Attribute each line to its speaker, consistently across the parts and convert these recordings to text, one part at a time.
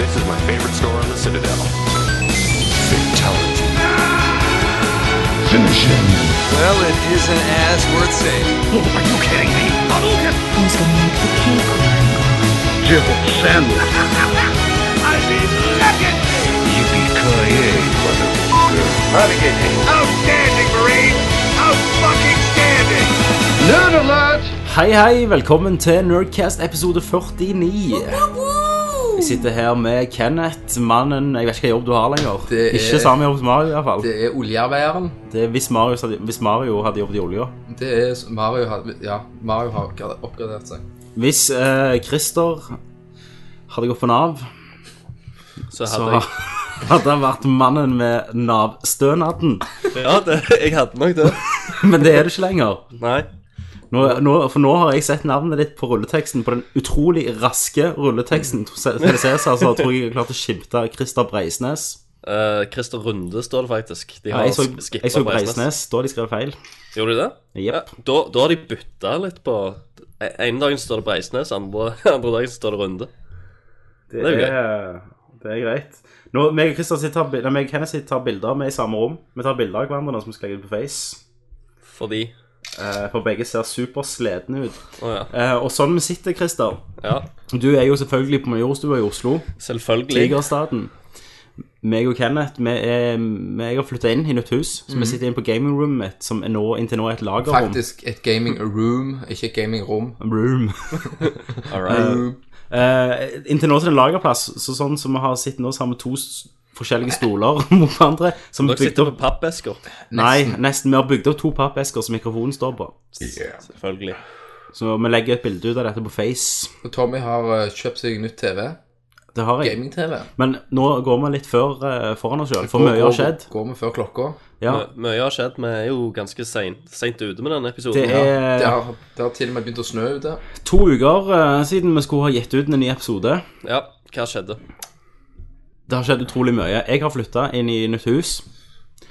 Speaker 1: This is my favorite store on the Citadel. Fatality.
Speaker 2: Finish him.
Speaker 3: Well, it isn't as worth saying.
Speaker 2: Are you kidding me?
Speaker 4: Who's gonna make the cake line?
Speaker 2: Civil sandwich.
Speaker 5: I mean, look at me!
Speaker 2: Yippee-ki-yay, motherfucker.
Speaker 5: Outstanding, Marine! Out-fucking-standing!
Speaker 2: Nerd alert!
Speaker 6: Hei, hei. Velkommen til Nerdcast episode 49. Jeg sitter her med Kenneth, mannen Jeg vet ikke hva jobb du har lenger.
Speaker 3: Det er-
Speaker 6: Ikke samme jobb som Mario, i hvert fall.
Speaker 3: Det er oljearbeideren.
Speaker 6: Det er hvis, Mario hadde, hvis Mario hadde jobbet i olja.
Speaker 3: Det er s- Mario har, ja, Mario har oppgra- oppgradert seg.
Speaker 6: Hvis eh, Christer hadde gått på Nav,
Speaker 7: Så
Speaker 6: så
Speaker 7: hadde
Speaker 6: hadde han vært mannen med Nav-stønaden.
Speaker 7: jeg Ja, det, jeg hadde nok det.
Speaker 6: Men det er du ikke lenger.
Speaker 7: Nei.
Speaker 6: Nå, nå, for nå har jeg sett navnet ditt på rulleteksten, på den utrolig raske rulleteksten til Cæsar, så tror jeg jeg har klart å skimte Christer Breisnes.
Speaker 7: Eh, Christer Runde står det faktisk. De
Speaker 6: Ja,
Speaker 7: har
Speaker 6: jeg så,
Speaker 7: skippet
Speaker 6: jeg så
Speaker 7: Breisnes.
Speaker 6: Breisnes, da har de skrevet feil.
Speaker 7: Gjorde de det?
Speaker 6: Jep.
Speaker 7: da, da har de bytta litt på E-, Ene dagen står det Breisnes, andre, andre dagen står det Runde.
Speaker 6: Det
Speaker 7: er jo
Speaker 6: det er greit. Nå, meg og Christer sitter, og tar bil- nei, meg og Kenneth sitter og tar bilder, vi er i samme rom. Vi tar bilder av hverandre nå som vi skal legge ut på Face.
Speaker 7: Fordi
Speaker 6: Eh, For begge ser supersledne ut.
Speaker 7: Å ja.
Speaker 6: Eh, Og sånn vi sitter, Christer.
Speaker 7: ja.
Speaker 6: Du er jo selvfølgelig på Majorstua i Oslo.
Speaker 7: Selvfølgelig.
Speaker 6: Tigerstaden. Meg og Kenneth, vi er, vi- jeg har flytta inn i nytt hus.
Speaker 7: Mhm.
Speaker 6: Så vi sitter inne på gamingroomet mitt, som er nå, inntil nå er et lagerrom.
Speaker 3: Faktisk et gaming room, ikke et gaming rom.
Speaker 6: Room.
Speaker 7: All right.
Speaker 6: Eh, inntil nå så er det en lagerplass, så sånn som vi har sittet nå, så har vi to s- forskjellige stoler mot hverandre. Som er
Speaker 7: Dere
Speaker 6: bygd
Speaker 7: sitter
Speaker 6: opp
Speaker 7: med pappesker.
Speaker 6: Nei, nesten. Vi har bygd opp to pappesker som mikrofonen står på.
Speaker 7: Selvfølgelig.
Speaker 6: Så vi legger et bilde ut av dette på Face.
Speaker 3: Og Tommy har eh, kjøpt seg nytt TV.
Speaker 6: Det har jeg.
Speaker 3: Gaming-TV.
Speaker 6: Men nå går vi litt før, eh, foran oss sjøl, for
Speaker 3: Går-
Speaker 6: mye har
Speaker 3: går-
Speaker 6: skjedd.
Speaker 3: Går vi før klokka?
Speaker 6: Ja,
Speaker 7: Mø- Eh, Mye har skjedd. Vi er jo ganske seint ute med denne episoden.
Speaker 6: det
Speaker 3: Det
Speaker 6: er
Speaker 3: har, det har til og med begynt å snø ute.
Speaker 6: to uker eh, siden vi skulle ha gitt ut en ny episode.
Speaker 7: Ja, hva skjedde?
Speaker 6: Det har skjedd utrolig mye. Jeg har flytta inn i nytt hus.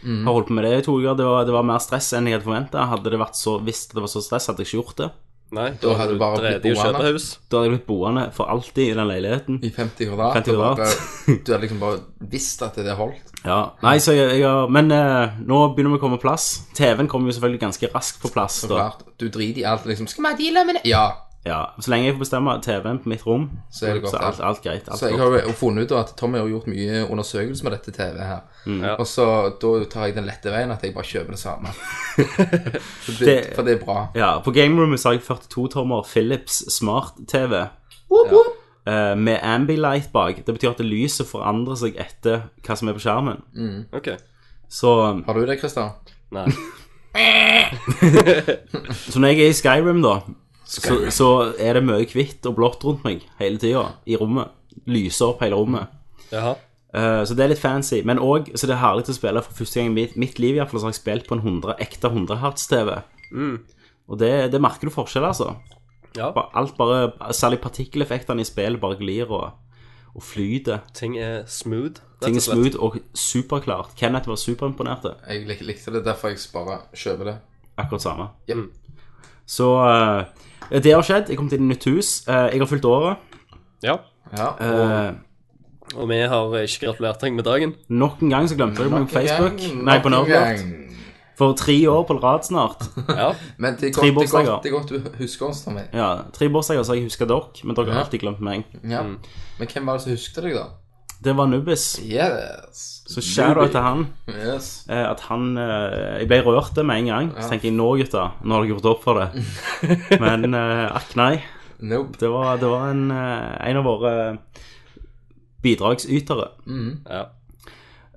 Speaker 3: Mhm.
Speaker 6: Har holdt på med det i to uker. Det var, det var mer stress enn jeg hadde forventa. Hadde det vært så, hvis det var så stress, hadde jeg ikke gjort det.
Speaker 7: Nei,
Speaker 3: Da hadde
Speaker 7: du
Speaker 3: det bare blitt
Speaker 7: drevet i å
Speaker 3: boende.
Speaker 7: kjøpe hus.
Speaker 6: Da hadde jeg blitt boende for alltid i den leiligheten.
Speaker 3: I 50 kvadrat.
Speaker 6: 50
Speaker 3: og bare-
Speaker 6: kvadrat.
Speaker 3: Du hadde liksom bare visst at det holdt.
Speaker 6: Ja, nei, så jeg, jeg har Men eh, nå begynner vi å komme på plass. TV-en kommer jo selvfølgelig ganske raskt på plass. Da.
Speaker 3: Klart. Du driter i alt, liksom. Skal vi ha dealer med det? Ja.
Speaker 6: Ja, Så lenge jeg får bestemme TV-en på mitt rom,
Speaker 3: Så er det godt,
Speaker 6: så alt,
Speaker 3: ja.
Speaker 6: alt greit. Alt
Speaker 3: Så jeg
Speaker 6: godt.
Speaker 3: har jo funnet ut da at Tommy har gjort mye undersøkelser med dette TV her.
Speaker 7: Ja.
Speaker 3: Og så da tar jeg den lette veien at jeg bare kjøper det samme. for, det,
Speaker 6: Det-
Speaker 3: for det er bra.
Speaker 6: Ja, På gamerommet så har jeg 42-tommer Philips smart-TV eh, med Ambilight bak. Det betyr at lyset forandrer seg etter hva som er på skjermen.
Speaker 7: OK.
Speaker 6: Så,
Speaker 3: Har du det, Christian?
Speaker 7: Nei.
Speaker 6: så når jeg er i Skyrim, da, så, så er det mye hvitt og blått rundt meg hele tida i rommet. Lyser opp hele rommet.
Speaker 7: Jaha.
Speaker 6: Eh, så det er litt fancy. Men òg så det er herlig å spille for første gang i mitt, mitt liv. i hvert fall, så har jeg spilt på en 100, ekte 100 Hz-TV. Og det, det merker du forskjell, altså.
Speaker 7: Ja.
Speaker 6: Ba- Alt bare, Særlig partikkeleffektene i spillet bare glir og, og flyter.
Speaker 7: Ting er smooth. rett
Speaker 6: Ting
Speaker 7: og
Speaker 6: er
Speaker 7: slett.
Speaker 6: smooth og superklart. Kenneth var superimponert.
Speaker 3: Jeg lik, likte det, derfor jeg bare kjøper det.
Speaker 6: Akkurat samme.
Speaker 3: Ja.
Speaker 6: Så eh, det har skjedd. Jeg kom til et nytt hus. Eh, jeg har fylt året.
Speaker 7: Ja.
Speaker 3: Ja, og
Speaker 6: Eh,
Speaker 7: Og vi har ikke gratulert deg med dagen.
Speaker 6: nok en gang så glemte jeg meg på Facebook.
Speaker 3: gang,
Speaker 6: Nei,
Speaker 3: nok
Speaker 6: på
Speaker 3: en
Speaker 6: Nerdlert.
Speaker 3: gang.
Speaker 6: For tre år på rad snart.
Speaker 7: Ja.
Speaker 3: Men det er godt, det
Speaker 6: Tre
Speaker 3: er
Speaker 6: bursdager.
Speaker 3: godt, det er godt du husker oss, Tommy.
Speaker 6: Ja, Tre bursdager så har jeg huska dere, men dere
Speaker 3: Ja.
Speaker 6: har alltid glemt meg.
Speaker 3: Ja. Men hvem var det som husket deg, da?
Speaker 6: Det var Nubbis.
Speaker 3: Yes.
Speaker 6: Så shout out til han.
Speaker 3: Yes.
Speaker 6: eh, At han eh, Jeg ble rørt det med en gang. Så tenker jeg nå, gutta, nå har dere gjort opp for det. Men eh, akk nei.
Speaker 3: Nope.
Speaker 6: Det var, det var en, eh, en av våre bidragsytere.
Speaker 7: ja.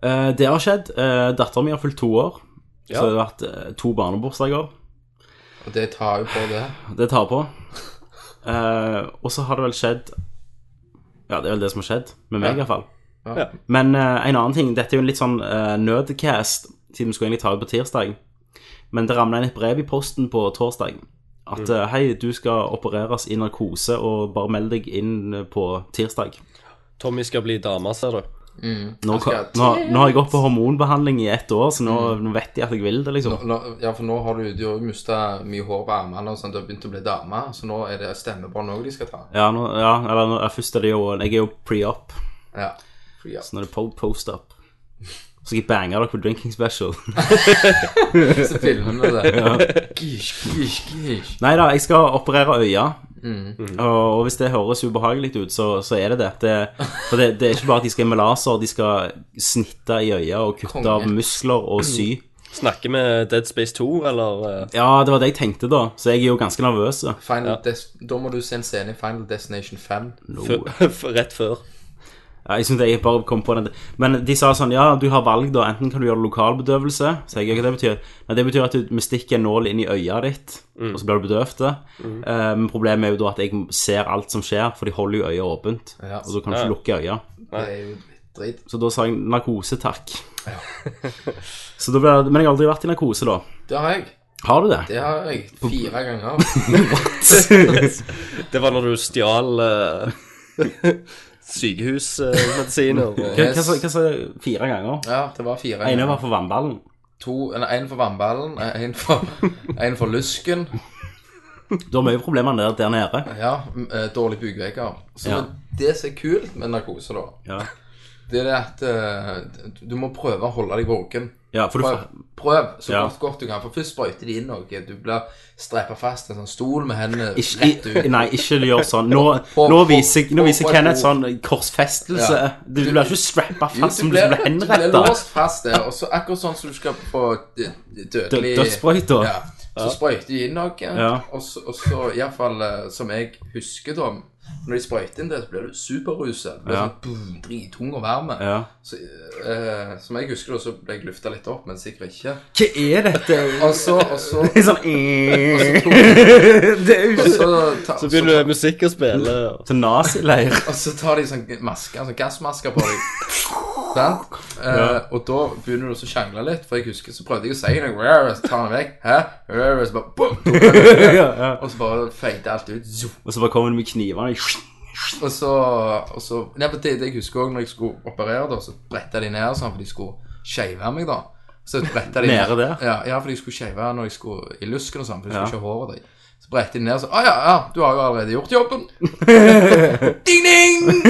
Speaker 6: Eh, det har skjedd. Uh, Dattera mi har fylt to år.
Speaker 7: Ja.
Speaker 6: Så det har vært eh, to barnebursdager.
Speaker 3: Og det tar jo på det.
Speaker 6: Det tar på. Eh, og så har det vel skjedd Ja, det er vel det som har skjedd. Med meg, i hvert fall.
Speaker 3: Ja.
Speaker 6: Men eh, en annen ting. Dette er jo en litt sånn eh, nødcast, siden vi skulle egentlig ta det på tirsdag. Men det ramla inn et brev i posten på torsdag.
Speaker 3: Mm.
Speaker 6: At eh, hei, du skal opereres i narkose, og bare meld deg inn eh, på tirsdag.
Speaker 7: Tommy skal bli dame, ser du.
Speaker 6: Nå,
Speaker 3: skal-
Speaker 6: nå, nå har jeg gått på hormonbehandling i ett år, så nå, nå vet jeg at jeg vil det, liksom.
Speaker 3: Mm. Nå, ja, for nå har du, du har mista mye hår på armene, og sånn, du har begynt å bli dame, så nå er det stemmebånd òg de skal ta.
Speaker 6: Ja, nå, ja eller nå, ja, først er det jo Jeg er jo pre-op,
Speaker 3: Ja. Free up.
Speaker 6: Så nå er det po post up. Så skal jeg bange dere på drinking special.
Speaker 3: Så filmer vi det. Gish, gish, gish.
Speaker 6: Nei da, jeg skal operere øya. Og, og hvis det høres ubehagelig ut, så, så er det det. det for det, det er ikke bare at de skal med laser, de skal snitte i øya og kutte
Speaker 3: Konge.
Speaker 6: av muskler og sy.
Speaker 7: Snakker vi Dead Space 2, eller eh,
Speaker 6: Ja, det var det jeg tenkte, da. Så jeg er jo ganske nervøs. da.
Speaker 3: Final Des da må du se en scene i Final Destination 5.
Speaker 7: fø- f- eh, rett før?
Speaker 6: Ja, jeg synes jeg bare kom på den Men de sa sånn, ja, du har valg da Enten kan du gjøre lokalbedøvelse Så jeg, vet ikke hva det betyr Men det betyr at du vi stikker en nål inn i øya ditt Og så blir du bedøvt det Eh, Men problemet er jo da at jeg ser alt som skjer For de holder jo øya åpent
Speaker 3: Ja.
Speaker 6: Og så kan du ikke lukke øya
Speaker 3: Det er jo litt drit.
Speaker 6: Så da sa jeg narkose, takk Så da ble det Men jeg har aldri vært i narkose da
Speaker 3: Det har jeg.
Speaker 6: Har du det?
Speaker 3: Det har jeg fire ganger.
Speaker 7: Det var når du stjal eh, sykehusmedisiner. og-
Speaker 6: Hva- Hva sa- hva sa jeg? Fire ganger?
Speaker 3: Ja, det var fire
Speaker 6: Ene
Speaker 3: ganger.
Speaker 6: var for vannballen
Speaker 3: To, eller en for vannballen, eh, en for, en for lusken.
Speaker 6: Du har mye problemer der, der nede
Speaker 3: Ja, m- eh, dårlig bukvegger. Så
Speaker 6: Ja.
Speaker 3: det som er kult med narkose, da,
Speaker 6: Ja,
Speaker 3: det er det at eh, du må prøve å holde deg våken.
Speaker 6: ja for du
Speaker 3: Prøv, prøv så
Speaker 6: Ja.
Speaker 3: godt, godt du kan, for først sprøyter de inn noe. Du blir streppa fast i en sånn stol med hendene
Speaker 6: Ikke,
Speaker 3: rett ut.
Speaker 6: nei, ikke gjør sånn. Nå,
Speaker 3: På-
Speaker 6: nå
Speaker 3: på-
Speaker 6: viser, nå
Speaker 3: på-
Speaker 6: viser
Speaker 3: på-
Speaker 6: Kenneth
Speaker 3: på-
Speaker 6: sånn korsfestelse.
Speaker 3: Ja.
Speaker 6: Du blir ikke strappa
Speaker 3: Jo,
Speaker 6: fast som du blir
Speaker 3: du blir
Speaker 6: henrettet
Speaker 3: låst fast der, og så akkurat sånn som du skal på d- d-
Speaker 6: Dø-
Speaker 3: dødelig
Speaker 6: Dødssprøyta.
Speaker 3: Ja. Så sprøyter de inn noe,
Speaker 6: Ja.
Speaker 3: og så, og så iallfall eh, som jeg husker da Når de sprøyter inn det, så blir du superruset. Du blir
Speaker 6: Ja.
Speaker 3: sånn boom, drittung og varm.
Speaker 6: Ja.
Speaker 3: Så, eh, som jeg husker da, så ble jeg lufta litt opp, men sikkert ikke.
Speaker 6: Hva er dette?
Speaker 3: Og så, og så,
Speaker 6: Det er sånn eh, Det er jo
Speaker 3: og
Speaker 6: ikke
Speaker 3: så, ta,
Speaker 7: Så begynner det musikk å spille. og-
Speaker 6: Til nazileir.
Speaker 3: Og så tar de sånn masker, sånn gassmasker på deg. Sant? Eh, Og da begynner du også å sjangle litt, for jeg husker så prøvde jeg å si noe, «Rrr», så tar han vekk, hæ? Rrr, Så bare, boom, Og så bare feide alt ut. zoom.
Speaker 6: Og så bare kommer de med kniver.
Speaker 3: Og så, og så Nei, men det, det jeg husker også når jeg skulle operere, da, så bretta de ned sånn, for de skulle shave meg, da. Så bretta de
Speaker 6: Nede der?
Speaker 3: Ja, ja, for de skulle shave når jeg skulle i lusken og sånn, for de
Speaker 6: Ja.
Speaker 3: skulle ikke ha håret ditt. Så bretta de ned og så Å ja, ja, du har jo allerede gjort jobben. ding, ding!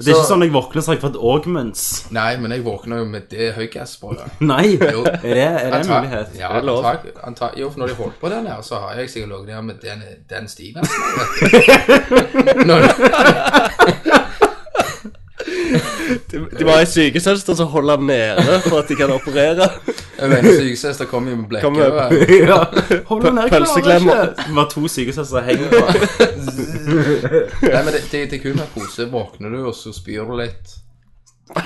Speaker 6: Det er ikke
Speaker 3: Så-
Speaker 6: sånn jeg våkner så har jeg fått augments.
Speaker 3: Nei, men jeg våkner jo med det høygassbrødet.
Speaker 6: Nei.
Speaker 3: Jo.
Speaker 6: Er det, er det en
Speaker 3: Antag-
Speaker 6: mulighet?
Speaker 3: Ja,
Speaker 7: det lov?
Speaker 3: antag, antag, jo, for når de holdt på den her, så har jeg sikkert ligget der med den, den stilen.
Speaker 7: De, de må ha ei sykesøster som holder dem nede for at de kan operere.
Speaker 3: Jeg mener, sykesøster kom jo med
Speaker 7: Kom med-
Speaker 3: blekket.
Speaker 6: Ja. Hold den der, jeg klarer
Speaker 7: Pølseklemmer.
Speaker 6: ikke. Vi har to sykesøstre henger på.
Speaker 3: Nei, men det, det, det er kun med kose. Våkner du, og så spyr du litt.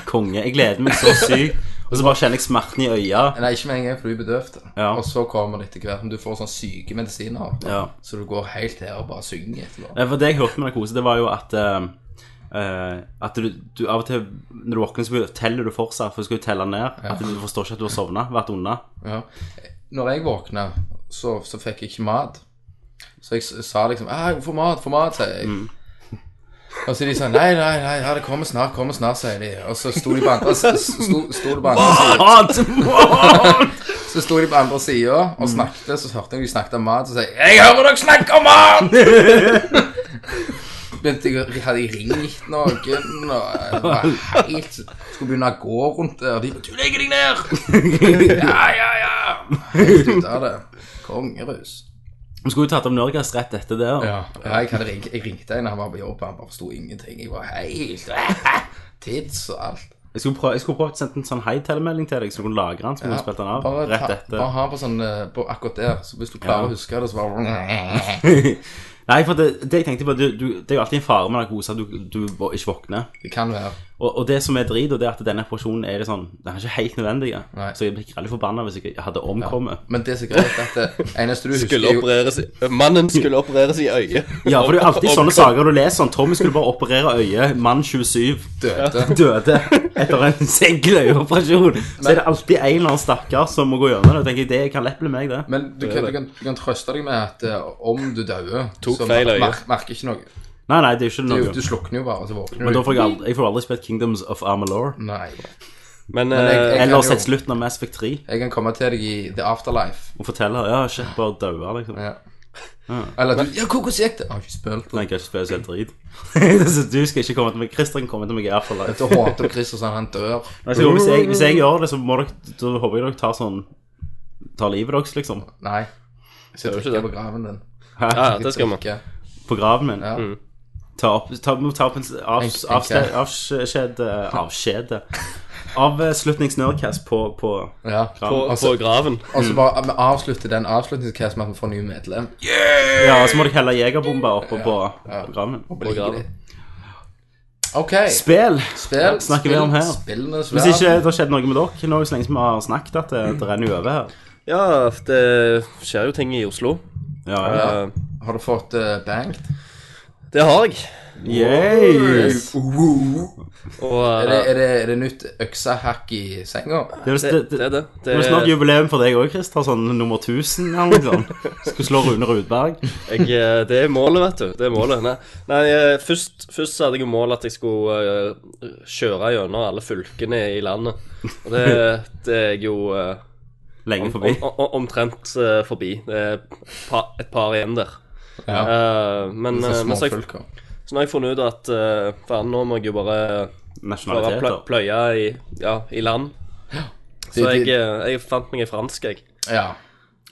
Speaker 6: Konge. Jeg gleder meg så sykt. Og så bare kjenner jeg smerten i øya.
Speaker 3: Nei, ikke med en gang, for du er bedøvd.
Speaker 6: Ja.
Speaker 3: Og så kommer det etter hvert, men du får sånn syke medisiner.
Speaker 6: Ja.
Speaker 3: Så du går helt her og bare synger etterpå.
Speaker 6: Nei, for det jeg hørte med narkose, det var jo at eh, eh, At du, du av og til når du våkner, så teller du fortsatt, for du skal jo telle ned. At du forstår ikke at du har sovna, vært unna.
Speaker 3: Ja. Når jeg våkna, så, så fikk jeg ikke mat. Så jeg s- sa liksom «Ah, 'Få mat, få mat', sier jeg. Og så de sa 'Nei, nei, nei, ja, det kommer snart, kommer snart', sier de. Og så sto de på andre, s- s- sto, sto de på andre siden. Så sto de på andre sida og snakket, så hørte jeg de snakket om mat, så sa jeg 'Jeg hører dere snakke om mat!' Begynte jeg, å- Hadde jeg ringt noen, og jeg var helt Skulle begynne å gå rundt der, og de 'Du legger deg ned!' Ja, ja, ja. Helt ut av det. Kongerus.
Speaker 6: Vi skulle jo tatt opp Norges rett etter det. da.
Speaker 3: Ja. jeg, hadde ringt, jeg ringte en, han var på jobb, han bare forsto ingenting. Jeg var helt Tids og alt.
Speaker 6: Jeg skulle prøve, jeg skulle prøvd å sende en sånn hei-telemelding til deg, så du kunne lagre den. Så kunne du spilt den av
Speaker 3: Bare,
Speaker 6: rett
Speaker 3: ta,
Speaker 6: etter.
Speaker 3: bare ha på sånn eh, på akkurat der, så hvis du klarer
Speaker 6: Ja.
Speaker 3: å huske det, så bare
Speaker 6: Nei, for det, det jeg tenkte på, du, du, det er jo alltid en fare med narkose at du, du vå- ikke våkner.
Speaker 3: Det kan være.
Speaker 6: Og, og det som er drit, og det er at denne operasjonen er litt sånn, den er ikke helt nødvendig. ja.
Speaker 3: Nei.
Speaker 6: Så jeg blir ikke veldig forbanna hvis jeg hadde omkommet.
Speaker 3: Men det som er greit, at det eneste du husker
Speaker 7: Skulle
Speaker 3: er jo-
Speaker 7: opereres i, mannen skulle opereres i øyet.
Speaker 6: Ja, for det er jo alltid
Speaker 7: Om-
Speaker 6: sånne saker du leser sånn. Tommy skulle bare operere øyet, mann 27.
Speaker 3: døde.
Speaker 6: døde etter en enkel øyeoperasjon. Så er det alltid en eller annen stakkar som må gå gjennom det. Og tenker jeg, det kan lett bli meg, det.
Speaker 3: Men du kan, du, kan, du kan trøste deg med at eh, om du dauer,
Speaker 7: Tok
Speaker 3: så
Speaker 7: feil øye.
Speaker 3: mer- merker ikke noe.
Speaker 6: Nei, nei, det er jo
Speaker 3: Du,
Speaker 6: ikke noe.
Speaker 3: du slukner jo bare, og så våkner
Speaker 6: Men da
Speaker 3: du.
Speaker 6: får jeg aldri, jeg får aldri spilt Kingdoms of Amalur.
Speaker 3: Nei.
Speaker 7: Men,
Speaker 3: jeg-
Speaker 7: eh,
Speaker 3: jeg-
Speaker 6: Eller
Speaker 3: jo.
Speaker 6: sett slutten av Mass Effect 3
Speaker 3: Jeg kan komme til deg i The Afterlife.
Speaker 6: og fortelle ja, shit, bare daua, liksom.
Speaker 3: Ja. Eller du, ja, hvordan gikk det? Jeg har ikke spilt det.
Speaker 6: Nei, jeg kan ikke spille selv drit. Så du skal ikke komme til meg. Christian kommer til meg i hvert fall. liksom.
Speaker 3: Da håper Chris og sånn, han dør.
Speaker 6: Nei, så Hvis, jeg, hvis jeg gjør det, så må dere, da håper jeg dere tar sånn Tar livet deres, liksom.
Speaker 3: Nei. Jeg skal
Speaker 7: Gjør ikke
Speaker 3: trykke
Speaker 7: det.
Speaker 3: på graven din.
Speaker 7: Ja, ja, det skal man.
Speaker 3: Trykke.
Speaker 6: På graven min.
Speaker 3: Ja.
Speaker 6: Ta opp, ta, må ta opp en s- avs-
Speaker 3: Tenk- tenk jeg.
Speaker 6: avskjed- avskjed eh, Avskjede. Avslutningsnerdcast på, på
Speaker 3: Ja.
Speaker 7: På,
Speaker 6: graven.
Speaker 3: Altså-
Speaker 7: på graven.
Speaker 3: Og så bare vi avslutter den avslutningscasten med at vi får nye medlem.
Speaker 6: Mm. Ja, så må dere helle jegerbomber oppå på, på graven min.
Speaker 3: Ligger
Speaker 7: graven.
Speaker 3: de. OK.
Speaker 6: Spill!
Speaker 3: Spill.
Speaker 6: snakker vi om her.
Speaker 3: Spillene
Speaker 6: Hvis ikke det har skjedd noe med dere nå, så lenge som vi har snakket, at det, det renner jo over her.
Speaker 7: Ja, det skjer jo ting i Oslo.
Speaker 6: Ja, ja.
Speaker 7: Eh,
Speaker 3: Har du fått uh, bangt?
Speaker 7: det har jeg.
Speaker 6: Yes.
Speaker 7: Og
Speaker 3: Er det,
Speaker 7: eh,
Speaker 3: er det, er det nytt øksehakk i senga?
Speaker 6: Det er,
Speaker 7: det,
Speaker 6: det,
Speaker 7: det er det.
Speaker 6: Det er snart
Speaker 7: Det,
Speaker 6: jubileum for deg òg, Christer. Sånn nummer 1000 eller noe sånt. Skulle slå Rune Rudberg.
Speaker 7: jeg, eh, det er målet, vet du. Det er målet. Nei, nei eh, først, først så hadde jeg jo mål at jeg skulle eh, kjøre gjennom alle fylkene i landet. Og det, det er jeg jo eh,
Speaker 6: Lenge
Speaker 7: om,
Speaker 6: forbi.
Speaker 7: om, om, omtrent eh, forbi. Det er pa, et par igjen der.
Speaker 3: Ja.
Speaker 7: Eh, men,
Speaker 3: Så
Speaker 7: eh, men så, har jeg,
Speaker 3: småfylker.
Speaker 7: så nå har jeg funnet ut at eh, faen, nå må jeg jo bare klare å plø-
Speaker 6: Nasjonaliteter.
Speaker 7: pløye i, ja, i land. Så
Speaker 3: Det-
Speaker 7: jeg,
Speaker 3: det-
Speaker 7: eh, jeg fant meg en fransk, jeg.
Speaker 3: Ja.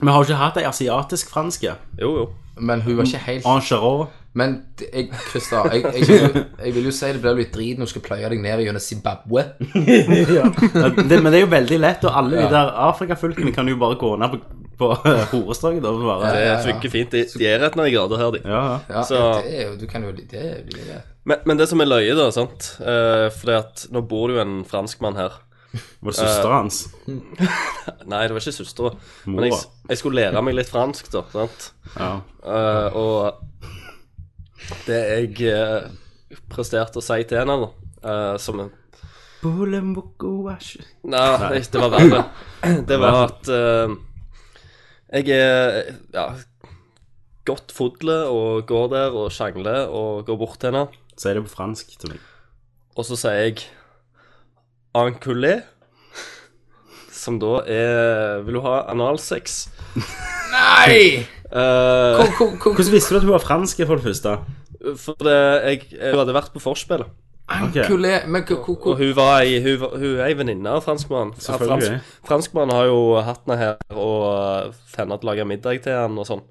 Speaker 6: Vi har jo ikke hatt ei asiatisk-franske.
Speaker 7: Jo, jo.
Speaker 3: Men hun var ikke helt
Speaker 6: Mm. Angerot.
Speaker 3: Men det- jeg, Christa, jeg, jeg, vil jo- jeg vil jo si det blir litt drit når du skal pløye deg ned gjennom Zimbabwe.
Speaker 6: Men det men det er jo veldig lett, og alle de der Afrikafylkene kan jo bare gå ned på, på Horestrøket. og bare-
Speaker 7: Det
Speaker 3: ja, ja.
Speaker 7: funker fint. De, de er rett ned i grader her, de.
Speaker 6: Ja, ja.
Speaker 3: Ja,
Speaker 7: Så-
Speaker 3: det er jo, du kan jo Det er jo det. er-
Speaker 7: Men, men det som er løye, da, sant uh, Fordi at nå bor det jo en franskmann her.
Speaker 6: Var det søstera hans?
Speaker 7: Nei, det var ikke søstera. Men jeg,
Speaker 6: Mora.
Speaker 7: jeg skulle lære meg litt fransk, da. sant?
Speaker 6: Ja.
Speaker 7: Eh, og det jeg eh, presterte å si til henne, da eh, som en Nei, det- det var verre. Det var at eh, jeg er ja, godt fodle og går der og sjangler og går bort til henne.
Speaker 6: Si det på fransk til meg.
Speaker 7: Og så sier jeg enculé, som da er Vil du ha analsex?
Speaker 3: Nei!
Speaker 7: Eh,
Speaker 3: Hvor- hvor- hvor-
Speaker 6: Hvordan visste du at hun var fransk, for det første?
Speaker 7: for det, jeg, jeg hadde vært på forspillet.
Speaker 6: Ok.
Speaker 3: Kule, men hvor- hvor- hvor-
Speaker 7: Og hun, var ei, hun, var- hun er ei venninne av franskmannen. Ja,
Speaker 6: Selvfølgelig.
Speaker 7: franskmannen har jo hatt henne her og henne til å lage middag til han og sånn.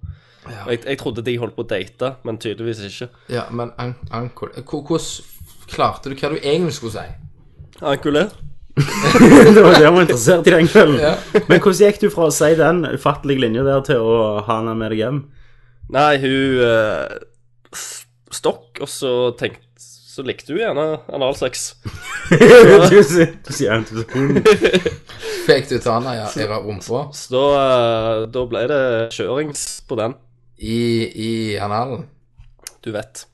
Speaker 7: Og Jeg, jeg trodde de holdt på å date, men tydeligvis ikke.
Speaker 3: Ja, men an, ankol Hvor- Hvordan klarte du hva du egentlig skulle si?
Speaker 7: Enculé.
Speaker 6: Det var det jeg var interessert i den kvelden.
Speaker 3: Ja.
Speaker 6: Men hvordan gikk du fra å si den ufattelige linja der til å ha henne med deg hjem?
Speaker 7: Nei, hun eh, s- stokk, og så tenkte Så likte hun gjerne analsex.
Speaker 6: du sier du sier en til hun.
Speaker 3: Fikk du tana ja, i rumpa?
Speaker 7: Så da, eh, da ble det kjørings på den.
Speaker 3: I, i analen?
Speaker 7: Du vet.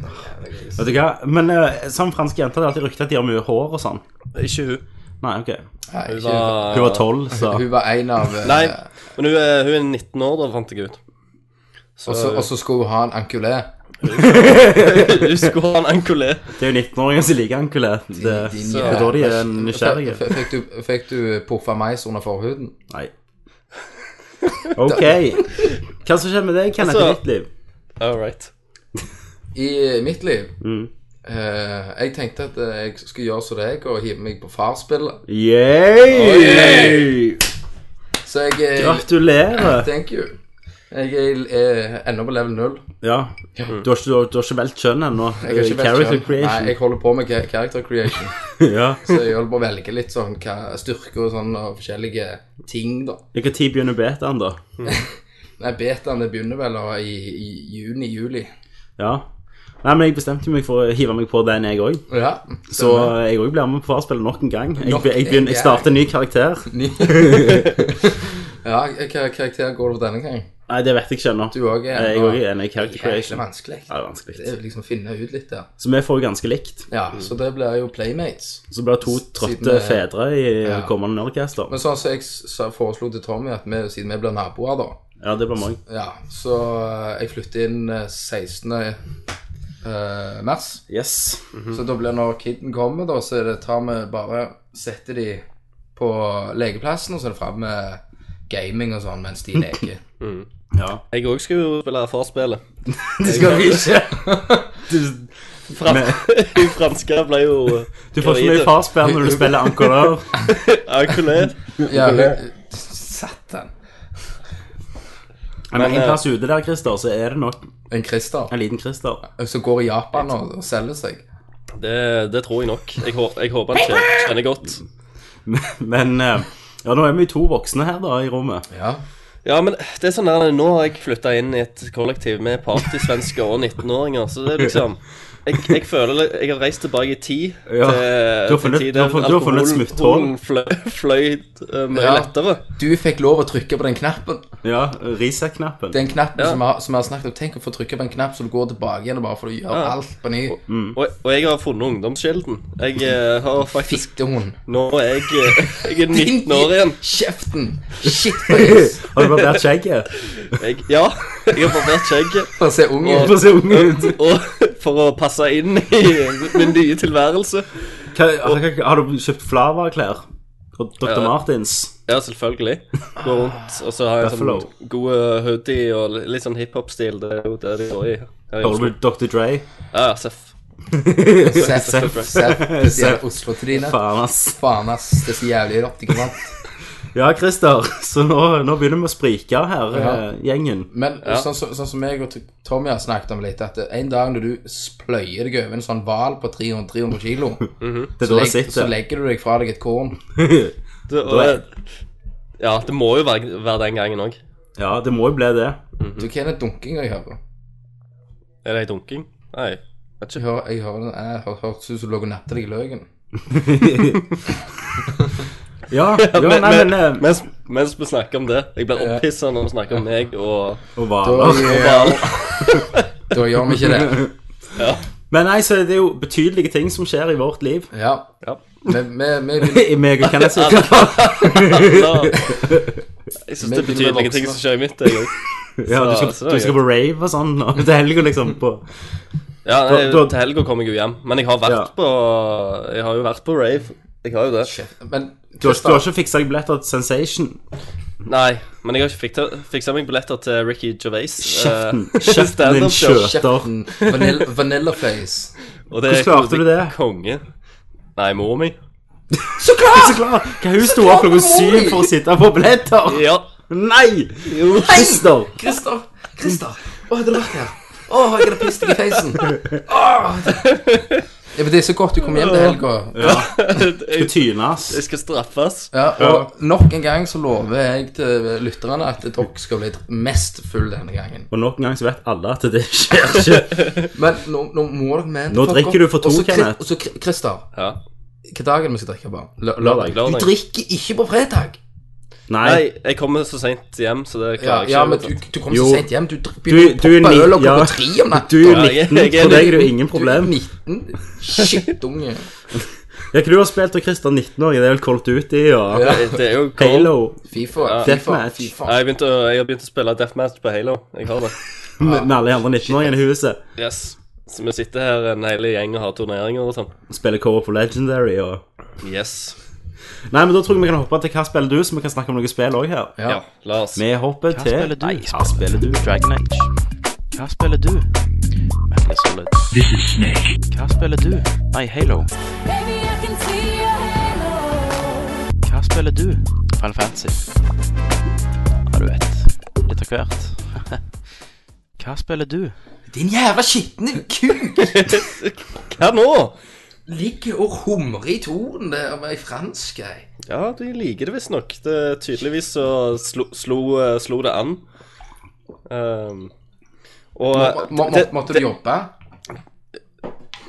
Speaker 6: Vet du hva? Men eh, som franske jenter, det er alltid ryktet at de har mye hår og sånn.
Speaker 7: Ikke hun.
Speaker 6: Nei, ok.
Speaker 3: Nei,
Speaker 7: Hun
Speaker 3: ikke-
Speaker 7: var,
Speaker 6: Hun var tolv, så
Speaker 3: Hun var en av eh,
Speaker 7: Nei, men hun er, hun er 19 år, da, fant jeg ut. Så
Speaker 3: Og så- og så skulle hun ha en ankulé.
Speaker 7: hun skulle ha en E. enculé.
Speaker 6: det er jo 19-åringer som liker ankulé. Det,
Speaker 3: Din
Speaker 6: det
Speaker 3: jævla-
Speaker 6: er da de er nysgjerrige.
Speaker 3: F- Fikk du, fikk du puffa mais under forhuden?
Speaker 6: Nei. Ok. Hva som skjer med deg, Kenneth, i
Speaker 7: Altså-
Speaker 6: ditt liv?
Speaker 7: All right.
Speaker 3: I mitt liv
Speaker 6: Mm.
Speaker 3: eh, Jeg tenkte at eh, jeg skulle gjøre som deg og hive meg på farsspillet.
Speaker 6: Yay!
Speaker 3: Så jeg eh,
Speaker 6: Gratulerer.
Speaker 3: Thank you. Jeg er eh, ennå på level null.
Speaker 6: Ja. Du har ikke, du har, du har ikke valgt kjønn ennå.
Speaker 3: Jeg har ikke vært
Speaker 6: Eh, Character
Speaker 3: selv. Nei,
Speaker 6: creation.
Speaker 3: jeg holder på med ca- character creation.
Speaker 6: Ja.
Speaker 3: Så jeg holder på å velge litt sånn hva styrker og sånn, og forskjellige ting, da.
Speaker 6: Hvilken tid begynner betaen, da?
Speaker 3: Nei, betaene begynner vel da i, i juni-juli.
Speaker 6: Ja. Nei, men jeg bestemte meg for å hive meg på den, jeg òg.
Speaker 3: Ja.
Speaker 6: Så eh, jeg òg blir med på Farspillet nok en gang. Jeg,
Speaker 3: Nok
Speaker 6: jeg,
Speaker 3: en
Speaker 6: begynner, jeg
Speaker 3: gang.
Speaker 6: starter en ny karakter.
Speaker 3: Ny- ja, hva karakter går det for denne gang?
Speaker 6: Nei, det vet jeg ikke ennå. Eh,
Speaker 3: Du òg er
Speaker 6: Jeg
Speaker 3: ennå-
Speaker 6: òg er enig i Character
Speaker 3: Jækla
Speaker 6: Creation.
Speaker 3: vanskelig.
Speaker 6: Ja, det er
Speaker 3: Det er
Speaker 6: vanskelig.
Speaker 3: jo liksom å finne ut litt der.
Speaker 6: Så vi får jo ganske likt.
Speaker 3: Ja, så det blir jo playmates.
Speaker 6: Så blir det to
Speaker 3: Siden
Speaker 6: trøtte
Speaker 3: det-
Speaker 6: fedre i
Speaker 3: Ja.
Speaker 6: kommende Nerdcaster.
Speaker 3: Men sånn som jeg s- sa- foreslo til Tommy, at vi, siden vi blir naboer, da
Speaker 6: Ja, det blir meg.
Speaker 3: Ja, så eh, jeg flytter inn eh, 16. eh, mars.
Speaker 6: Yes.
Speaker 3: Så da blir når kiden kommer, da, så er det, tar vi bare Setter de på lekeplassen, og så er det framme med gaming og sånn mens de leker.
Speaker 6: Ja.
Speaker 7: Jeg òg skulle jo spille forspillet.
Speaker 3: Det skal vi ikke.
Speaker 6: Du,
Speaker 7: Fran Hun franske ble jo
Speaker 6: du får så mye farspill når du spiller ankolør.
Speaker 7: ankulert.
Speaker 3: Ja, hun- Satan.
Speaker 6: Men en
Speaker 7: eh,
Speaker 6: plass ute der, Christer, så er det nok
Speaker 3: En Christer
Speaker 6: en liten Christer.
Speaker 3: som går i Japan og, og selger seg.
Speaker 7: Det, det tror jeg nok. Jeg, hå- jeg håper han kjen- kjenner godt.
Speaker 6: Men eh, ja, nå er vi jo to voksne her da i rommet.
Speaker 3: Ja.
Speaker 7: Ja, men det er sånn der, nå har jeg flytta inn i et kollektiv med partysvensker og 19-åringer, så det er liksom jeg, jeg føler li- jeg har reist tilbake i tid.
Speaker 6: Ja, du har funnet- du har funnet- du har funnet et smutthull.
Speaker 7: fløy, fløy eh, mye
Speaker 3: Ja.
Speaker 7: lettere.
Speaker 3: Du fikk lov å trykke på den knappen.
Speaker 6: Ja, Reset-knappen.
Speaker 3: Den knappen
Speaker 7: Ja.
Speaker 3: som, vi har, som vi har snakket om. Tenk å få trykke på en knapp så du går tilbake igjen og bare får gjøre
Speaker 7: Ja.
Speaker 3: alt på ny.
Speaker 6: Mm.
Speaker 7: Og, og jeg har funnet ungdomsskilden. Jeg eh, har faktisk
Speaker 3: Fittehund.
Speaker 7: Nå er jeg, eh, jeg er 19 år igjen.
Speaker 3: Kjeften! Shitface!
Speaker 6: Har du barbert skjegget?
Speaker 7: Jeg, ja, jeg har barbert skjegget.
Speaker 3: For å se ung
Speaker 6: Du
Speaker 3: ut.
Speaker 6: får se ung ut.
Speaker 7: Og for å passe inn i min nye tilværelse.
Speaker 6: Hva, har, har du kjøpt Flava-klær? Og Dr.
Speaker 7: Ja.
Speaker 6: Martins?
Speaker 7: Ja, selvfølgelig. Gå rundt, og så har jeg
Speaker 6: Buffalo.
Speaker 7: sånn god hoodie og li- litt sånn hiphop-stil. Det er jo det de går i. her i Oslo.
Speaker 6: Hører du Dr. Dre?
Speaker 7: Ja, ja, seff.
Speaker 3: Seff, seff, seff. Spesielt Oslo til dine.
Speaker 6: Faen, ass.
Speaker 3: Faen, ass. Det er så jævlig rått. Ikke sant?
Speaker 6: Ja, Christer, så nå, nå begynner vi å sprike her,
Speaker 3: Ja.
Speaker 6: eh, gjengen.
Speaker 3: Men
Speaker 7: Ja.
Speaker 3: sånn, så, sånn som jeg og Tommy har snakket om litt, at en dag når du spløyer deg over en sånn hval på 300-300 kilo,
Speaker 6: Det er
Speaker 3: så,
Speaker 6: da jeg Mhm.
Speaker 3: legg, så
Speaker 6: sitter.
Speaker 3: legger du deg fra deg et korn.
Speaker 7: Det, og,
Speaker 6: Da er-
Speaker 7: ja, det må jo være, være den gangen òg.
Speaker 6: Ja, det må jo bli det.
Speaker 3: Du, hva er det dunkinga jeg hører?
Speaker 7: Er det ei dunking? Nei. Vet
Speaker 3: Jeg
Speaker 7: ikke.
Speaker 3: hører, jeg hører, jeg hører, høres ut som du lå og nappet deg i løken.
Speaker 6: Ja, ja nei,
Speaker 7: Men- men-
Speaker 6: men eh,
Speaker 7: Mens, mens vi snakker om det Jeg blir opphissa når vi snakker om meg og
Speaker 3: Da,
Speaker 6: Og varer.
Speaker 3: da gjør vi ikke det.
Speaker 6: Men nei, så det er jo betydelige ting som skjer i vårt liv.
Speaker 3: Ja.
Speaker 7: Ja.
Speaker 3: Vi, vi, vi, vi,
Speaker 6: I meg og Kenneth sitt.
Speaker 7: alle. Altså, Jeg syns det er
Speaker 3: Men begynner med
Speaker 7: betydelige
Speaker 3: voksne.
Speaker 7: ting som skjer i mitt, jeg òg.
Speaker 6: Ja, du skal,
Speaker 7: Så- så er det
Speaker 6: du skal på rave og sånn, og til helga liksom på
Speaker 7: Ja, nei,
Speaker 6: Da- da-
Speaker 7: til helga kommer jeg jo hjem. Men jeg har vært
Speaker 6: Ja.
Speaker 7: på Jeg har jo vært på rave. Jeg har jo det.
Speaker 3: men
Speaker 6: Du har, du har ikke fiksa deg billetter til Sensation?
Speaker 7: Nei, men jeg har ikke fikta, fiksa meg billetter til Ricky Gervais.
Speaker 6: Kjeften.
Speaker 7: eh,
Speaker 6: Kjeften din
Speaker 7: stand-up-show.
Speaker 6: sjø.
Speaker 3: kjeften vanilla, vanilla face.
Speaker 7: Og det
Speaker 6: Hvordan klarte
Speaker 7: er
Speaker 6: du det?
Speaker 7: Konge. Nei, mor mi.
Speaker 6: Så klart!
Speaker 3: Ah!
Speaker 6: Så klart! Hva hun sto opp klokka syv for å sitte på billetter?
Speaker 7: Ja.
Speaker 6: Nei! Christer!
Speaker 3: Christer! Christer! Å, hadde du vært her? Å, jeg hadde pisset deg i feisen. Å. Ja, men det er så godt du kom hjem til helga.
Speaker 6: Hun
Speaker 7: jeg,
Speaker 6: tynes.
Speaker 7: jeg skal straffes.
Speaker 3: Ja, og nok en gang så lover jeg til lytterne at dere skal bli mest full denne gangen.
Speaker 6: Og nok en gang så vet alle at det skjer ikke.
Speaker 3: Men nå, nå må dere med
Speaker 6: Nå drikker du for to,
Speaker 3: Og så Chris-
Speaker 6: Kenneth.
Speaker 3: Og så Chris- Christer,
Speaker 7: Ja.
Speaker 3: hva dag er det vi skal drikke på? Lø-
Speaker 6: Lørdag.
Speaker 3: Du
Speaker 7: Lørdag.
Speaker 3: drikker ikke på fredag.
Speaker 6: Nei.
Speaker 7: Nei, jeg kommer så seint hjem, så det
Speaker 3: Ja,
Speaker 7: klarer jeg
Speaker 3: ja men
Speaker 7: ikke.
Speaker 3: du, du kommer
Speaker 6: Jo.
Speaker 3: så sent hjem. Du dr-
Speaker 6: Du,
Speaker 3: begynner å
Speaker 6: du er
Speaker 3: poppe øl og
Speaker 6: ni- ja.
Speaker 3: klokka tre om natta.
Speaker 6: Du er
Speaker 7: Ja, jeg-
Speaker 6: 19,
Speaker 7: jeg er
Speaker 6: for deg er det jo
Speaker 3: Du-
Speaker 6: ingen
Speaker 3: Du
Speaker 6: problem.
Speaker 3: er 19. Skittunge.
Speaker 6: Ja, hva du har spilt da Christer 19 år? Det er vel Colt Duty og
Speaker 7: Det, det er jo cool.
Speaker 6: Halo?
Speaker 3: Fifa. Fifa.
Speaker 6: Deathmatch.
Speaker 3: Fifa.
Speaker 7: Nei, jeg, begynte å, jeg har begynt å spille Deathmatch på Halo. Jeg har det.
Speaker 6: Med med alle de andre 19-åringene i huset.
Speaker 7: Yes. Så vi sitter her en hel gjeng og har turneringer og sånn.
Speaker 6: Spiller cover på Legendary og
Speaker 7: Yes.
Speaker 6: Nei, men da tror jeg vi kan hoppe til Hva spiller du? Så vi kan snakke om noe spill òg her.
Speaker 3: Ja.
Speaker 7: Ja, la oss.
Speaker 6: Vi hopper til
Speaker 8: spiller du?
Speaker 6: Nei, Hva spiller du?
Speaker 8: Dragon Age. Hva spiller du? Metal Solid. Hva spiller du? Nei, Halo.
Speaker 9: Baby, I can see your halo.
Speaker 8: Hva spiller du? Final Fantasy. Ja, du vet. Litt av hvert. Hva spiller du?
Speaker 3: Din jævla skitne kuk
Speaker 7: Hva nå?
Speaker 3: ligger og humrer i tonen der med ei fransk ei.
Speaker 7: Ja, de liker det visstnok. Det- Tydeligvis så slo, slo, eh, slo det an. Ehm, og
Speaker 3: Må, må, må,
Speaker 7: det-
Speaker 3: måtte
Speaker 7: det-
Speaker 3: du jobbe?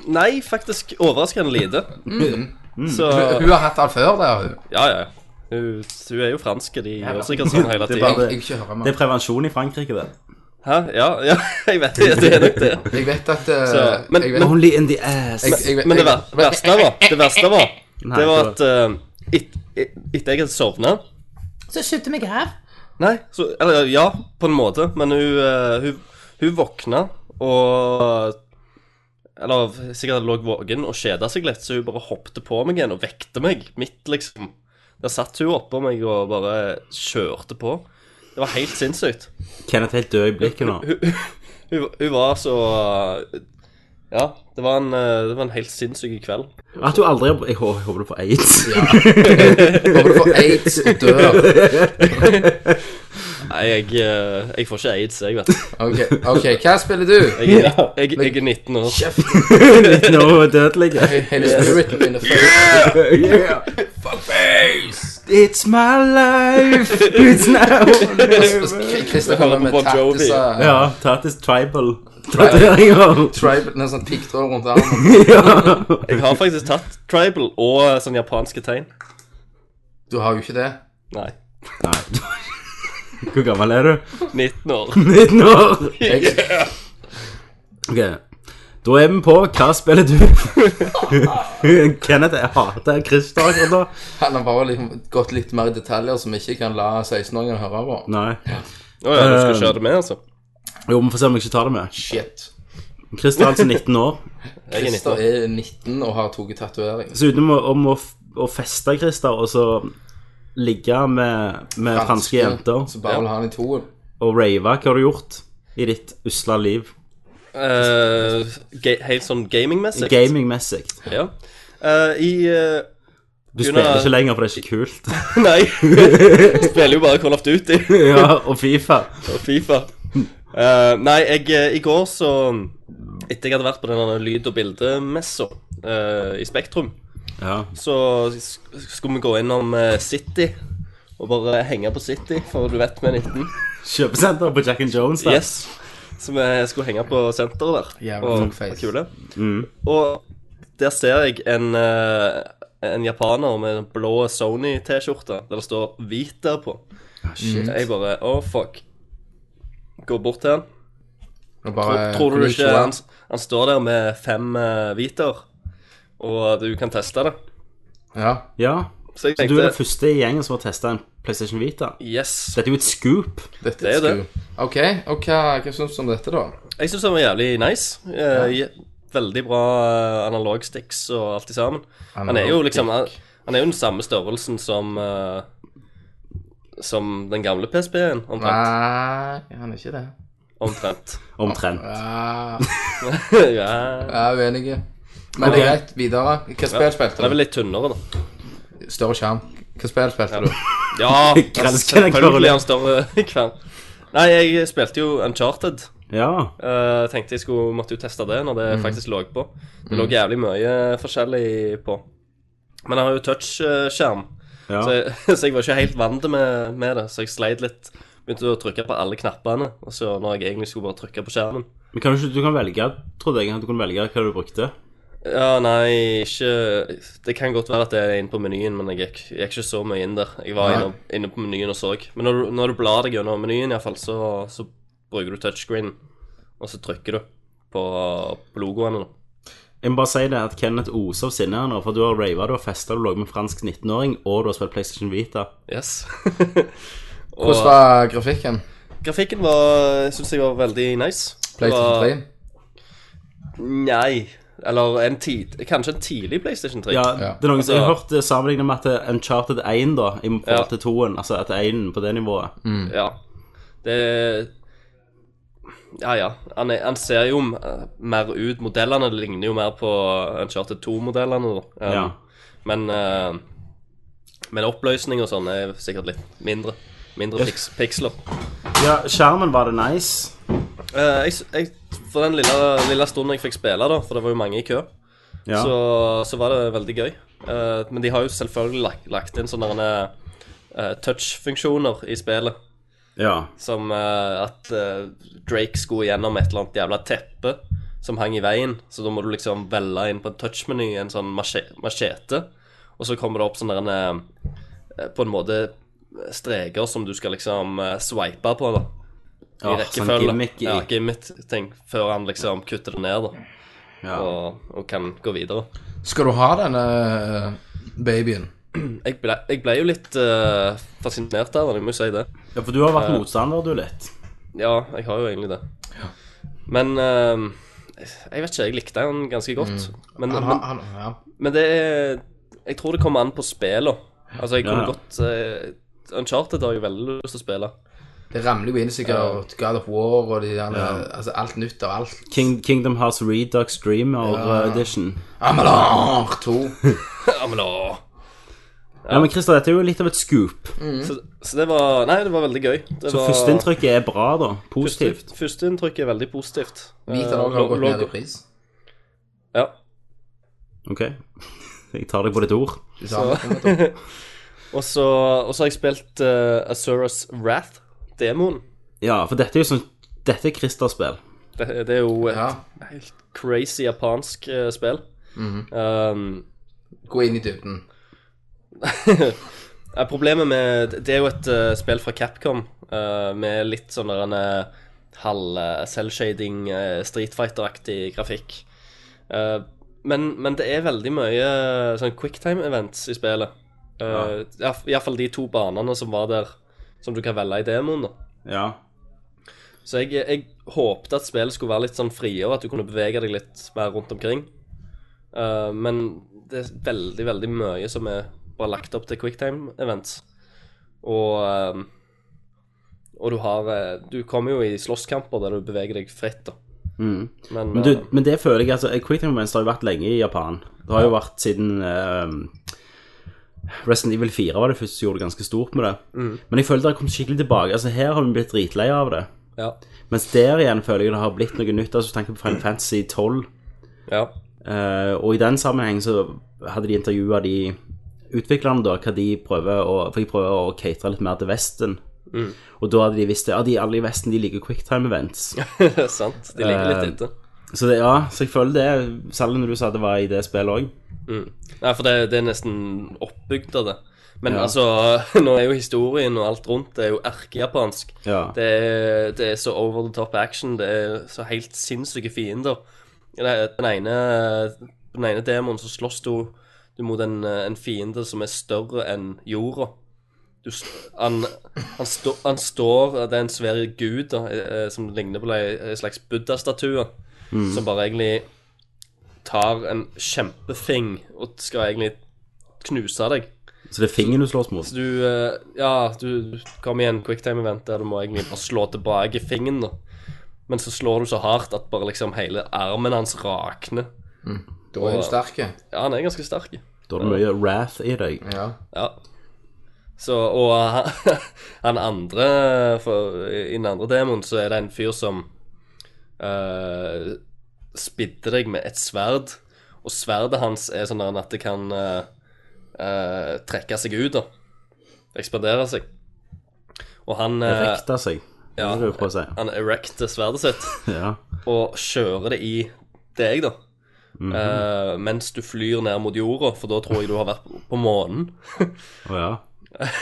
Speaker 7: Nei, faktisk overraskende lite. Så
Speaker 3: Mm. Hun hun har hatt alt før, det har hun.
Speaker 7: Ja, ja. Hun, hun er jo fransk, de gjør sikkert sånn hele
Speaker 6: Det er
Speaker 7: tida.
Speaker 3: Jeg,
Speaker 6: bare-
Speaker 3: jeg ikke hører
Speaker 6: Det
Speaker 3: meg.
Speaker 6: er prevensjon i Frankrike, det.
Speaker 7: Hæ? Ja, ja, jeg vet det. Det er nok det.
Speaker 3: Jeg vet at eh,
Speaker 7: Så, men-
Speaker 3: jeg vet,
Speaker 7: men-
Speaker 6: Only in the ass.
Speaker 3: jeg- jeg vet-
Speaker 7: Men det
Speaker 3: jeg-
Speaker 7: ver- verste var Det verste var Det var at eh, et- et- etter jeg hadde sovna
Speaker 9: Så slutt meg her.
Speaker 7: Nei, så Eller ja, på en måte, men hun, eh, hun, hun våkna og Eller sikkert lå våken og kjeda seg litt, så hun bare hoppte på meg igjen og vekte meg midt, liksom. Der satt hun oppå meg og bare kjørte på. Det var helt sinnssykt.
Speaker 6: Kenneth er helt død i blikket nå.
Speaker 7: Hun, hun var så Ja, det var en, eh, det var en helt sinnssyk kveld.
Speaker 6: At du aldri har Jeg hå- jeg håper du får aids.
Speaker 3: Håper du får aids og dør.
Speaker 7: Nei, jeg, eh, jeg får ikke aids, jeg, vet du.
Speaker 3: Ok, ok, hva spiller du?
Speaker 7: Jeg, er- jeg, jeg er 19 år.
Speaker 6: Nå er hun dødelig.
Speaker 3: Hele spiriten min er fucked.
Speaker 6: Yeah.
Speaker 3: Fuckface!
Speaker 6: It's my life. It's now.
Speaker 3: Christer kommer med
Speaker 7: Bon Jovi.
Speaker 3: tattiser.
Speaker 6: ja, Tatis tribal tatoveringer.
Speaker 3: Tribe, en sånn piggtråd rundt armen.
Speaker 7: Jeg har faktisk tatt tribal og eh, sånn japanske tegn.
Speaker 3: Du har jo ikke det.
Speaker 7: Nei.
Speaker 6: Nei. Hvor gammel er du?
Speaker 7: 19 år.
Speaker 6: 19 år.
Speaker 3: Jeg,
Speaker 6: Ok, da er vi på Hva spiller du? Kenneth, jeg hater Christer akkurat nå.
Speaker 3: han har bare liksom gått litt mer i detaljer som vi ikke kan la 16-åringer høre på.
Speaker 6: Nei.
Speaker 7: Å ja, du skal kjøre det med, altså?
Speaker 6: Jo, vi får se om jeg ikke tar det med.
Speaker 3: Shit.
Speaker 6: Christer er altså 19 år.
Speaker 7: Jeg er 19
Speaker 3: Christer
Speaker 7: år.
Speaker 3: er 19 og har tatt tatovering.
Speaker 6: Så utenom å- om å, f- å feste Christer og så ligge med, med franske jenter
Speaker 3: Så bare vil ha han i toen.
Speaker 6: og rave, hva har du gjort i ditt usle liv?
Speaker 7: Eh, ga- helt sånn gamingmessig.
Speaker 6: Gamingmessig.
Speaker 7: Ja. Eh, I eh,
Speaker 6: Du
Speaker 7: Kunne-
Speaker 6: spiller ikke lenger, for det er ikke kult.
Speaker 7: Nei. Spiller jo bare Call of Duty.
Speaker 6: ja, og Fifa.
Speaker 7: og Fifa. Eh, nei, jeg, eh, i går så Etter jeg hadde vært på den der lyd- og bildemessa eh, i Spektrum,
Speaker 6: Ja.
Speaker 7: så sk- skulle vi gå innom eh, City. Og bare henge på City, for du vet vi er 19.
Speaker 6: Kjøpesenter på Jack and Jones, da.
Speaker 7: Yes. Så vi skulle henge på senteret der.
Speaker 3: Jævlig
Speaker 7: og
Speaker 3: fuckface.
Speaker 7: var kule.
Speaker 6: Mm.
Speaker 7: Og der ser jeg en, eh, en japaner med en blå Sony-T-skjorte der det står hvit der på. Jeg bare Å, fuck. Går bort til han.
Speaker 3: Og
Speaker 7: Tror,
Speaker 3: bare
Speaker 7: tror du ikke
Speaker 3: Konnichiwa.
Speaker 7: han, han står der med fem eh, hviter, og du kan teste det?
Speaker 3: Ja.
Speaker 6: Ja.
Speaker 7: Så jeg
Speaker 6: Så du er den
Speaker 7: tenkte
Speaker 6: første i gjengen som har testa en PlayStation Vita.
Speaker 7: Yes.
Speaker 6: Dette er jo et scoop.
Speaker 3: Dette
Speaker 7: Det er
Speaker 3: er
Speaker 7: det.
Speaker 3: sku. OK, og hva, hva syns du om dette, da?
Speaker 7: Jeg syns den var jævlig nice. Eh, je- Veldig bra eh, analog sticks og alt i sammen. Han er jo liksom Han han er jo den samme størrelsen som eh, Som den gamle PSP-en, omtrent.
Speaker 3: Nei, han er ikke det.
Speaker 7: Omtrent.
Speaker 6: Omtrent.
Speaker 3: Ja,
Speaker 7: ja.
Speaker 3: jeg er uenig. Men det er greit. Videre. Hva spill
Speaker 7: Den er
Speaker 3: spilte du?
Speaker 7: vel litt tynnere, da.
Speaker 3: Større skjerm. Hva spill spilte du?
Speaker 7: Ja, altså,
Speaker 6: elsker den
Speaker 7: selvfølgelig
Speaker 6: kvarlen.
Speaker 7: er han større kvern. Nei, jeg spilte jo Uncharted.
Speaker 6: Ja.
Speaker 7: Eh, tenkte jeg skulle, måtte jo teste det når det faktisk lå på. Det lå jævlig mye forskjellig på. Men jeg har jo touchskjerm,
Speaker 6: ja.
Speaker 7: så, jeg- så jeg var ikke helt vant med, med det. Så jeg sleit litt. Begynte å trykke på alle knappene og så når jeg egentlig skulle bare trykke på skjermen.
Speaker 6: Men kan du ikke du kan velge, trodde jeg at du kunne velge hva du brukte?
Speaker 7: Ja, nei, ikke Det kan godt være at det er inne på menyen, men jeg gikk, jeg gikk ikke så mye inn der. Jeg var
Speaker 3: Nei.
Speaker 7: inne, inne på menyen og så. Men når du, når du blar deg gjennom menyen, iallfall, så, så bruker du touchscreen, og så trykker du på, på logoene. da.
Speaker 6: Jeg må bare si det at Kenneth oser av sinne her nå, for du har rava, du har festa, du lå med en fransk 19-åring, og du har spilt PlayStation Vita.
Speaker 7: Yes.
Speaker 3: Hvordan var grafikken?
Speaker 7: Grafikken var syns jeg var veldig nice. Det
Speaker 3: PlayStation
Speaker 7: var-
Speaker 3: 3?
Speaker 7: Nei. Eller en tid, kanskje en tidlig PlayStation 3.
Speaker 6: Ja,
Speaker 3: Ja.
Speaker 6: det er noen som jeg har
Speaker 7: Altså-
Speaker 6: hørt det sammenlignet med at Uncharted 1, da, i forhold til 2-en, altså at 1 på det nivået.
Speaker 7: Ja. Det Ja, ja. Han, er, han ser jo eh, mer ut Modellene ligner jo mer på Uncharted 2-modellene, da. Um,
Speaker 6: Ja.
Speaker 7: Men eh, Men oppløsning og sånn er sikkert litt mindre. Mindre piks piksler.
Speaker 6: Ja, skjermen var det nice.
Speaker 7: Eh, jeg, s- jeg, for den lille, lille stunden jeg fikk spille, da, for det var jo mange i kø,
Speaker 6: Ja.
Speaker 7: så, så var det veldig gøy. Eh, men de har jo selvfølgelig lagt, lagt inn sånne eh, touch-funksjoner i spillet.
Speaker 6: ja.
Speaker 7: Som eh, at eh, Drake skulle gjennom et eller annet jævla teppe som hang i veien. Så da må du liksom velge inn på en touchmeny, en sånn mache- machete. Og så kommer det opp sånne der, eh, På en måte streker som du skal liksom eh, swipe på, da. I
Speaker 6: Ja, sånn
Speaker 7: rekkefølge.
Speaker 6: gimmick i-
Speaker 7: ja, gimmick-ting. Før han liksom kutter det ned, da.
Speaker 6: Ja.
Speaker 7: Og, og kan gå videre.
Speaker 3: Skal du ha denne eh, babyen?
Speaker 7: Jeg ble, jeg ble jo litt eh, fascinert av han, jeg må jo si det.
Speaker 6: ja, for du har vært motstander, du, litt.
Speaker 7: Ja, jeg har jo egentlig det. Men ehm, jeg vet ikke, jeg likte han ganske godt. Men,
Speaker 3: Mm. Han,
Speaker 7: men,
Speaker 3: har- han, ja.
Speaker 7: men det er Jeg tror det kommer an på spillet. Altså, jeg
Speaker 6: Ja,
Speaker 7: kunne
Speaker 6: ja.
Speaker 7: godt eh, Uncharted har jeg veldig lyst til å spille.
Speaker 3: Det ramler jo inn sikkert God of War og de der, altså, alt nytt av alt.
Speaker 6: King, Kingdom Hearts Redux Dreamer eh, Edition.
Speaker 3: Amalar 2.
Speaker 7: Ja, men da
Speaker 6: Ja, men Christer, dette er jo litt av et scoop.
Speaker 3: Mm.
Speaker 7: så, så det var Nei, det var veldig gøy. Det
Speaker 6: Så
Speaker 7: var,
Speaker 6: førsteinntrykket er bra, da. Positivt.
Speaker 7: første- Førsteinntrykket er veldig positivt.
Speaker 3: Vita
Speaker 7: Eh,
Speaker 3: òg har
Speaker 7: lo-
Speaker 3: gått ned i
Speaker 7: lo-
Speaker 3: pris.
Speaker 7: Ja.
Speaker 6: Ok. Jeg tar deg på ditt ord.
Speaker 3: Du sa det kommer til å-
Speaker 7: Og så og så har jeg spilt uh, Asuras Wrath, demoen.
Speaker 6: Ja, for dette er jo sånn Dette er Christer-spill.
Speaker 7: Det, det er jo et
Speaker 3: Ja.
Speaker 7: helt crazy japansk eh, spill. um,
Speaker 3: Gå inn i dybden.
Speaker 7: ja, problemet med Det er jo et eh, spill fra Capcom eh, med litt sånn der en eh, halv eh, cell-shading, eh, Street Fighter-aktig grafikk. Eh, men, men det er veldig mye eh, sånn quicktime events i spillet. Uh, ja. Iallfall de to banene som var der, som du kan velge i demoen. da
Speaker 6: Ja.
Speaker 7: Så jeg, jeg håpte at spillet skulle være litt sånn friere, at du kunne bevege deg litt mer rundt omkring. Eh, men det er veldig, veldig mye som er bare lagt opp til quicktime events. Og eh, Og du har eh, Du kommer jo i slåsskamper der du beveger deg fritt, da. Men,
Speaker 6: Mm. Men, du,
Speaker 7: eh,
Speaker 6: men det føler jeg altså Quicktime Events har jo vært lenge i Japan. Det har jo vært siden eh, Resident Evil 4 var det første som gjorde det ganske stort med det. Men jeg føler det har kommet skikkelig tilbake. Altså Her har vi blitt dritleie av det.
Speaker 7: ja,
Speaker 6: Mens der igjen føler jeg det har blitt noe nytt. Altså tenk på Final Fantasy 12.
Speaker 7: ja.
Speaker 6: Eh, og i den sammenheng så hadde de intervjua de utviklerne, da, hva de prøver å For de prøver å catere litt mer til Vesten.
Speaker 7: Mm.
Speaker 6: Og da hadde de visst det. Ja, de alle i Vesten de liker quicktime events.
Speaker 7: Sant. De
Speaker 6: Eh.
Speaker 7: ligger litt etter.
Speaker 6: Så det, ja, så jeg føler det, særlig når du sa det var i det spillet òg.
Speaker 7: Mm. Nei, for det, det er nesten oppbygd av det. Men
Speaker 6: Ja.
Speaker 7: altså, nå er jo historien og alt rundt det er jo erkejapansk.
Speaker 6: Ja.
Speaker 7: Det, er- det er så over the top action, det er så helt sinnssyke fiender. Det- Den ene, den ene demoen så slåss du, du mot en, en fiende som er større enn jorda. Du, s- han, han, stå, han står Det er en svær gud da, eh, som ligner på ei ei slags buddha-statue. Som bare egentlig tar en kjempefing og skal egentlig knuse deg.
Speaker 6: Så det er fingeren du slåss mot.
Speaker 7: Så du eh, Ja, du kom igjen, quicktime event der du må egentlig bare slå tilbake fingeren, da. Men så slår du så hardt at bare liksom hele armen hans rakner.
Speaker 3: Da er Mm. du sterk.
Speaker 7: Ja, han er ganske sterk.
Speaker 6: Da er det mye wrath i deg.
Speaker 7: Eh,
Speaker 3: Ja.
Speaker 7: Ja. Så, og han, han andre for, I den andre demoen så er det en fyr som eh, spidder deg med et sverd. Og sverdet hans er sånn der at det kan eh, eh, trekke seg ut, da. Ekspandere seg. Og han eh,
Speaker 6: Rekta seg.
Speaker 7: ja,
Speaker 6: det er det du prøver å si.
Speaker 7: han erecter sverdet sitt
Speaker 6: Ja.
Speaker 7: og kjører det i deg, da. Eh, mens du flyr ned mot jorda, for da tror jeg du har vært på månen.
Speaker 6: Å ja.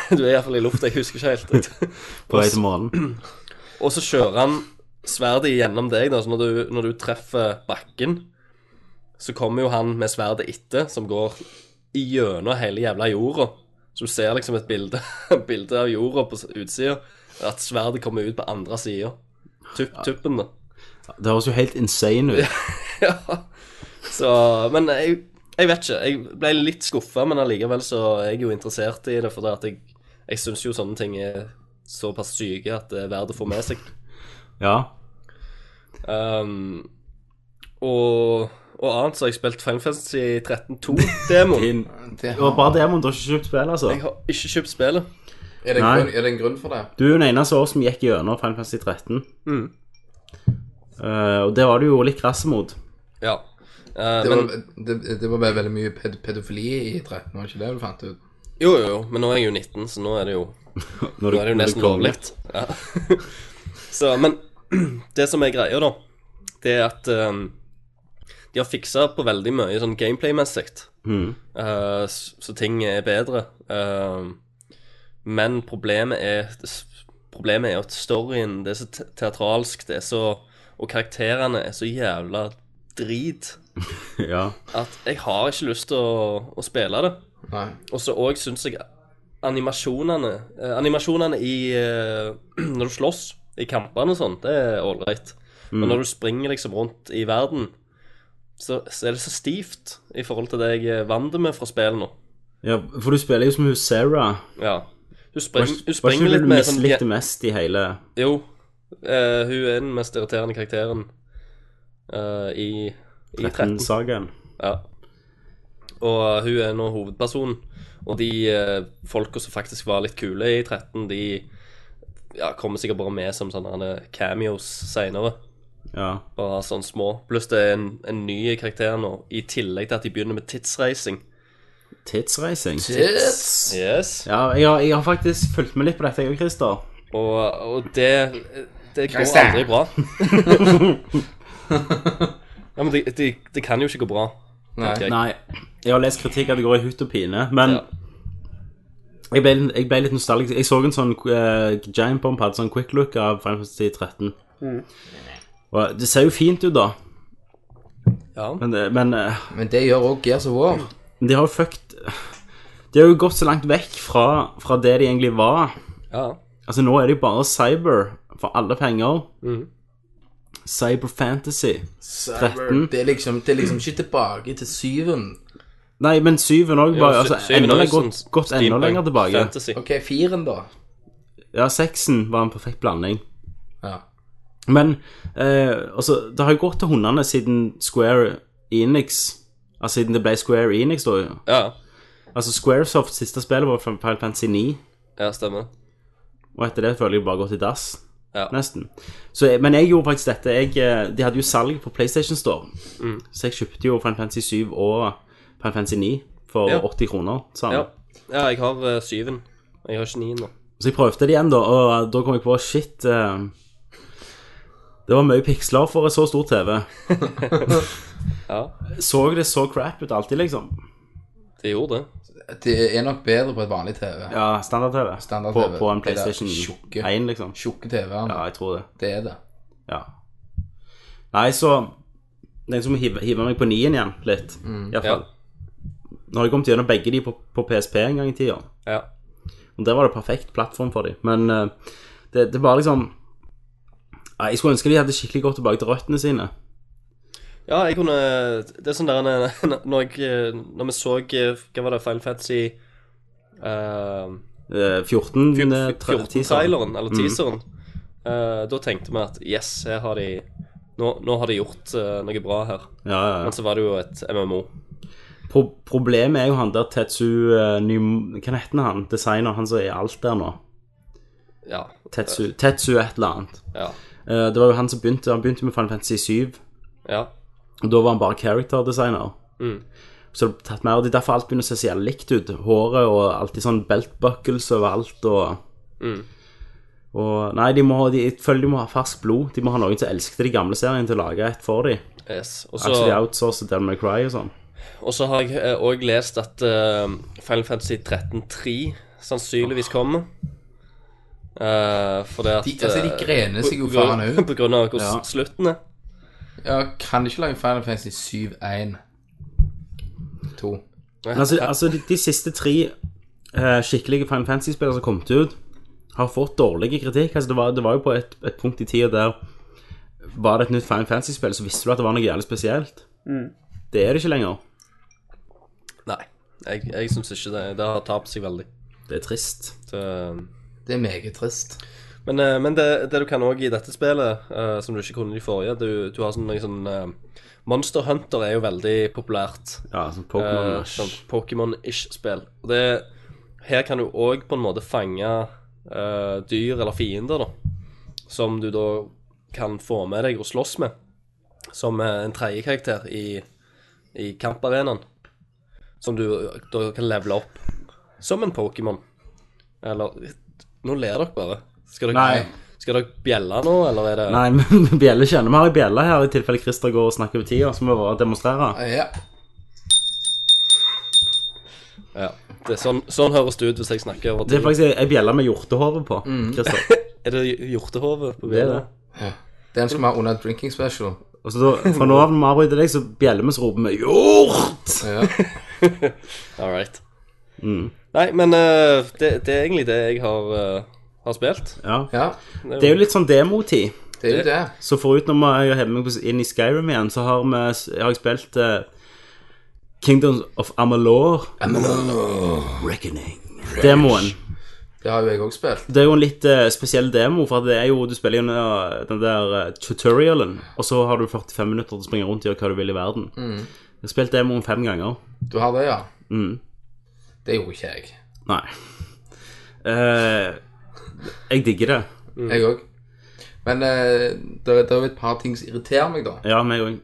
Speaker 7: Du er iallfall i lufta, jeg husker ikke helt.
Speaker 6: På vei til månen.
Speaker 7: Og så kjører han sverdet gjennom deg, da, så når du, når du treffer bakken, så kommer jo han med sverdet etter, som går i gjennom hele jævla jorda. Så du ser liksom et bilde, bilde av jorda på utsida, at sverdet kommer ut på andre sida. Tupp, tuppen, da.
Speaker 6: Det høres jo helt insane ut.
Speaker 7: Ja. Så Men jeg, jeg vet ikke. Jeg ble litt skuffa, men allikevel så er jeg jo interessert i det, for det at jeg, jeg syns jo sånne ting er såpass syke at det er verdt å få med seg.
Speaker 6: Ja.
Speaker 7: Um, og, og annet så har jeg spilt Final Fantasy 13-2-demoen.
Speaker 6: Din.
Speaker 3: Det,
Speaker 6: Det var bare det, men du har ikke kjøpt spill, altså.
Speaker 7: Jeg har ikke kjøpt spillet.
Speaker 3: er, det en
Speaker 6: Nei.
Speaker 3: grunn, er det en grunn for det?
Speaker 6: Du er jo den eneste av oss som gikk gjennom Final Fantasy 13. Eh, og det var du jo litt krass mot.
Speaker 7: Ja. Uh,
Speaker 3: Det var,
Speaker 7: men,
Speaker 3: det, det var bare veldig mye ped pedofili i 13, var det ikke det du fant ut?
Speaker 7: jo, jo, jo, men nå er jeg jo 19, så nå er det jo,
Speaker 6: Når
Speaker 7: nå er det jo nesten lovlig. Ja. så, men det som er greia, da, det er at um, de har fiksa på veldig mye sånn gameplay-messig. Eh, s- så ting er bedre. Eh, men problemet er Problemet er jo at storyen Det er så te- teatralsk, det er så Og karakterene er så jævla drit
Speaker 6: Ja.
Speaker 7: at jeg har ikke lyst til å, å spille det.
Speaker 3: Nei.
Speaker 7: Og så òg syns jeg animasjonene eh, Animasjonene i eh, Når du slåss i kampene og sånn, det er ålreit.
Speaker 6: Mm.
Speaker 7: Men når du springer liksom rundt i verden, så, så er det så stivt i forhold til det jeg er vant med fra spillet nå.
Speaker 6: ja. For du spiller jo som hun Sarah.
Speaker 7: Ja. Hun, spring, hun
Speaker 6: Var ikke
Speaker 7: springer
Speaker 6: hun
Speaker 7: litt
Speaker 6: du
Speaker 7: med sånn
Speaker 6: mislikte mest i hele
Speaker 7: Jo. eh, hun er den mest irriterende karakteren eh, i, i 13.
Speaker 6: 13-sagaen?
Speaker 7: Ja. Og eh, hun er nå hovedpersonen. Og de uh, folka som faktisk var litt kule i 13, de ja, kommer sikkert bare med som sånne herne cameos seinere.
Speaker 6: Ja.
Speaker 7: Bare sånn små. Pluss det er en, en ny karakter nå, i tillegg til at de begynner med tidsreising.
Speaker 6: Tidsreising?
Speaker 7: Yes.
Speaker 6: Ja, jeg har, jeg har faktisk fulgt med litt på dette, jeg og Christer.
Speaker 7: Og, og det, det går
Speaker 3: Christian.
Speaker 7: aldri bra. ja, men det, det, det kan jo ikke gå bra.
Speaker 3: Nei.
Speaker 7: tenker jeg.
Speaker 6: Nei, jeg har lest kritikk at det går i hutt og pine, men
Speaker 7: Ja.
Speaker 6: jeg, ble, jeg ble litt nostalgisk. Jeg så en sånn eh, Giant Bomb hadde sånn quick look av Final Fantasy 13. Og det ser jo fint ut, da,
Speaker 7: Ja.
Speaker 6: men, det- men eh,
Speaker 3: Men det gjør òg Gears of War.
Speaker 6: de har jo fucked De har jo gått så langt vekk fra, fra det de egentlig var.
Speaker 7: ja.
Speaker 6: Altså, nå er det jo bare cyber for alle penger.
Speaker 7: Mm.
Speaker 6: Cyber Fantasy.
Speaker 7: Mm.
Speaker 6: 13.
Speaker 3: Det er liksom, det er liksom ikke tilbake til syven.
Speaker 6: Nei, men syven òg var
Speaker 7: Ja,
Speaker 6: jo altså,
Speaker 7: sy- syven
Speaker 6: enda
Speaker 7: er jo
Speaker 6: lenger- gått,
Speaker 7: sånn
Speaker 6: gått enda
Speaker 7: steampunk
Speaker 6: lenger tilbake.
Speaker 7: Fantasy.
Speaker 3: OK, firen, da.
Speaker 6: Ja, seksen var en perfekt blanding.
Speaker 3: Ja.
Speaker 6: Men eh, altså, det har jo gått til hundene siden Square Enix Altså siden det ble Square Enix, da. jo.
Speaker 7: Ja,
Speaker 6: Altså Squaresofts siste spill var fra Final Fantasy 9,
Speaker 7: ja, stemmer.
Speaker 6: og etter det føler jeg bare gått i dass.
Speaker 7: Ja.
Speaker 6: Nesten. Så, jeg- men jeg gjorde faktisk dette. Jeg, eh, de hadde jo salg på PlayStation Store,
Speaker 7: Mm.
Speaker 6: så jeg kjøpte jo Final Fantasy 7 og Final Fantasy 9 for
Speaker 7: Ja.
Speaker 6: 80 kroner sammen.
Speaker 7: Ja. ja, jeg har eh, syven. Jeg har ikke nien nå.
Speaker 6: Så jeg prøvde det igjen, da, og da kom jeg på shit eh, Det var mye piksler for et så stor TV.
Speaker 7: Ja,
Speaker 6: Så det så crap ut alltid, liksom?
Speaker 7: det gjorde det.
Speaker 3: Det er nok bedre på et vanlig TV.
Speaker 6: Ja, standard-TV.
Speaker 3: Standard
Speaker 6: på,
Speaker 3: TV.
Speaker 6: på en
Speaker 3: Det der
Speaker 6: PlayStation
Speaker 3: tjukke.
Speaker 6: 1, liksom.
Speaker 3: Tjukke TV-en.
Speaker 6: Ja, jeg tror det.
Speaker 3: Det er det.
Speaker 6: Ja. Nei, så Det er som å hive, hive meg på nien igjen, litt.
Speaker 3: Mm.
Speaker 6: I hvert fall. Nå har jeg kommet gjennom begge de på, på PSP en gang i tida.
Speaker 7: Ja.
Speaker 6: Og der var det perfekt plattform for dem. Men eh, det, det var liksom Nei, Jeg skulle ønske de hadde skikkelig gått tilbake til røttene sine.
Speaker 7: Ja, jeg kunne Det er sånn der Når, jeg, når vi så eh, Hva var det? Final Fantasy eh,
Speaker 6: Eh, 14 eh, tre- Mm.
Speaker 7: 14-traileren, eller teaseren, eh, da tenkte vi at yes, her har de Nå, nå har de gjort eh, noe bra her.
Speaker 6: Ja, ja, ja.
Speaker 7: Men så var det jo et MMO.
Speaker 6: Pro problemet er jo han der Tetsu eh, Nym... Hva heter han? Designer, han som er alt der nå.
Speaker 7: Ja.
Speaker 6: Tetsu, Tetsu et eller annet.
Speaker 7: Ja.
Speaker 6: Eh, det var jo han som begynte Han begynte med Final Fantasy 7.
Speaker 7: ja.
Speaker 6: Og da var han bare character designer.
Speaker 7: Mm.
Speaker 6: Så det ble tatt mer, og det er derfor alt begynner å se så jævlig likt ut. Håret og alltid sånn beltbuckles overalt og
Speaker 7: Mm.
Speaker 6: Og nei, de må, de, jeg føler de må ha ferskt blod. De må ha noen som elsket de gamle seriene, til å lage et for dem.
Speaker 7: Yes. Og
Speaker 6: Så de
Speaker 7: så-
Speaker 6: outsourcer Del May Cry og sånn.
Speaker 7: og så har jeg òg lest at eh, Final Fantasy 13.3 sannsynligvis kommer. Eh, for det at
Speaker 3: Ah. De, altså, de
Speaker 7: eh,
Speaker 3: grener seg jo
Speaker 7: på-
Speaker 3: faen ut.
Speaker 7: På grunn av hvordan
Speaker 6: Ja.
Speaker 7: slutten er.
Speaker 3: Ja, kan de ikke lage Final Fantasy 7-1? 2.
Speaker 6: Men altså, altså de, de siste tre eh, skikkelige Final Fantasy-spillere som kom ut, har fått dårlige kritikk. Altså, det, var, det var jo på et, et punkt i tida der var det et nytt Final Fantasy-spill, så visste du at det var noe jævlig spesielt. Det er det ikke lenger.
Speaker 7: Nei, jeg, jeg syns ikke det. Det har tapt seg veldig.
Speaker 6: Det er trist.
Speaker 7: Så, eh,
Speaker 3: Det er meget trist.
Speaker 7: Men, eh, men det, det du kan òg i dette spillet, eh, som du ikke kunne i de forrige du, du har sånn, noe sånn eh, Monster Hunter er jo veldig populært.
Speaker 6: Ja, sånn
Speaker 7: eh,
Speaker 6: Pokémon
Speaker 7: sånn Pokémon-ish-spill. Og det Her kan du òg på en måte fange eh, dyr eller fiender, da. Som du da kan få med deg og slåss med. Som eh, en tredje karakter i, i kamparenaen. Som du eh, da kan levele opp. Som en Pokémon. Eller Nå ler dere bare. Skal dere,
Speaker 6: Nei.
Speaker 7: Skal dere bjelle nå, eller er det
Speaker 6: Nei, men bjelle kjenner vi har ei bjelle her, i tilfelle Christer går og snakker over tida, så må vi bare demonstrere.
Speaker 3: Ah, Ja.
Speaker 7: Ja. Det er sånn, sånn høres det ut hvis jeg snakker over
Speaker 6: Det er
Speaker 7: tid.
Speaker 6: faktisk ei bjelle med hjortehove på. Christer.
Speaker 7: Er det hjortehove på
Speaker 6: Det er
Speaker 7: bildet?
Speaker 6: det.
Speaker 3: Den skal vi ha under drinking special.
Speaker 6: Og så da, Fra nå av når vi avbryter deg, så bjeller vi så roper vi 'hjort'!
Speaker 3: Ja.
Speaker 7: All right.
Speaker 6: Mm.
Speaker 7: Nei, men eh, det, det er egentlig det jeg har, eh, har spilt.
Speaker 6: Ja.
Speaker 3: ja,
Speaker 6: Det er jo litt sånn demotid.
Speaker 3: det er jo det.
Speaker 6: Så forut når jeg har hevet meg på- inn i Skyrim igjen, så har, vi, har jeg spilt eh, Kingdoms of Amalur. Reckoning. Demoen.
Speaker 3: Det har jo jeg òg spilt.
Speaker 6: Det er jo en litt eh, spesiell demo, for det er jo, du spiller jo den, den der eh, tutorialen, og så har du 45 minutter til å springe rundt og gjøre hva du vil i verden.
Speaker 3: Mm.
Speaker 6: Jeg har spilt demoen fem ganger.
Speaker 3: Du har det, ja?
Speaker 6: Mm.
Speaker 3: Det gjorde ikke jeg.
Speaker 6: Nei. Eh, jeg digger det.
Speaker 3: Jeg òg. Men eh, det er det er jo et par ting som irriterer meg, da.
Speaker 6: Ja, meg òg.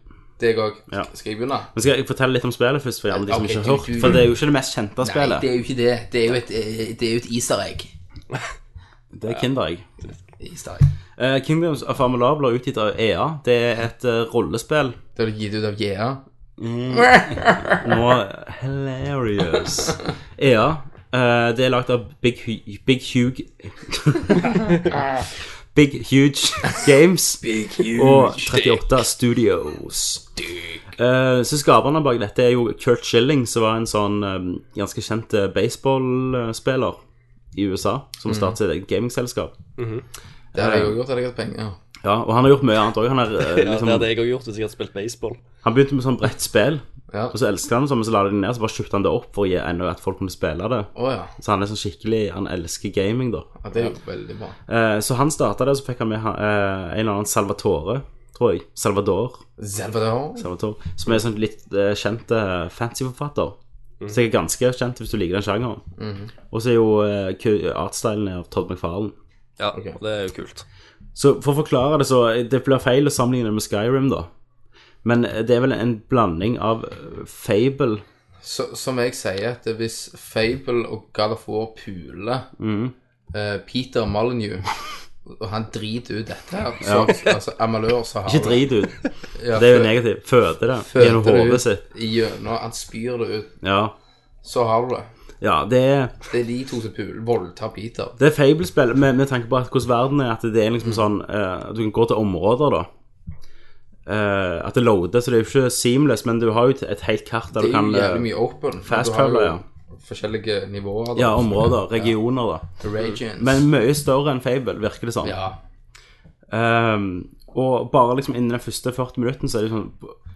Speaker 3: Deg òg.
Speaker 6: Ja.
Speaker 3: Skal jeg begynne?
Speaker 6: Men skal jeg fortelle litt om spillet først, for alle de som
Speaker 3: Ok,
Speaker 6: ikke har
Speaker 3: du-
Speaker 6: hørt?
Speaker 3: du-
Speaker 6: For det er jo ikke det mest kjente
Speaker 3: Nei,
Speaker 6: spillet.
Speaker 3: det er jo ikke det. Det er jo et, eh, det er jo et easter egg.
Speaker 6: Det, er Kinderegg.
Speaker 3: Easter egg.
Speaker 6: Eh, Kingdoms of Amalab ble utgitt av EA. Det er et eh, rollespill.
Speaker 3: Det er gitt ut av GA.
Speaker 6: Nå Hilarious. EA. eh, det er lagd av Big, Hu- Big Huge Big Huge Games og 38 Studios. Eh, så skaperne bak dette er jo Kurt Schilling, som var en sånn eh, ganske kjent eh, baseballspiller i USA,
Speaker 7: Mm.
Speaker 6: som startet et gamingselskap.
Speaker 3: Det hadde jeg òg gjort, hadde jeg hatt penger.
Speaker 6: Ja, og han har gjort mye annet òg. Han, er, eh,
Speaker 7: Ja,
Speaker 6: liksom,
Speaker 7: det hadde jeg òg gjort hvis jeg hadde spilt baseball.
Speaker 6: han begynte med sånn brettspill,
Speaker 3: Ja.
Speaker 6: og så elsket han det, sånn, men så la de det ned, så bare kjøpte han det opp for å gi enda at folk kunne spille det.
Speaker 3: Å ja.
Speaker 6: Så han er sånn skikkelig Han elsker gaming, da.
Speaker 3: ja. Det er jo veldig bra.
Speaker 6: Eh, så han starta det, og så fikk han med han- eh, en eller annen Salvatore, tror jeg. Salvador.
Speaker 3: Salvador.
Speaker 6: Salvatore som er en sånn litt eh, kjent eh, fantasyforfatter. Sikkert ganske kjent hvis du liker den sjangeren. Og så er jo eh, ku- artstylen er av Todd McFarlane.
Speaker 7: Ja, og det er jo kult.
Speaker 6: Så for å forklare det, så eh, Det blir feil å sammenligne det med Skyrim, da. Men eh, det er vel en blanding av eh, Fable
Speaker 3: Så, som jeg sier, at hvis Fable og God of War puler
Speaker 6: Mm.
Speaker 3: eh, Peter Molyneux og han driter ut dette her. Så, altså, Amalør, så har
Speaker 6: Ikke drit ut.
Speaker 3: Ja,
Speaker 6: Det er jo
Speaker 3: fø-
Speaker 6: negativt. Føde det
Speaker 3: føter
Speaker 6: gjennom
Speaker 3: det
Speaker 6: hodet
Speaker 3: ut
Speaker 6: sitt.
Speaker 3: Gjennom, han spyr det ut.
Speaker 6: Ja.
Speaker 3: Så har du det.
Speaker 6: ja, det er
Speaker 3: Det er de to som puler. Voldtar Peter.
Speaker 6: Det er Fable-spill med, med tanke på at hvordan verden er, at det er liksom sånn eh, Du kan gå til områder, da. Eh, at det loader, så det er jo ikke seamless, men du har jo et- et helt kart der
Speaker 3: Det
Speaker 6: du
Speaker 3: er
Speaker 6: kan
Speaker 3: jo
Speaker 6: eh,
Speaker 3: jævlig mye open. for
Speaker 6: fast
Speaker 3: du har jo
Speaker 6: traveler,
Speaker 3: Forskjellige nivåer. da.
Speaker 6: Ja, områder, regioner, da.
Speaker 3: Ja. Regions.
Speaker 6: Men mye større enn Fable, virker det som.
Speaker 3: ja.
Speaker 6: Ehm, og bare liksom innen den første 40 minutten så er det sånn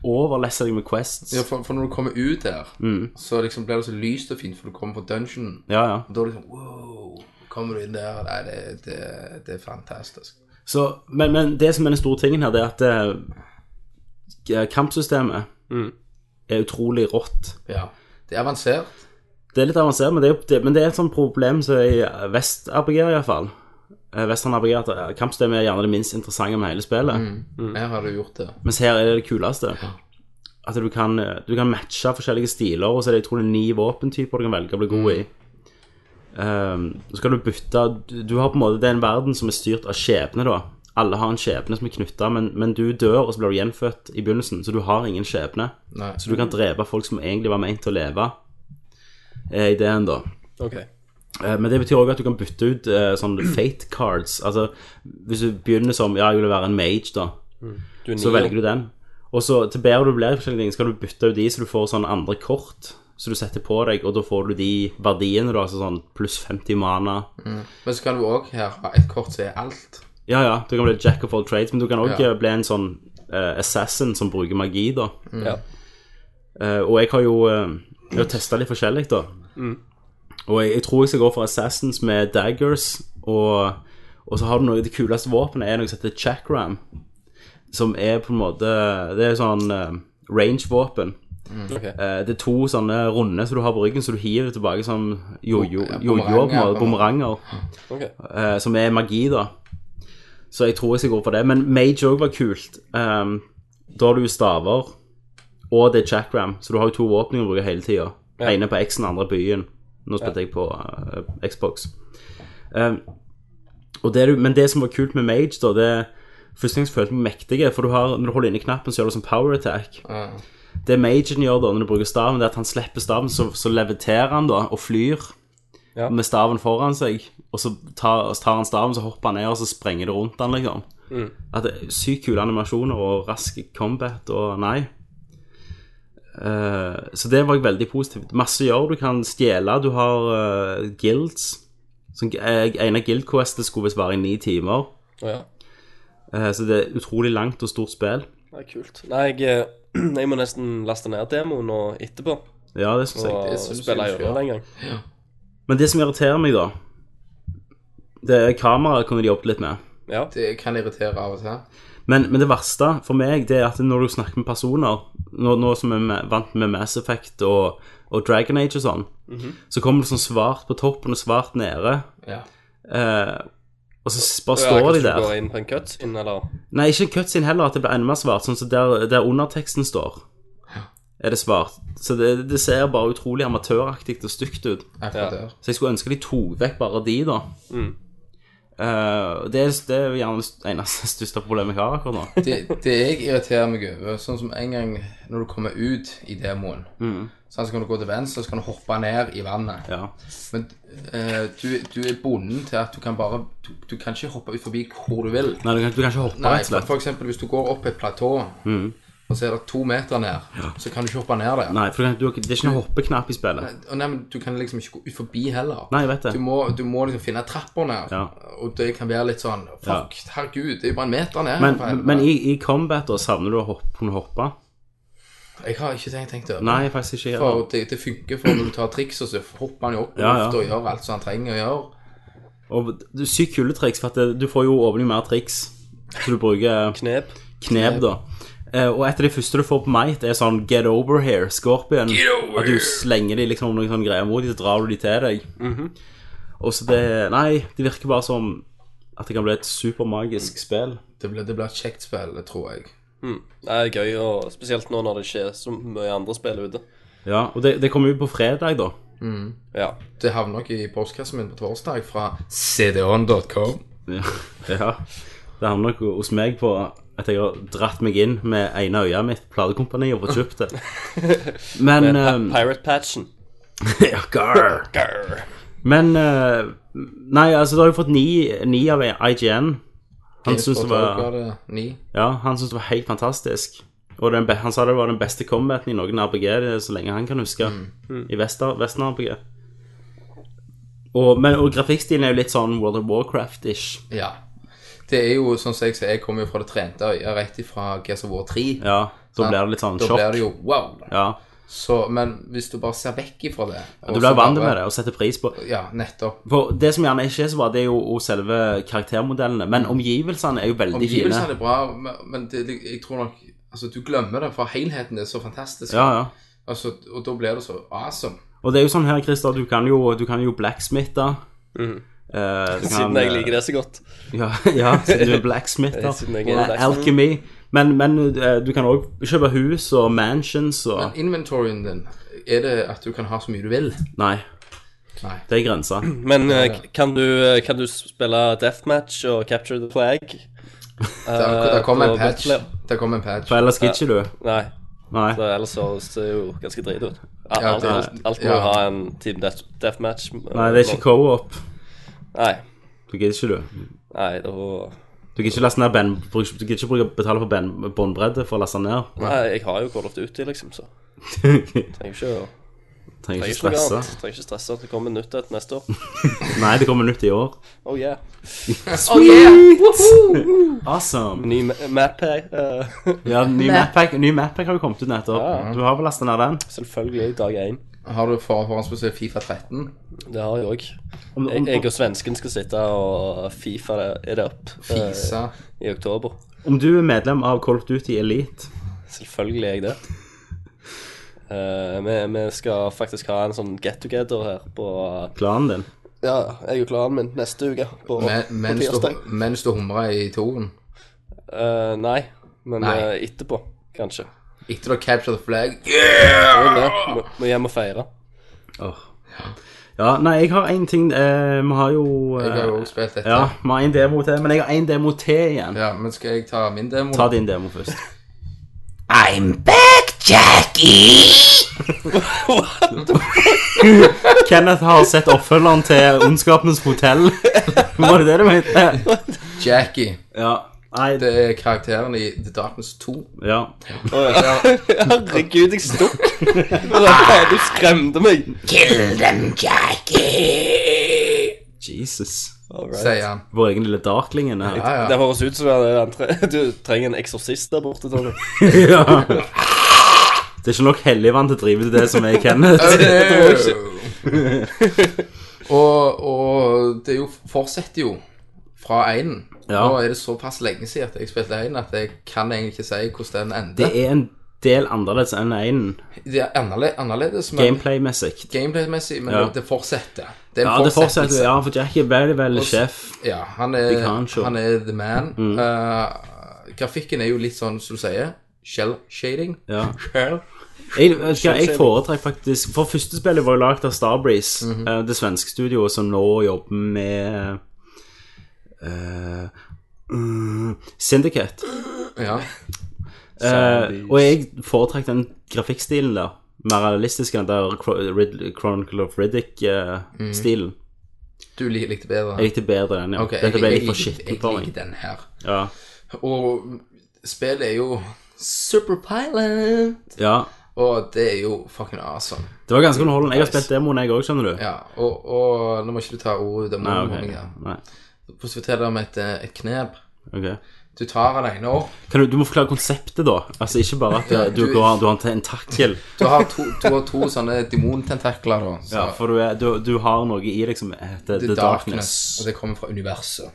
Speaker 6: Overlesser deg med quests.
Speaker 3: ja for, for når du kommer ut der,
Speaker 6: Mm.
Speaker 3: så liksom blir det så lyst og fint, for du kommer fra dungeon.
Speaker 6: Ja, ja.
Speaker 3: Og da er det liksom Wow! Kommer du inn der? Nei, det, det, det er fantastisk.
Speaker 6: Så, men, men det som er den store tingen her, det er at eh, kampsystemet er utrolig rått.
Speaker 3: Ja. Det er avansert.
Speaker 6: Det er litt avansert, men det er, jo- det, men det er et sånt problem som er i Vest-RPG iallfall. Vestern-RPG at eh, kampsystemet er gjerne det minst interessante med hele spillet.
Speaker 3: Her har du gjort det.
Speaker 6: Mens her er det det kuleste. At du kan, eh, du kan matche forskjellige stiler, og så er det utrolig ni våpentyper du kan velge å bli god i. Ehm, så skal du bytte du, du har på en måte, Det er en verden som er styrt av skjebne, da. Alle har en skjebne som er knytta, men, men du dør, og så blir du gjenfødt i begynnelsen, så du har ingen skjebne.
Speaker 3: Nei.
Speaker 6: Så du kan drepe folk som egentlig var ment til å leve, er ideen, da.
Speaker 7: Ok.
Speaker 6: Eh, Men det betyr òg at du kan bytte ut eh, sånne fate cards. Altså, hvis du begynner som Ja, jeg vil være en mage, da.
Speaker 7: Du er
Speaker 6: Så
Speaker 7: Neo.
Speaker 6: velger du den. Og så til bedre du blir, i forskjellige ting, skal du bytte ut de, så du får sånne andre kort. Så du setter på deg, og da får du de verdiene, da. Altså sånn pluss 50 mana.
Speaker 3: Men så kan du òg her ha et kort som er alt.
Speaker 6: Ja, ja, du kan bli jack of all trades, men du kan òg
Speaker 3: Ja.
Speaker 6: bli en sånn eh, assassin som bruker magi, da.
Speaker 7: Ja.
Speaker 6: Eh, og jeg har jo uh, Jeg har testa litt forskjellig, da. Og jeg, jeg tror jeg skal gå for Assassins med daggers. Og, og så har du noe Det kuleste våpenet er noe som heter chakram. Som er på en måte Det er sånn eh, range-våpen.
Speaker 7: Ok.
Speaker 6: Eh, det er to sånne runde som du har på ryggen, så du hiver tilbake som jojo,
Speaker 3: Ja,
Speaker 6: jojo på en måte,
Speaker 3: boomerang, ja, på en måte.
Speaker 6: bumeranger.
Speaker 7: ok.
Speaker 6: eh, som er magi, da. Så jeg tror jeg skal gå for det. Men Mage òg var kult. Ehm, da har du jo staver, og det er chakram, så du har jo to våpen du kan bruke hele tida.
Speaker 7: Ja.
Speaker 6: Ene på X-en, andre på Y-en. Nå spilte jeg på eh, Xbox. Ehm, og det du, men det som var kult med Mage, da, det er Første gang jeg følte meg mektig, for du har, når du holder inne knappen, så gjør du sånn power attack. Det Magen gjør da, når du bruker staven, det er at han slipper staven, så, så leviterer han da, og flyr
Speaker 7: Ja.
Speaker 6: med staven foran seg, og så tar, så tar han staven, så hopper han ned, og så sprenger det rundt han, liksom. At det er sykt kule animasjoner og rask combat og nei. Eh, så det var veldig positivt. Masse gjør, du kan stjele, du har eh, guilds. Som, eh, en av guild-questet skulle visst være i ni timer,
Speaker 7: Å, ja.
Speaker 6: eh, så det er utrolig langt og stort spill.
Speaker 7: Det er kult. Nei, jeg, eh, jeg må nesten laste ned demoen nå etterpå.
Speaker 6: Ja, det synes jeg.
Speaker 7: Og
Speaker 3: synes jeg
Speaker 7: spille
Speaker 3: du skal
Speaker 7: gjennom den en gang.
Speaker 6: Men det som irriterer meg, da, Det Kameraet kunne de jobbet litt med.
Speaker 7: Ja.
Speaker 3: Det kan irritere av og til.
Speaker 6: Men, men det verste for meg det er at når du snakker med personer, nå, nå som vi er med- vant med Mass Effect og, og Dragon Age og sånn,
Speaker 7: Mhm.
Speaker 6: så kommer det sånn svart på toppen og svart nede,
Speaker 3: Ja.
Speaker 6: eh, og så s- bare
Speaker 7: Ja,
Speaker 6: står de
Speaker 7: kanskje
Speaker 6: der.
Speaker 7: Du går inn på en cutscene, eller
Speaker 6: Nei, ikke cutscene heller, at det blir enda mer svart, sånn som der, der underteksten står, er det svart. Så det, det ser bare utrolig amatøraktig og stygt ut.
Speaker 3: Akkurat
Speaker 7: Ja.
Speaker 3: der.
Speaker 6: Så jeg skulle ønske de tok vekk bare de, da.
Speaker 7: Mm.
Speaker 6: Eh, det, er- det er gjerne det eneste største problemet jeg har akkurat nå.
Speaker 3: det, det jeg irriterer meg over, sånn som en gang når du kommer ut i demoen sånn, Så kan du gå til venstre, så kan du hoppe ned i vannet.
Speaker 6: Ja.
Speaker 3: Men eh, du, du er bonden til at du kan bare du, du kan ikke hoppe ut forbi hvor du vil.
Speaker 6: Nei, du kan, du kan ikke hoppe,
Speaker 3: Nei,
Speaker 6: rett og
Speaker 3: for,
Speaker 6: slett.
Speaker 3: for eksempel hvis du går opp et platå, og så er det to meter ned, så kan du ikke hoppe ned der.
Speaker 6: Mm. Nei, for du kan, du, det er ikke noen hoppeknapp i spillet.
Speaker 3: Og nei, men du kan liksom ikke gå ut forbi heller.
Speaker 6: Nei, jeg vet det.
Speaker 3: Du må, du må liksom finne trapper ned,
Speaker 6: Ja.
Speaker 3: og det kan være litt sånn Fuck, herregud, det er jo bare en meter ned.
Speaker 6: Men,
Speaker 3: for helvete.
Speaker 6: men i, i combat da savner du å hoppe, kunne hoppe?
Speaker 3: Jeg har ikke tenkt, tenkt over det.
Speaker 6: Nei, faktisk ikke.
Speaker 3: For
Speaker 6: heller.
Speaker 3: det, det funker for når du tar triks, og så hopper han jo opp i
Speaker 6: Ja, ja.
Speaker 3: lufta og gjør alt som han trenger å gjøre.
Speaker 6: Og du- sykt kule triks, for at det, du får jo åpning mer triks. Så du bruker
Speaker 7: knep.
Speaker 6: knep, da. Eh, og et av de første du får på Might, er sånn Get over here, Scorpion.
Speaker 3: over
Speaker 6: At du slenger de liksom noen sånne greier mot dem, så drar du de til deg.
Speaker 3: Mhm.
Speaker 6: Og så det Nei, det virker bare som at det kan bli et supermagisk spill.
Speaker 3: Det blir, det blir et kjekt spill, det tror jeg.
Speaker 7: Mm. Det er gøy, og spesielt nå når det ikke er så mye andre spill ute.
Speaker 6: Ja, og det, det kommer ut på fredag, da.
Speaker 7: Ja.
Speaker 3: Det havner nok i postkassen min på torsdag fra cdon.com.
Speaker 6: Ja. ja. Det havner nok hos meg på at jeg har dratt meg inn med ene øyet mitt, platekompaniet, og fått kjøpt det. Men eh,
Speaker 7: Pirate-patchen.
Speaker 6: Ja, gar.
Speaker 7: Grr.
Speaker 6: Men eh, Nei, altså, du har jo fått ni, ni av IGN. Han syntes det var
Speaker 3: Ni.
Speaker 6: Ja, han syntes det var helt fantastisk. Og den, be- han sa det var den beste combaten i noen RPG det er så lenge han kan huske. I Vester- Vesten-RPG. Og, men- og grafikkstilen er jo litt sånn World of Warcraft-ish.
Speaker 3: Ja. Det er jo sånn som jeg sier, jeg kommer jo fra det trente øyet rett ifra Gears of War 3.
Speaker 6: Ja, da
Speaker 3: Sant?
Speaker 6: blir det litt sånn
Speaker 3: Da
Speaker 6: sjokk.
Speaker 3: blir det jo wow.
Speaker 6: Ja,
Speaker 3: Så, men hvis du bare ser vekk ifra det og så
Speaker 6: Du
Speaker 3: bare-
Speaker 6: blir vant med det og setter pris på.
Speaker 3: Ja, nettopp.
Speaker 6: For Det som gjerne ikke er så bra, det er jo og selve karaktermodellene.
Speaker 7: Mm.
Speaker 6: Men omgivelsene er jo veldig fine.
Speaker 3: Omgivelsene er bra, men- men det, det- jeg tror nok Altså, du glemmer det, for helheten er så fantastisk.
Speaker 6: Ja, ja.
Speaker 3: Altså, og da blir det så awesome.
Speaker 6: Og det er jo sånn her, Christer, du kan jo, du kan jo blacksmitte. Eh, du kan-
Speaker 7: Mm.
Speaker 6: eh,
Speaker 7: Siden jeg liker det så godt.
Speaker 6: Ja, ja siden du er blacksmith. da.
Speaker 7: Siden jeg er
Speaker 6: Og
Speaker 7: blacksmith.
Speaker 6: Alchemy. Men, men eh, du kan òg kjøpe hus og mansions og
Speaker 3: Men inventoryen din, er det at du kan ha så mye du vil?
Speaker 6: Nei.
Speaker 3: Nei.
Speaker 6: Det er grensa.
Speaker 7: Men eh, kan, du, eh, kan du spille Deathmatch og Capture the Flag?
Speaker 3: Der, der kom
Speaker 7: på
Speaker 3: en patch.
Speaker 7: multiplayer?
Speaker 3: Der kom en patch.
Speaker 6: For ellers gidder ikke du.
Speaker 7: Nei,
Speaker 6: Nei.
Speaker 7: så ellers så ser det jo ganske drit ut. Alt,
Speaker 3: Ja,
Speaker 7: alt,
Speaker 3: det-
Speaker 7: alt må
Speaker 3: ja.
Speaker 7: jo ha en Team death, Deathmatch. eh,
Speaker 6: Nei, det er ikke co-op.
Speaker 7: Nei,
Speaker 6: Du gidder ikke, du.
Speaker 7: nei, da
Speaker 6: Du gidder ikke laste ned ben, bruk- du gidder ikke bruke- betale for ben- båndbredde for å laste ned.
Speaker 7: Nei, jeg har jo Call of Duty, liksom, så trenger ikke
Speaker 6: Trenger
Speaker 7: å trenger
Speaker 6: ikke
Speaker 7: ikke noe
Speaker 6: stresse.
Speaker 7: annet. Trenger ikke stresse at det kommer nytt et neste år.
Speaker 6: Nei, det kommer nytt i år.
Speaker 7: Oh yeah.
Speaker 6: Awesome.
Speaker 7: Ny ma- map her. eh,
Speaker 6: Ja, ny mappack, ny mappack har jo kommet ut nettopp. Du har vel lasta ned den?
Speaker 7: selvfølgelig dag én.
Speaker 3: Har du for, forhåndsbestilt Fifa 13?
Speaker 7: Det har jeg òg.
Speaker 6: Om,
Speaker 7: Jeg,
Speaker 6: om,
Speaker 7: jeg og svensken skal sitte og Fifa det- er det opp eh,
Speaker 3: Fisa.
Speaker 7: i oktober.
Speaker 6: om du er medlem av Call of Duty Elite
Speaker 7: Selvfølgelig er jeg det. Eh, vi, vi skal faktisk ha en sånn get together her på
Speaker 6: klanen din
Speaker 7: Ja, jeg og klanen min neste uke. Eh, På,
Speaker 3: Men- Mens
Speaker 7: på
Speaker 3: du,
Speaker 7: tirsdag.
Speaker 3: mens du humrer i toen.
Speaker 7: Eh, nei, men
Speaker 3: Nei.
Speaker 7: eh, etterpå, kanskje.
Speaker 3: Etter du har captured the flag.
Speaker 7: Men det, vi må hjem og feire.
Speaker 6: Åh. Ja, nei, jeg har én ting eh, Vi har jo eh,
Speaker 3: Jeg har jo også spilt dette.
Speaker 6: Ja, vi har én demo til, men jeg har én demo til igjen.
Speaker 3: Ja, men skal jeg ta min demo?
Speaker 6: Ta din demo først.
Speaker 4: I'm back, Jackie!
Speaker 6: Kenneth har sett oppfølgeren til Ondskapens hotell. Var det det du mente?
Speaker 3: Jackie.
Speaker 6: Ja. Nei,
Speaker 3: Det er karakteren i The Darkness 2.
Speaker 6: ja.
Speaker 7: Herregud, jeg stokk! Faen, du skremte meg!
Speaker 4: Kill them, Jackie!
Speaker 6: Jesus.
Speaker 3: Sier han.
Speaker 6: Vår egen lille darkling inne her.
Speaker 3: Ja, ja.
Speaker 7: Det høres ut som det er en tre- du trenger en eksorsist der borte, Tommy.
Speaker 6: Ja. Det er ikke nok helligvann til å drive til det som er Kenneth.
Speaker 3: Øy! Og, og det er jo, fortsetter jo fra einen.
Speaker 6: Ja.
Speaker 3: Nå er det såpass lenge siden at jeg spilte einen at jeg kan egentlig ikke si hvordan den
Speaker 6: Det
Speaker 3: ender.
Speaker 6: er en del annerledes enn einen,
Speaker 3: Det er annerle- annerledes, men
Speaker 6: gameplay-messig.
Speaker 3: gameplay-messig, men
Speaker 6: Ja.
Speaker 3: det fortsetter. Det er en
Speaker 6: Ja, det fortsetter, ja, for Jack er veldig, veldig
Speaker 3: s-
Speaker 6: sjef.
Speaker 3: Ja, han
Speaker 6: Big
Speaker 3: er,
Speaker 6: Hancho.
Speaker 3: han er the man.
Speaker 6: Mm.
Speaker 3: Eh, grafikken er jo litt sånn, som du sier, shell shading.
Speaker 6: Ja.
Speaker 3: Shell.
Speaker 6: Jeg, vet du hva, jeg foretrekker faktisk For første spillet var jo lagd av Starbreeze,
Speaker 3: Mhm.
Speaker 6: eh, det svenske studioet som nå jobber med eh, mm, Syndicate.
Speaker 3: Ja.
Speaker 6: Eh, og jeg foretrekker den grafikkstilen der. Mer realistisk enn den der Chro- Rid- Chronicle of Riddick-stilen.
Speaker 3: Du lik- likte bedre.
Speaker 6: Jeg likte bedre den, ja.
Speaker 3: Mhm. Ok,
Speaker 6: Dette ble
Speaker 3: jeg-
Speaker 6: litt for
Speaker 3: jeg-
Speaker 6: skitten for
Speaker 3: Jeg
Speaker 6: meg.
Speaker 3: liker den her.
Speaker 6: Ja.
Speaker 3: Og spillet er jo Superpilot.
Speaker 6: ja.
Speaker 3: Og det er jo fucking awesome.
Speaker 6: Det var ganske underholdende. Jeg har spilt demoen, jeg òg, skjønner du.
Speaker 3: Ja, og, og nå må ikke du ta ordet ut av
Speaker 6: Nei,
Speaker 3: munnen på
Speaker 6: ok.
Speaker 3: meg her.
Speaker 6: Nei,
Speaker 3: Hvordan forteller jeg om et, eh, et knep?
Speaker 6: ok.
Speaker 3: Du tar den ene opp,
Speaker 6: Kan du, du må forklare konseptet, da. Altså Ikke bare at eh, du,
Speaker 3: du-
Speaker 6: går, du har en tentakel.
Speaker 3: du har to, du har to sånne demontentakler da. Så
Speaker 6: Ja, for du, er, du, du har noe i deg som heter The,
Speaker 3: det er darkness,
Speaker 6: Darkness.
Speaker 3: og det kommer fra universet.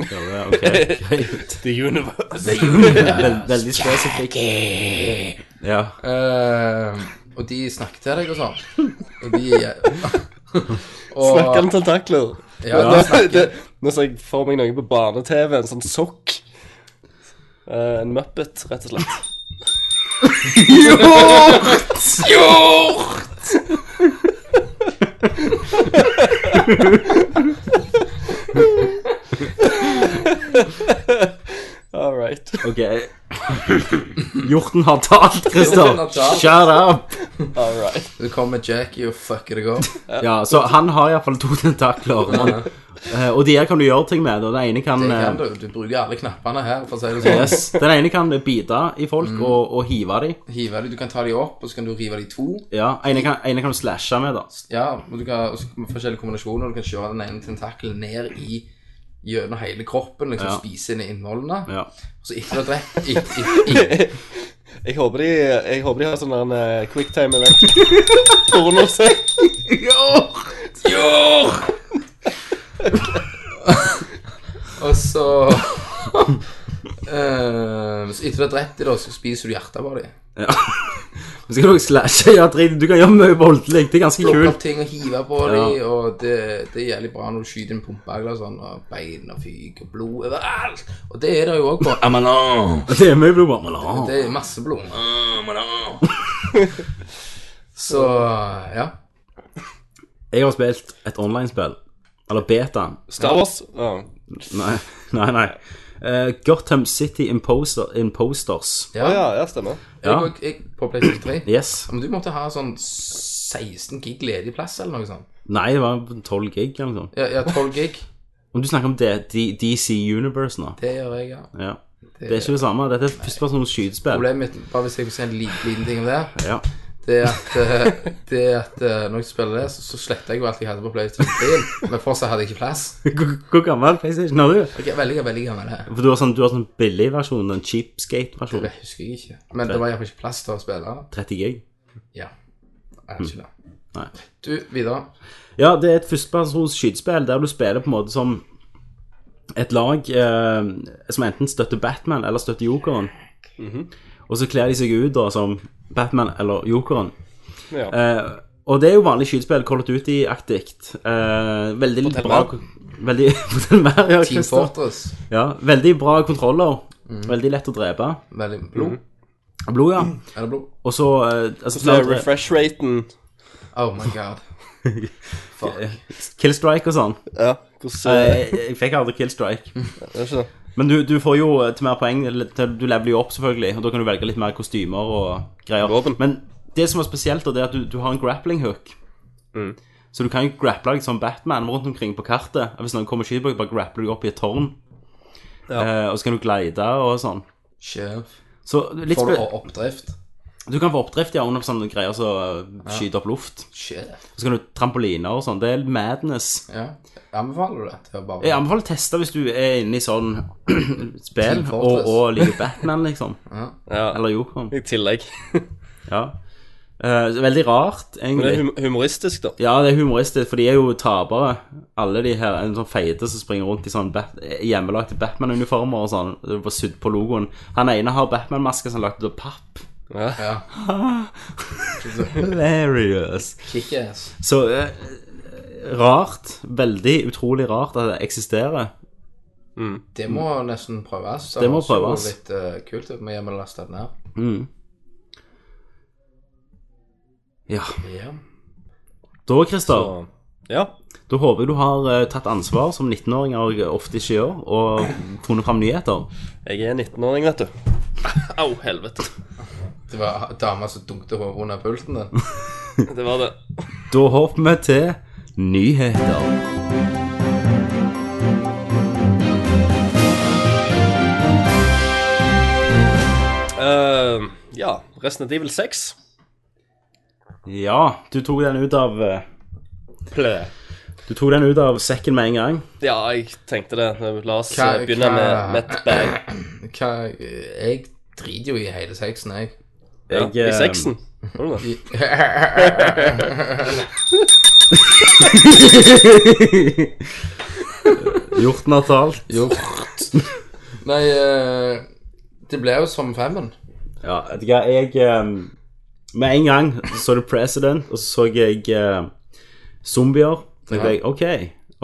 Speaker 6: Ja, det er- ok.
Speaker 7: The Universe.
Speaker 6: Vel- veldig spesifikt. Ja.
Speaker 3: Eh, og de snakker til deg og sånn. Og de og,
Speaker 7: Snakker om tentakler.
Speaker 3: Ja,
Speaker 7: Nå- det, nå ser jeg for meg noe på barne-TV, en sånn sokk. Eh, en muppet, rett og slett. Hjort! Hjort! All right.
Speaker 6: Ok. Hjorten har talt, Christer.
Speaker 3: Hjorten har talt.
Speaker 6: Shut up!
Speaker 7: All right.
Speaker 3: Det kommer Jackie og fucker deg opp.
Speaker 6: Ja, så han har iallfall to tentakler. Han, eh, og de her kan du gjøre ting med. Og den ene kan,
Speaker 3: Det kan
Speaker 6: eh,
Speaker 3: du. Du bruker alle knappene her, for å si det sånn.
Speaker 6: yes, Den ene kan bite i folk og, og hive dem.
Speaker 3: Hive de, du kan ta de opp, og så kan du rive de i to.
Speaker 6: Ja, ene kan, ene kan du slashe med, da.
Speaker 3: Ja, og du kan, og så med forskjellige kombinasjoner. og Du kan kjøre den ene tentakelen ned i gjennom hele kroppen, liksom
Speaker 6: Ja.
Speaker 3: spise inn i innholdene.
Speaker 6: Ja.
Speaker 3: Så etter du har drept et- et- et-
Speaker 7: Jeg håper de, jeg håper de har sånn en eh, quicktime event. Pornosett.
Speaker 3: Og så Eh, Så etter du har drept dem, da, så spiser du hjertet av dem.
Speaker 6: Ja. Men skal du også slashe? Ja, drit. Du kan gjøre mye voldelig. Det er ganske
Speaker 3: Plukke
Speaker 6: kult.
Speaker 3: opp ting og hive på dem, og det, det er jævlig bra når du skyter en pumpeagle og sånn, og bein og fyk og blod overalt. Og det er det jo òg på Amalan.
Speaker 6: Det er mye blod. men ah. la.
Speaker 3: Det er masse blod. Amalan. Så ja.
Speaker 6: Jeg har spilt et online-spill. Eller beta.
Speaker 7: Star Wars. Ja.
Speaker 6: Nei, nei. nei. Eh, Gotham City Imposter, Imposters.
Speaker 3: ja.
Speaker 7: Ja, ja, stemmer.
Speaker 3: Jeg,
Speaker 6: Ja.
Speaker 3: og- jeg på PlayStation 3.
Speaker 6: Yes.
Speaker 3: Men du måtte ha sånn 16 gig ledig plass eller noe sånt.
Speaker 6: Nei, det var 12 gig eller noe sånt.
Speaker 3: Ja, ja 12 gig.
Speaker 6: Om du snakker om det, D- DC Universe nå
Speaker 3: Det gjør jeg, ja.
Speaker 6: ja. Det er ikke det samme. Dette er førstepersons skytespill.
Speaker 3: Problemet mitt, bare hvis jeg får si en liten, liten ting om det,
Speaker 6: Ja.
Speaker 3: det er at, eh, det er at eh, når jeg spiller det, så, så sletter jeg jo alt jeg hadde på PlayStation 3. Men fortsatt hadde jeg ikke plass.
Speaker 6: Hvor hvor gammel PlayStation har du?
Speaker 3: Jeg er veldig, veldig gammel her.
Speaker 6: For du har sånn, du har sånn billig versjon, den cheapskate-versjonen.
Speaker 3: Det husker jeg ikke. Men det var iallfall ikke plass til å spille.
Speaker 6: 30 gig.
Speaker 3: Ja. Jeg hadde ikke det.
Speaker 6: Mm. Nei.
Speaker 3: Du, Vidar.
Speaker 6: Ja, det er et førstepersons skytespill der du spiller på en måte som et lag eh, som enten støtter Batman eller støtter Jokeren.
Speaker 7: Mhm.
Speaker 6: Og så kler de seg ut da som Batman eller Jokeren.
Speaker 7: Ja.
Speaker 6: Eh, og det er jo vanlig skytespill, Call of Duty-aktig. Eh, veldig bra Veldig, Fortell mer, ja,
Speaker 3: Team
Speaker 6: Christer.
Speaker 3: Fortress.
Speaker 6: ja, veldig bra kontroller. Veldig lett å drepe.
Speaker 3: Veldig blod.
Speaker 6: Blod, ja.
Speaker 3: Er det blod?
Speaker 6: Og så eh, altså,
Speaker 7: Så er refresh-raten
Speaker 3: Oh my god.
Speaker 6: Killstrike og sånn.
Speaker 7: Ja, hvordan
Speaker 6: Eh,
Speaker 7: eh,
Speaker 6: jeg, jeg fikk aldri Killstrike.
Speaker 7: er det ikke det?
Speaker 6: Men du, du får jo eh, til mer poeng, eller til- du leveler jo opp selvfølgelig, og da kan du velge litt mer kostymer og greier.
Speaker 7: Våpen.
Speaker 6: Men det som er spesielt, da, det er at du, du har en grappling hook.
Speaker 3: Mm.
Speaker 6: Så du kan jo grapple deg som Batman rundt omkring på kartet. Hvis noen kommer og skyter på deg, bare grappler du opp i et tårn. Eh, og så kan du glide og sånn.
Speaker 3: Sjef.
Speaker 6: Så litt
Speaker 3: Får du
Speaker 6: spe-
Speaker 3: oppdrift?
Speaker 6: du kan få oppdrift ja, under sånne greier som så skyter opp luft.
Speaker 3: Sjef.
Speaker 6: Så kan du trampoliner og sånn. Det er madness.
Speaker 3: Ja. Anbefaler du det til å bare
Speaker 6: Jeg anbefaler å teste hvis du er inne i sånn spill
Speaker 3: Team
Speaker 6: og,
Speaker 3: Fortress.
Speaker 6: og liker Batman, liksom.
Speaker 7: Ja,
Speaker 6: Eller Jokeren.
Speaker 7: i tillegg.
Speaker 6: Ja. Eh, så veldig rart,
Speaker 7: Men det er
Speaker 6: egentlig.
Speaker 7: hum humoristisk, da.
Speaker 6: Ja, det er humoristisk, for de er jo tapere. Alle de her en sånn feite som springer rundt i sånn bat hjemmelagte Batman-uniformer og sånn. Det var sydd på logoen. Han ene har Batman-maske som er lagd av papp.
Speaker 7: Ja.
Speaker 3: Ja.
Speaker 6: Hilarious.
Speaker 3: Kickass.
Speaker 6: Så eh, rart. Veldig utrolig rart at det eksisterer.
Speaker 3: Det må nesten prøves.
Speaker 6: Mm. Det må
Speaker 3: høres jo
Speaker 6: prøves.
Speaker 3: Litt eh, kult ut med hjemmelastet ned.
Speaker 6: Mm. Ja.
Speaker 3: Ja.
Speaker 6: Da, Christer.
Speaker 7: Så, ja.
Speaker 6: Da håper jeg du har eh, tatt ansvar, som 19-åringer ofte ikke gjør, og funnet fram nyheter.
Speaker 7: Jeg er 19-åring, vet du. Au, helvete.
Speaker 3: Det var dama som dunket hodet under pulten. det.
Speaker 7: Det var det.
Speaker 6: Da hopper vi til nyheter.
Speaker 7: Eh, ja. Resident Evil 6.
Speaker 6: Ja, du tok den ut av eh,
Speaker 7: Ple.
Speaker 6: Du tok den ut av sekken med en gang.
Speaker 7: Ja, jeg tenkte det. La oss
Speaker 3: Hva-
Speaker 7: eh, begynne
Speaker 3: hva-
Speaker 7: med, med et bang.
Speaker 3: Hva eh, Jeg driter jo i hele sexen, jeg.
Speaker 7: Ja,
Speaker 6: Jeg,
Speaker 7: I
Speaker 6: eh,
Speaker 7: sexen. Var det det?
Speaker 6: Hjorten har talt.
Speaker 3: Gjort. Nei, eh, det ble jo som femmen.
Speaker 6: Ja, vet du hva, jeg eh, Med en gang så du President, og så så jeg eh, zombier. Så tenkte jeg OK,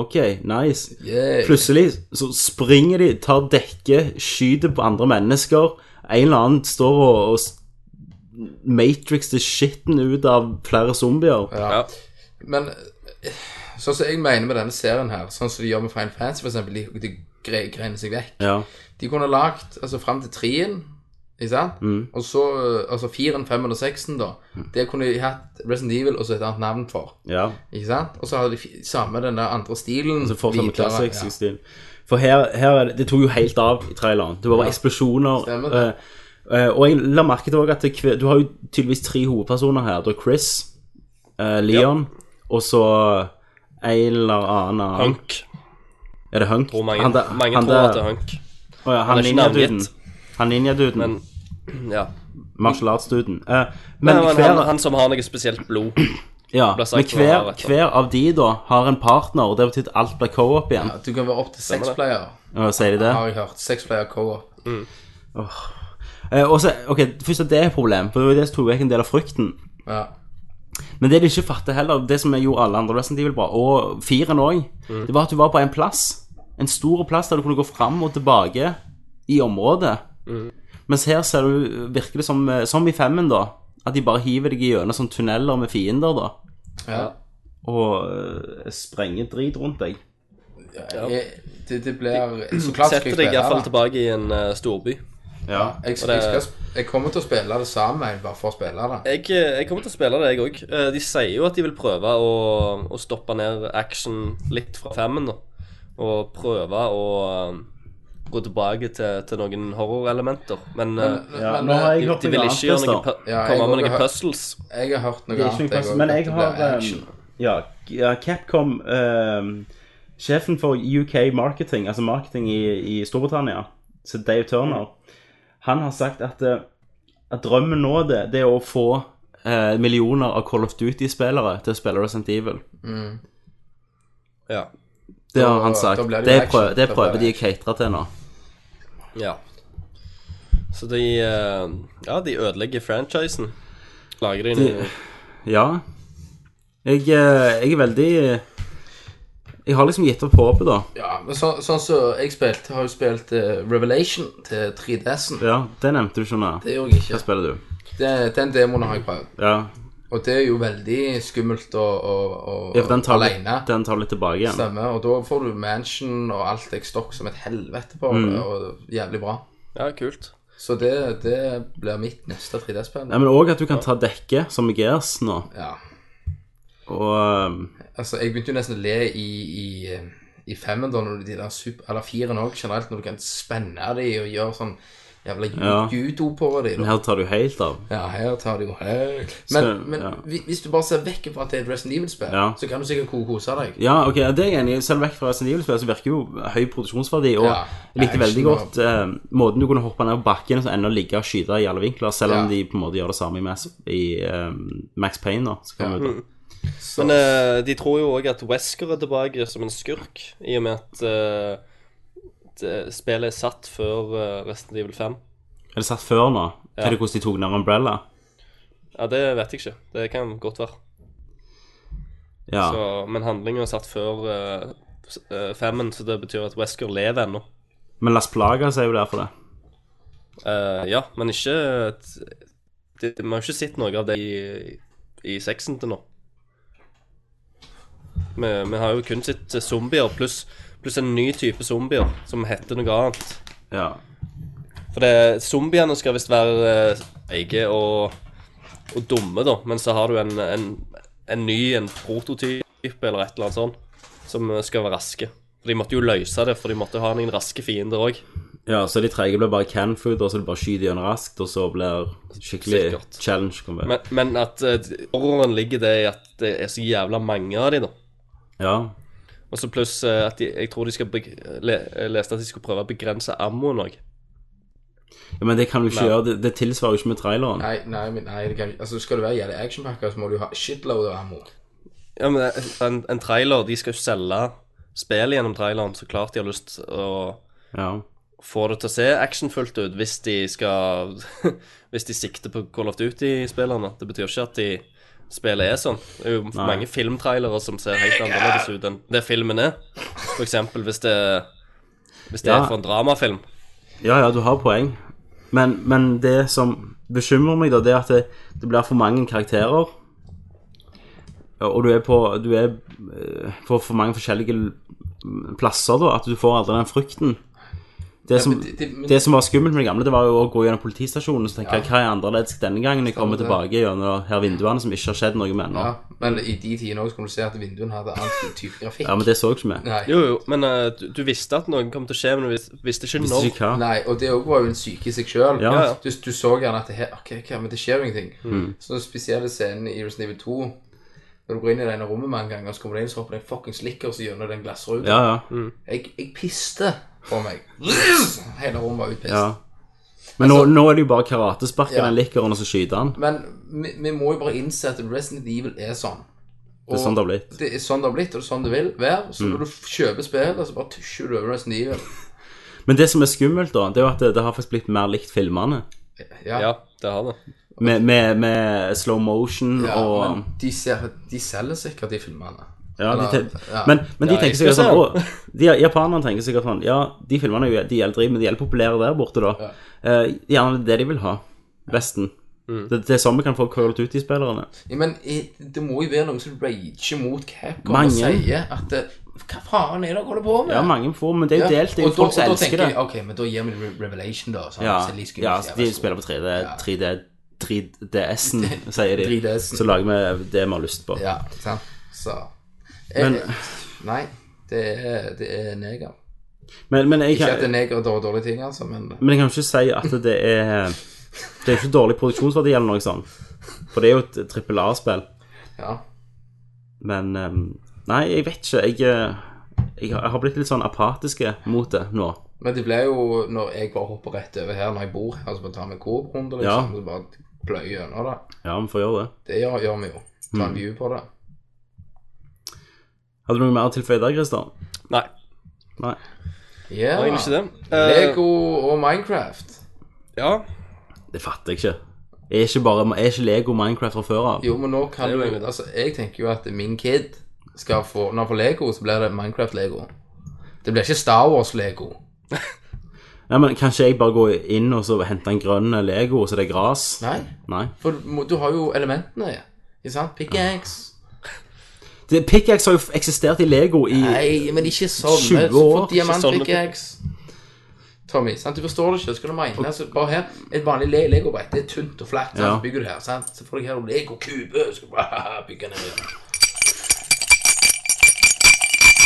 Speaker 6: OK, nice.
Speaker 7: Eh,
Speaker 3: Yeah.
Speaker 6: Plutselig så springer de, tar dekke, skyter på andre mennesker. En eller annen står og, og s- Matrix the shitten ut av flere zombier.
Speaker 3: Ja. Men eh, sånn som jeg mener med denne serien her, sånn som de gjør med Final Fantasy for eksempel, de, de gre- grener seg vekk.
Speaker 6: Ja.
Speaker 3: De kunne lagt altså, fram til treen, ikke sant? Og så eh, altså firen, femmen og seksen, da. Det kunne de hatt Resident Evil og så et annet navn for.
Speaker 6: ja.
Speaker 3: Ikke sant? Og så hadde de fi- samme den der andre stilen.
Speaker 6: Så Altså, fortsatt med
Speaker 3: videre,
Speaker 6: classics
Speaker 3: ja.
Speaker 6: stil. For her, her er det, det tok jo helt av i traileren. Det var bare eksplosjoner.
Speaker 3: Stemmer det.
Speaker 6: eh, eh, og jeg la merke til også at det, kve- du har jo tydeligvis tre hovedpersoner her. Du har Chris, eh, Leon og så en eller annen
Speaker 7: Hunk.
Speaker 6: Er det Hunk?
Speaker 7: Tror mange
Speaker 6: Han der-
Speaker 7: mange
Speaker 6: han
Speaker 7: tror
Speaker 6: der-
Speaker 7: at det er Hunk.
Speaker 6: Å ja, han
Speaker 7: er ikke
Speaker 6: ninja-duden.
Speaker 7: navngitt.
Speaker 6: Han ninja-duden.
Speaker 7: Men ja.
Speaker 6: Martial arts-duden. Eh,
Speaker 7: Men,
Speaker 6: men
Speaker 7: han,
Speaker 6: hver,
Speaker 7: han, han som har noe spesielt blod.
Speaker 6: ja,
Speaker 7: ble sagt
Speaker 6: men
Speaker 7: for å være,
Speaker 6: hver,
Speaker 7: vet du.
Speaker 6: hver av de da har en partner, og det betyr at alt blir co-op igjen.
Speaker 3: Ja, Du kan være opp til seks
Speaker 7: det.
Speaker 3: player,
Speaker 6: Ja, sier de det?
Speaker 3: har jeg hørt. Seks player co-op.
Speaker 6: Eh, og så, ok, Først at det er et problem, for det var jo det som tok vekk en del av frykten.
Speaker 3: Ja.
Speaker 6: Men det de ikke fatter heller, det som gjorde alle andre Resident Evil bra, og firen òg, det var at du var på en plass. En stor plass der du kunne gå fram og tilbake i området. Mens her ser du, virker det som, eh, som i femmen, da, at de bare hiver deg gjennom sånne tunneler med fiender, da.
Speaker 3: ja.
Speaker 6: Og eh, sprenger drit rundt deg.
Speaker 3: Jeg, det, det blir så klart skal jeg
Speaker 7: Setter deg
Speaker 3: spille
Speaker 7: iallfall
Speaker 3: det.
Speaker 7: tilbake i en eh, storby.
Speaker 6: Ja.
Speaker 3: Jeg,
Speaker 7: Og det-
Speaker 3: jeg, skal, sp- jeg kommer til å spille det sammen med en bare for å spille det.
Speaker 7: Jeg, eh, jeg kommer til å spille det, jeg òg. De sier jo at de vil prøve å, å stoppe ned action litt fra femmen. da. Og prøve å eh, gå tilbake til, til noen horrorelementer. Men, eh,
Speaker 6: Ja,
Speaker 3: men
Speaker 6: nå har
Speaker 3: eh,
Speaker 6: jeg
Speaker 7: de,
Speaker 6: hørt
Speaker 7: de
Speaker 6: noe
Speaker 7: vil
Speaker 6: annet,
Speaker 7: ikke gjøre noe,
Speaker 6: Christer.
Speaker 7: pu-
Speaker 3: Ja, jeg
Speaker 7: komme med
Speaker 3: også
Speaker 7: noen
Speaker 3: har-
Speaker 7: puzzles.
Speaker 3: eh, jeg har hørt noe
Speaker 6: Det er
Speaker 3: annet.
Speaker 6: ikke noe
Speaker 3: jeg
Speaker 6: plass,
Speaker 3: også,
Speaker 6: men
Speaker 3: at
Speaker 6: jeg
Speaker 3: det
Speaker 6: har
Speaker 3: blir
Speaker 6: eh,
Speaker 3: action.
Speaker 6: ja, ja, Capcom eh, Sjefen for UK marketing, altså marketing i, i Storbritannia, så Dave Turner, han har sagt at, eh, at drømmen nå det, det er å få eh, millioner av Call of Duty-spillere til å spille Resident Evil.
Speaker 7: Ja.
Speaker 6: Det har
Speaker 3: Da-
Speaker 6: han sagt.
Speaker 3: da blir
Speaker 6: Det,
Speaker 3: det jo action.
Speaker 6: prøver, det
Speaker 3: Da blir
Speaker 6: prøver
Speaker 3: det
Speaker 6: de å catere til nå.
Speaker 7: ja. Så de eh, Ja, de ødelegger franchisen. Lager de noe
Speaker 6: Ja. Jeg, eh, jeg er veldig Jeg har liksom gitt opp håpet, da.
Speaker 3: Ja, men så, sånn som så jeg spilte, har jo spilt eh, Revelation til 3DS-en.
Speaker 6: Ja, Det nevnte du ikke nå.
Speaker 3: Det gjorde jeg
Speaker 6: Hva
Speaker 3: ikke.
Speaker 6: spiller du?
Speaker 3: Det, den demoen har jeg prøvd.
Speaker 6: Ja,
Speaker 3: Og det er jo veldig skummelt og, og, og
Speaker 6: ja for den tar, litt,
Speaker 3: alene.
Speaker 6: den tar litt tilbake igjen.
Speaker 3: Stemmer. Og da får du mansion og alt jeg stokk som et helvete på.
Speaker 6: Mm.
Speaker 3: Og jævlig bra.
Speaker 7: Ja, kult.
Speaker 3: Så det, det blir mitt neste 3D-spill.
Speaker 6: Nei, men òg at du kan ta dekke, som i Gears nå.
Speaker 3: Ja.
Speaker 6: Og um,
Speaker 3: Altså, jeg begynte jo nesten å le i, eh, i, i femmen da, når de der super, eller firen også generelt, når du kan spenne de og gjøre sånn Jævla ju-
Speaker 6: Ja.
Speaker 3: judo på dem.
Speaker 6: Men her tar du helt av.
Speaker 3: Ja, her tar de jo helt Men,
Speaker 6: Så,
Speaker 3: men
Speaker 6: ja.
Speaker 3: hvi- hvis du bare ser vekk fra at det er et Resident Evil-spill,
Speaker 6: Ja.
Speaker 3: så kan du sikkert ko- kose deg.
Speaker 6: Ja, ok, det er jeg enig i. Selv vekk fra Resident Evil-spill så virker jo høy produksjonsverdi. Og
Speaker 3: Ja.
Speaker 6: jeg likte
Speaker 3: Action
Speaker 6: veldig
Speaker 3: og-
Speaker 6: godt eh, måten du kunne hoppe ned på bakken og så ennå ligge og skyte i alle vinkler, selv om
Speaker 3: Ja.
Speaker 6: de på en måte gjør det samme i, Mass, i eh, Max Payne nå. Så kommer det ut da.
Speaker 3: Så,
Speaker 7: Men eh, de tror jo òg at Wesker er tilbake som en skurk, i og med at eh, det- spillet er satt før eh, Resident Evil 5.
Speaker 6: Er det satt før nå? Er det hvordan de tok ned Umbrella?
Speaker 7: Ja, det vet jeg ikke. Det kan godt være.
Speaker 6: Ja.
Speaker 7: Så, men handlingen er satt før eh, s- eh, femmen, så det betyr at Wesker lever ennå.
Speaker 6: Men Las Plagas er jo der for det.
Speaker 7: Eh, ja, men ikke det, Vi har jo ikke sett noe av det i, i sexen til nå. Vi, vi har jo kun sett zombier pluss pluss en ny type zombier som heter noe annet.
Speaker 6: Ja.
Speaker 7: For det, zombiene skal visst være eh, feige og, og dumme, da. Men så har du en, en, en ny, en prototype eller et eller annet sånt, som eh, skal være raske. For de måtte jo løse det, for de måtte ha noen raske fiender òg.
Speaker 6: ja, så de treige blir bare can food, og så det bare skyter gjennom raskt, og så blir skikkelig
Speaker 7: Sikkert.
Speaker 6: challenge. kommer.
Speaker 7: Men, men at eh, horroren ligger det i at det er så jævla mange av de, da.
Speaker 6: Ja.
Speaker 7: Og så pluss eh, at de, jeg tror de skal beg le leste at de skulle prøve å begrense ammoen òg.
Speaker 6: ja, men det kan du ikke
Speaker 7: Nei.
Speaker 6: gjøre. Det, det tilsvarer jo ikke med traileren.
Speaker 3: nei, nei, men nei, det kan Altså, skal du være jævlig actionpacker, så må du ha shitload av ammo.
Speaker 7: Ja, men eh, en, en trailer De skal jo selge spillet gjennom traileren, så klart de har lyst å
Speaker 6: Ja.
Speaker 7: får det til å se actionfullt ut hvis de skal Hvis de sikter på Call of Duty-spillerne. Det betyr ikke at de spillet er sånn. Det er jo mange filmtrailere som ser helt annerledes ut enn det filmen er. For eksempel hvis det Hvis det
Speaker 6: Ja.
Speaker 7: er for en dramafilm.
Speaker 6: Ja, ja, du har poeng. Men, men det som bekymrer meg, da, det er at det, det blir for mange karakterer. Ja, Og du er på Du er eh, på for mange forskjellige l- plasser, da. At du får aldri den frykten. Det som,
Speaker 3: det- det- men-
Speaker 6: det som var skummelt med det gamle, det var jo å gå gjennom politistasjonen og tenke hva er annerledes denne gangen jeg kommer
Speaker 3: Sant det.
Speaker 6: tilbake gjennom her vinduene som ikke har skjedd noe med ennå.
Speaker 3: Ja, men i de tidene også kunne du se at vinduene hadde annen type grafikk.
Speaker 6: Ja, men det så jeg ikke med.
Speaker 3: Nei.
Speaker 7: Jo, jo, men eh, du, du visste at noen kom til å skje, men du vis- visste ikke
Speaker 6: Visste
Speaker 7: når.
Speaker 6: ikke hva.
Speaker 3: Nei, og det også var jo en syke i seg sjøl.
Speaker 6: Ja, Mm. ja.
Speaker 3: Du, du så gjerne at det her, ok, ok, men det skjer jo ingenting. Så den spesielle scenen i Resident Evil 2 når du går inn i denne rommet mange ganger, så kommer du inn så hopper det en fuckings likkers gjennom den glassruta.
Speaker 6: Ja, ja.
Speaker 3: Jeg, jeg piste på meg. Hele rommet var utpist.
Speaker 6: ja. Men
Speaker 3: Altså-
Speaker 6: nå, nå er det jo bare karatespark i den likeren, og så skyter han.
Speaker 3: Men vi, vi må jo bare innse at Resident Evil er sånn.
Speaker 6: Det er sånn det har blitt. Mm.
Speaker 3: Det er sånn det har blitt, og det er sånn det vil være. Så når du f- kjøper spillet, så bare tusjer du over Resident Evil.
Speaker 6: Men det som er skummelt, da, det er jo at det, det har faktisk blitt mer likt filmene.
Speaker 3: Ja,
Speaker 7: Ja, det har det.
Speaker 6: Med, med, med slow motion
Speaker 3: ja,
Speaker 6: og um,
Speaker 3: men de, ser, de selger sikkert de filmene.
Speaker 6: ja, de,
Speaker 3: eller-
Speaker 6: te-
Speaker 3: ja.
Speaker 6: Men, men de
Speaker 7: Ja, jeg
Speaker 6: tenker
Speaker 7: skal
Speaker 6: sikkert
Speaker 7: se
Speaker 6: sånn å, de, Japanerne tenker sikkert sånn Ja, de filmene er jo de er eldre, men de er populære der borte, da. Eh, gjerne det de vil ha. Vesten.
Speaker 3: Mm.
Speaker 6: Det, det er sånn vi kan få Call of Duty-spillerne.
Speaker 3: Ja, men i- det må jo være noen som rager mot Capcom
Speaker 6: Mange.
Speaker 3: og sier at eh, Hva faen er det dere holder på med?
Speaker 6: Ja, mange får, men det er jo
Speaker 3: Ja,
Speaker 6: delt. Det
Speaker 3: og
Speaker 6: er jo
Speaker 3: da-
Speaker 6: folk som
Speaker 3: og da
Speaker 6: elsker
Speaker 3: tenker
Speaker 6: det.
Speaker 3: de, Ok, men da gir vi det Re- Revelation, da. Så
Speaker 6: Ja,
Speaker 3: så de skal
Speaker 6: ja
Speaker 3: ikke
Speaker 6: de
Speaker 3: være så-
Speaker 6: spiller på 3D, 3D, 3DS-en, sier de.
Speaker 3: 3DS-en.
Speaker 6: Så lager vi det vi har lyst på.
Speaker 3: Ja, sant. Så
Speaker 6: Men-
Speaker 3: eh, Nei, det er, det er neger.
Speaker 6: Men, men jeg
Speaker 3: Ikke
Speaker 6: kan
Speaker 3: at det er neger og dår- dårlige ting, altså, men
Speaker 6: Men jeg kan jo ikke si at det er Det er jo ikke dårlig produksjonsverdi eller noe sånt. For det er jo et trippel A-spill.
Speaker 3: ja.
Speaker 6: Men ehm, Nei, jeg vet ikke. Jeg, eh, jeg har jeg har blitt litt sånn apatiske mot det nå.
Speaker 3: Men det blir jo, når jeg bare hopper rett over her når jeg bor her, altså, så bare tar vi en Coop-runde, liksom,
Speaker 6: Ja.
Speaker 3: så bare pløyer gjennom det.
Speaker 6: Ja, vi får gjøre det.
Speaker 3: Det gjør, gjør vi jo. Ta
Speaker 6: Mm.
Speaker 3: en view på det.
Speaker 6: Hadde du noe mer å tilføye der, Christer?
Speaker 7: Nei,
Speaker 6: Nei.
Speaker 3: Ja.
Speaker 7: det var egentlig ikke det. Eh,
Speaker 3: Lego og Minecraft.
Speaker 7: ja,
Speaker 6: Det fatter jeg ikke. Er ikke, bare, er ikke Lego Minecraft fra før av?
Speaker 3: Jo, men nå kan
Speaker 7: Det er
Speaker 3: du
Speaker 7: jo egentlig det.
Speaker 3: Altså, jeg tenker jo at min kid skal få Når han får Lego, så blir det Minecraft-Lego. Det blir ikke Star Wars-Lego.
Speaker 6: Nei, men Kanskje jeg bare går inn og så henter en grønn Lego, så det er gress?
Speaker 3: Nei.
Speaker 6: Nei.
Speaker 3: For du må- du har jo elementene, ja. ikke sant? Pickaxe.
Speaker 6: Det- Pickaxe har jo eksistert i Lego i
Speaker 3: Nei, men ikke sånn.
Speaker 6: 20
Speaker 3: Så
Speaker 6: år,
Speaker 3: fort diamant-pickaxe. Tommy, sant? du forstår det ikke. Skal du mene så bare her, Et vanlig le legobrett det er tynt og flatt. sant?
Speaker 6: Ja.
Speaker 3: Så bygger du her, sant? Så får du her legokube. Så skal du bare bygge ned.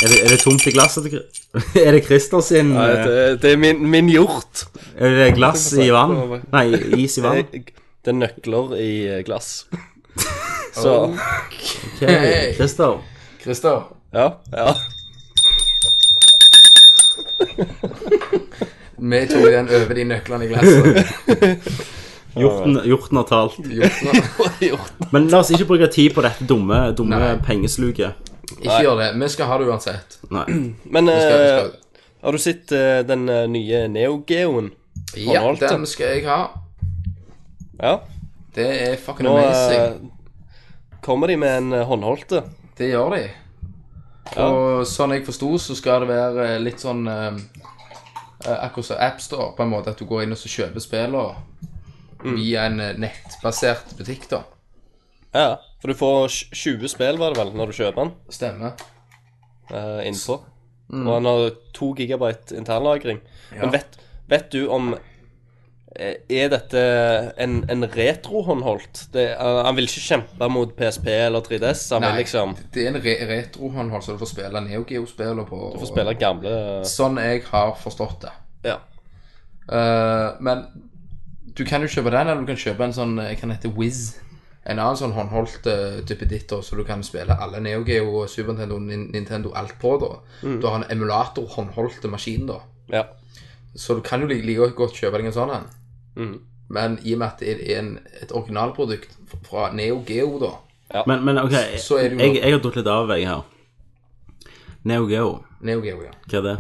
Speaker 6: Er det, er det tomt i glasset til Kri- Er det Christer sin
Speaker 7: Nei,
Speaker 6: eh,
Speaker 7: det, det er min, min hjort.
Speaker 6: Er det glass i vann?
Speaker 7: Det
Speaker 6: Nei, is i vann.
Speaker 7: Det, det er nøkler i eh, glass. Så
Speaker 6: Oh. Ok, Christer.
Speaker 3: Christer,
Speaker 7: Ja. ja.
Speaker 3: vi tok den over de nøklene i glasset.
Speaker 6: Hjorten, hjorten har talt.
Speaker 3: Gjort nå.
Speaker 7: Hjorten.
Speaker 6: Men la oss ikke bruke tid på dette dumme, dumme
Speaker 3: Nei.
Speaker 6: pengesluket.
Speaker 3: Ikke gjør det. Vi skal ha det uansett.
Speaker 6: Nei.
Speaker 7: Men
Speaker 3: Vi skal, vi skal.
Speaker 7: eh, har du sett eh, den eh, nye Neo Geoen?
Speaker 3: Ja,
Speaker 7: Håndholdt,
Speaker 3: den
Speaker 7: ja.
Speaker 3: skal jeg ha.
Speaker 7: Ja.
Speaker 3: Det er fucking
Speaker 7: Nå
Speaker 3: amazing.
Speaker 7: eh, kommer de med en eh, håndholdte.
Speaker 3: Det gjør de.
Speaker 7: Ja.
Speaker 3: Og sånn jeg forsto, så skal det være eh, litt sånn eh, eh, Akkurat som AppStore, på en måte. At du går inn og så kjøper spillene
Speaker 7: Mm.
Speaker 3: via en eh, nettbasert butikk, da.
Speaker 7: Ja, for du får tj- 20 spill, var det vel, når du kjøper den
Speaker 3: Stemmer.
Speaker 7: eh, innpå.
Speaker 3: Mm.
Speaker 7: Og han har 2 gigabyte internlagring. Men vet, vet du om eh, Er dette en, en retro-håndholdt? Det- Han han vil ikke kjempe mot PSP eller 3DS. Han vil liksom
Speaker 3: Det er en re retrohåndhold, så du får spille NeoGeo-spillene på.
Speaker 7: få spille gamle eh,
Speaker 3: Sånn jeg har forstått det.
Speaker 7: Ja.
Speaker 3: Eh, men du kan jo kjøpe den, eller du kan kjøpe en sånn eh, Kan hete Wiz. En annen sånn håndholdt eh, type ditt, da, så du kan spille alle Neo Geo og Super Nintendo Nin- Nintendo alt på. da Du har en emulator håndholdt maskin, da.
Speaker 7: ja.
Speaker 3: Så du kan jo like, like godt kjøpe deg en sånn en.
Speaker 7: Mhm.
Speaker 3: Men i og med at det er en, et originalprodukt f- fra Neo Geo, da
Speaker 6: Men, men OK,
Speaker 3: Så er det
Speaker 6: jeg,
Speaker 3: jo-
Speaker 6: jeg har datt litt av, jeg her. Neo Geo,
Speaker 3: Neo Geo, ja.
Speaker 6: hva er det?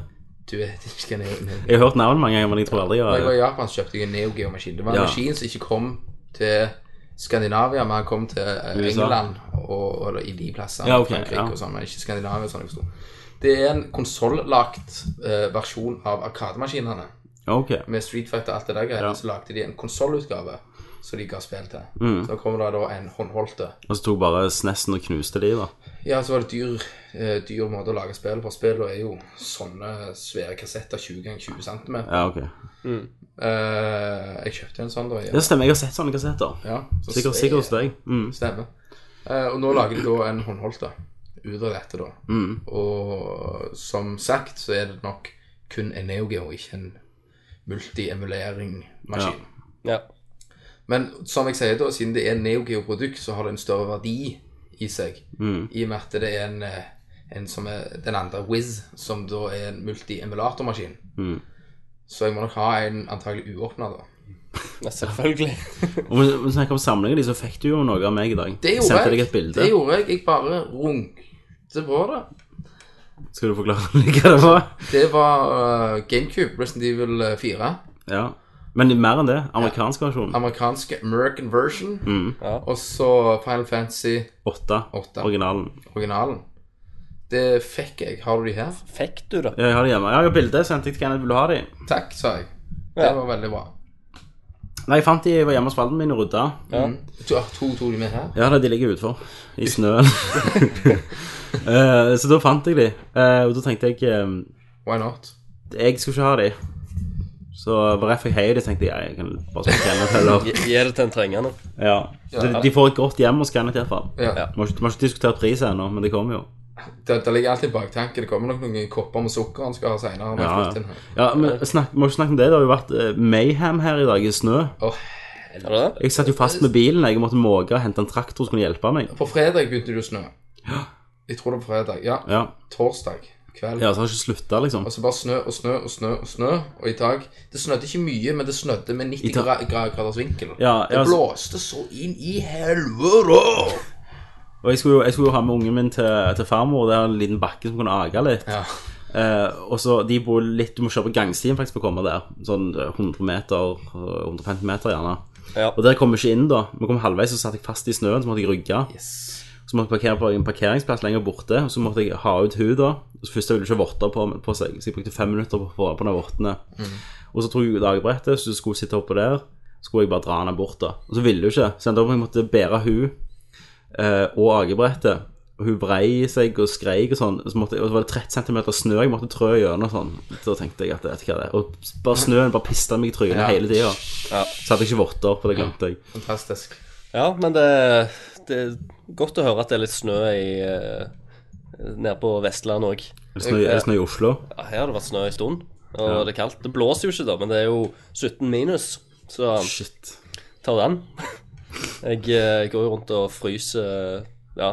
Speaker 3: Du vet ikke hva Neo, Neo Geo
Speaker 6: Jeg har hørt navnet mange ganger, men jeg tror aldri jeg
Speaker 3: Da jeg var
Speaker 6: har
Speaker 3: i Japan, så kjøpte jeg en Neo Geo-maskin. Det var en
Speaker 6: Ja.
Speaker 3: maskin som ikke kom til Skandinavia, men han kom til eh,
Speaker 6: USA.
Speaker 3: England og, og i de plassene.
Speaker 6: Ja, ok,
Speaker 3: Frankrike
Speaker 6: ja.
Speaker 3: og sånn, men ikke Skandinavia, sånn jeg forsto. Det er en konsollagt eh, versjon av Arkademaskinene.
Speaker 6: Ok.
Speaker 3: Med Street Fighter og alt det der greiene,
Speaker 6: Ja.
Speaker 3: så lagde de en konsollutgave som de ga spill til.
Speaker 6: Mm.
Speaker 3: Så kommer det da en håndholdte.
Speaker 6: Og så tok bare snessen og knuste de, da.
Speaker 3: Ja, så var det dyr, eh, dyr måte å lage spill på. Spillene er jo sånne svære kassetter, 20 ganger 20 cm.
Speaker 6: Ja, ok.
Speaker 3: jeg kjøpte en sånn da. i-
Speaker 6: Det stemmer, jeg har sett sånne kassetter.
Speaker 3: Ja, så
Speaker 6: Sikkert
Speaker 3: ser-
Speaker 6: sikkert hos deg. Mm.
Speaker 3: Stemmer. Eh, og nå lager de da en håndholdt da, ut av dette, da.
Speaker 6: Mm.
Speaker 3: Og som sagt så er det nok kun en NeoGeo, ikke en multiemulering-maskin.
Speaker 7: ja.
Speaker 3: Men som jeg sier, da, siden det er en NeoGeo-produkt, så har det en større verdi i seg.
Speaker 6: Mm.
Speaker 3: I og med at det er en, eh, en som er den andre Wiz, som da er en multi-emulatormaskin.
Speaker 6: Mm.
Speaker 3: Så jeg må nok ha en antagelig uåpna, da.
Speaker 7: Ja, Selvfølgelig.
Speaker 6: Og vi vi snakker om samlingen din, så fikk du jo noe av meg i dag.
Speaker 3: Det
Speaker 6: jeg.
Speaker 3: gjorde
Speaker 6: Sendte deg
Speaker 3: jeg.
Speaker 6: et bilde.
Speaker 3: Det gjorde jeg. Jeg bare runkte på det.
Speaker 6: Skal du forklare hva det var?
Speaker 3: Det var eh, GameCube, Resident Evil eh, 4.
Speaker 6: Ja. Men mer enn det. Amerikansk versjon.
Speaker 3: Amerikansk American version.
Speaker 6: Mm.
Speaker 7: Ja.
Speaker 3: Og så Final Fantasy
Speaker 6: Åtte.
Speaker 3: Åtte.
Speaker 6: Originalen.
Speaker 3: originalen. Det fikk jeg. Har du de her?
Speaker 7: Fikk du det?
Speaker 6: Ja, jeg har det hjemme. Ja, Jeg har bilde. Sendte jeg til Kenneth. Vil du ha de?
Speaker 3: Takk, sa jeg. Det
Speaker 7: Ja.
Speaker 3: var veldig bra.
Speaker 6: Nei, jeg fant de jeg var hjemme hos foreldrene mine og rydda.
Speaker 7: Ja.
Speaker 3: To, ah, to tok de med her?
Speaker 6: Ja, da, de ligger utfor. I snøen. Eh, så da fant jeg de. Eh, og da tenkte jeg eh,
Speaker 3: Why not?
Speaker 6: Jeg skulle ikke ha de. Så bare jeg fikk hei i de, tenkte jeg ja, jeg kan bare spørre Kenneth eller
Speaker 7: Gi gi det til en trengende.
Speaker 6: Ja. Så de, de får et godt hjem hos Kenneth i hvert fall.
Speaker 3: Ja.
Speaker 7: Ja.
Speaker 6: Vi har ikke, vi har ikke diskutert pris ennå, men det kommer jo.
Speaker 3: Det, det ligger alltid baktanke. Det kommer nok noen kopper med sukker han skal ha seinere.
Speaker 6: Ja, ja. ja men snakk, vi må ikke snakke om det. Det har jo vært eh, mayhem her i dag i snø.
Speaker 7: Er det det?
Speaker 6: Jeg satt jo fast med bilen. Jeg måtte måke og hente en traktor som kunne hjelpe meg.
Speaker 3: På fredag begynte det å snø. Jeg tror det var fredag. Ja,
Speaker 6: Ja,
Speaker 3: torsdag kveld.
Speaker 6: ja så har jeg ikke slutta, liksom.
Speaker 3: Og så bare snø og snø og snø og snø. Og i dag Det snødde ikke mye, men det snødde med 90
Speaker 6: I dag-
Speaker 3: gra gra- graders vinkel.
Speaker 6: Ja,
Speaker 3: det
Speaker 6: ja, altså-
Speaker 3: blåste så inn i helvete!
Speaker 6: Og jeg skulle, jo, jeg skulle jo ha med ungen min til, til farmor. Det er en liten bakke som kunne age litt.
Speaker 3: Ja.
Speaker 6: Eh, og så de bor litt Du må kjøre på gangstien faktisk for å komme der. Sånn eh, 100 meter, eh, 150 meter gjerne.
Speaker 7: Ja.
Speaker 6: Og der kom vi ikke inn, da. Vi kom halvveis, så satt jeg fast i snøen, så måtte jeg rygge.
Speaker 3: Yes.
Speaker 6: Så måtte jeg parkere på en parkeringsplass lenger borte, og så måtte jeg ha ut huden. Og så først ville jeg ikke ha vorter på, på seg, så jeg brukte fem minutter på å få av på den vortene. Og så tok jeg dagbrettet, så skulle jeg sitte oppå der. Så skulle jeg bare dra henne bort, da. Og så ville hun ikke, så jeg endte opp med at jeg måtte bære hun eh, og akebrettet. Og hun vrei seg og skreik og sånn. Så måtte, jeg- og så var det 30 cm snø jeg måtte trø gjennom og sånn. Da tenkte jeg at vet du hva det er. Og bare snøen bare pista meg i trynet
Speaker 3: Ja.
Speaker 6: hele tida.
Speaker 7: Ja.
Speaker 6: Så hadde jeg ikke vorter, for det glemte jeg.
Speaker 3: Fantastisk.
Speaker 7: Ja, men det, det er godt å høre at det er litt snø i eh, Nede på Vestlandet òg.
Speaker 6: Er det snø, er det snø i Oslo?
Speaker 7: Ja, her har det vært snø en stund, og det er kaldt. Det blåser jo ikke, da, men det er jo 17 minus, så um,
Speaker 6: Shit.
Speaker 7: ta den. Jeg eh, går jo rundt og fryser ja,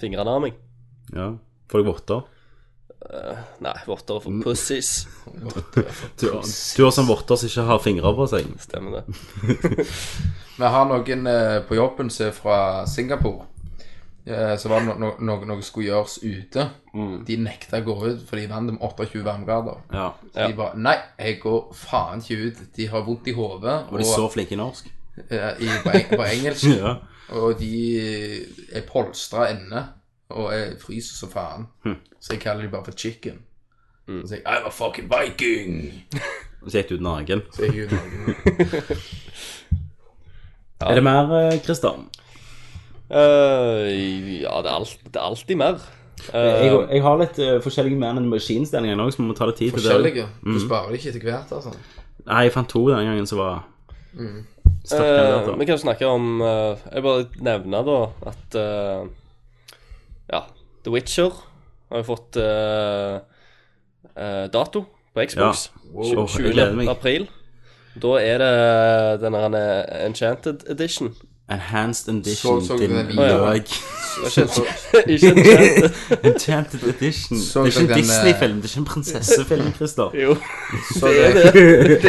Speaker 7: fingrene av meg.
Speaker 6: Ja. Får deg votter?
Speaker 7: Nei, votter
Speaker 6: Mm.
Speaker 7: for pussies.
Speaker 6: Du, du har sånn votter som ikke har fingre på seg.
Speaker 7: Stemmer det.
Speaker 3: Vi har noen eh, på jobben som er fra Singapore. Eh, så var det noe no no noe skulle gjøres ute.
Speaker 6: Mm.
Speaker 3: De nekta å gå ut, for de vant om 28 varmegrader.
Speaker 6: Ja.
Speaker 3: Så de bare Nei, jeg går faen ikke ut. De har vondt i hodet.
Speaker 6: Og de er så flinke i norsk.
Speaker 3: eh, i, på, eng på engelsk.
Speaker 6: Ja.
Speaker 3: Og de er polstra ende og jeg fryser så faen. Så jeg kaller de bare for chicken. Så sier jeg I'm a fucking viking.
Speaker 6: Og så gikk du ut naken.
Speaker 3: Det er jo noe.
Speaker 6: Er det mer, eh, Christer?
Speaker 7: Eh, ja, det er, alt, det er alltid mer. Eh,
Speaker 6: Jeg, jeg har litt eh, forskjellige Man in the Machine-stillinger nå, så vi må ta litt tid til det.
Speaker 3: Forskjellige. Du sparer det ikke etter hvert, altså.
Speaker 6: Nei, jeg fant to den gangen som var
Speaker 3: Mm.
Speaker 6: sterke
Speaker 7: Eh,
Speaker 6: kandidater.
Speaker 7: vi kan jo snakke om eh, Jeg bare nevner da at eh, Ja, The Witcher har jo fått eh, eh, dato på Xbox.
Speaker 6: Wow. Åh, jeg
Speaker 7: 20.
Speaker 6: gleder meg.
Speaker 7: april. Da er det den der Enchanted Edition.
Speaker 6: Enhanced Edition,
Speaker 3: Så- så
Speaker 6: din
Speaker 3: den videoen.
Speaker 6: løk.
Speaker 3: Så, så,
Speaker 7: Ikke Enchanted.
Speaker 6: Enchanted Edition.
Speaker 3: Så
Speaker 6: det er ikke
Speaker 3: den,
Speaker 6: en
Speaker 3: eh,
Speaker 6: Disney-film, det er ikke en prinsessefilm, Christer.
Speaker 7: Jo.
Speaker 3: så, dere-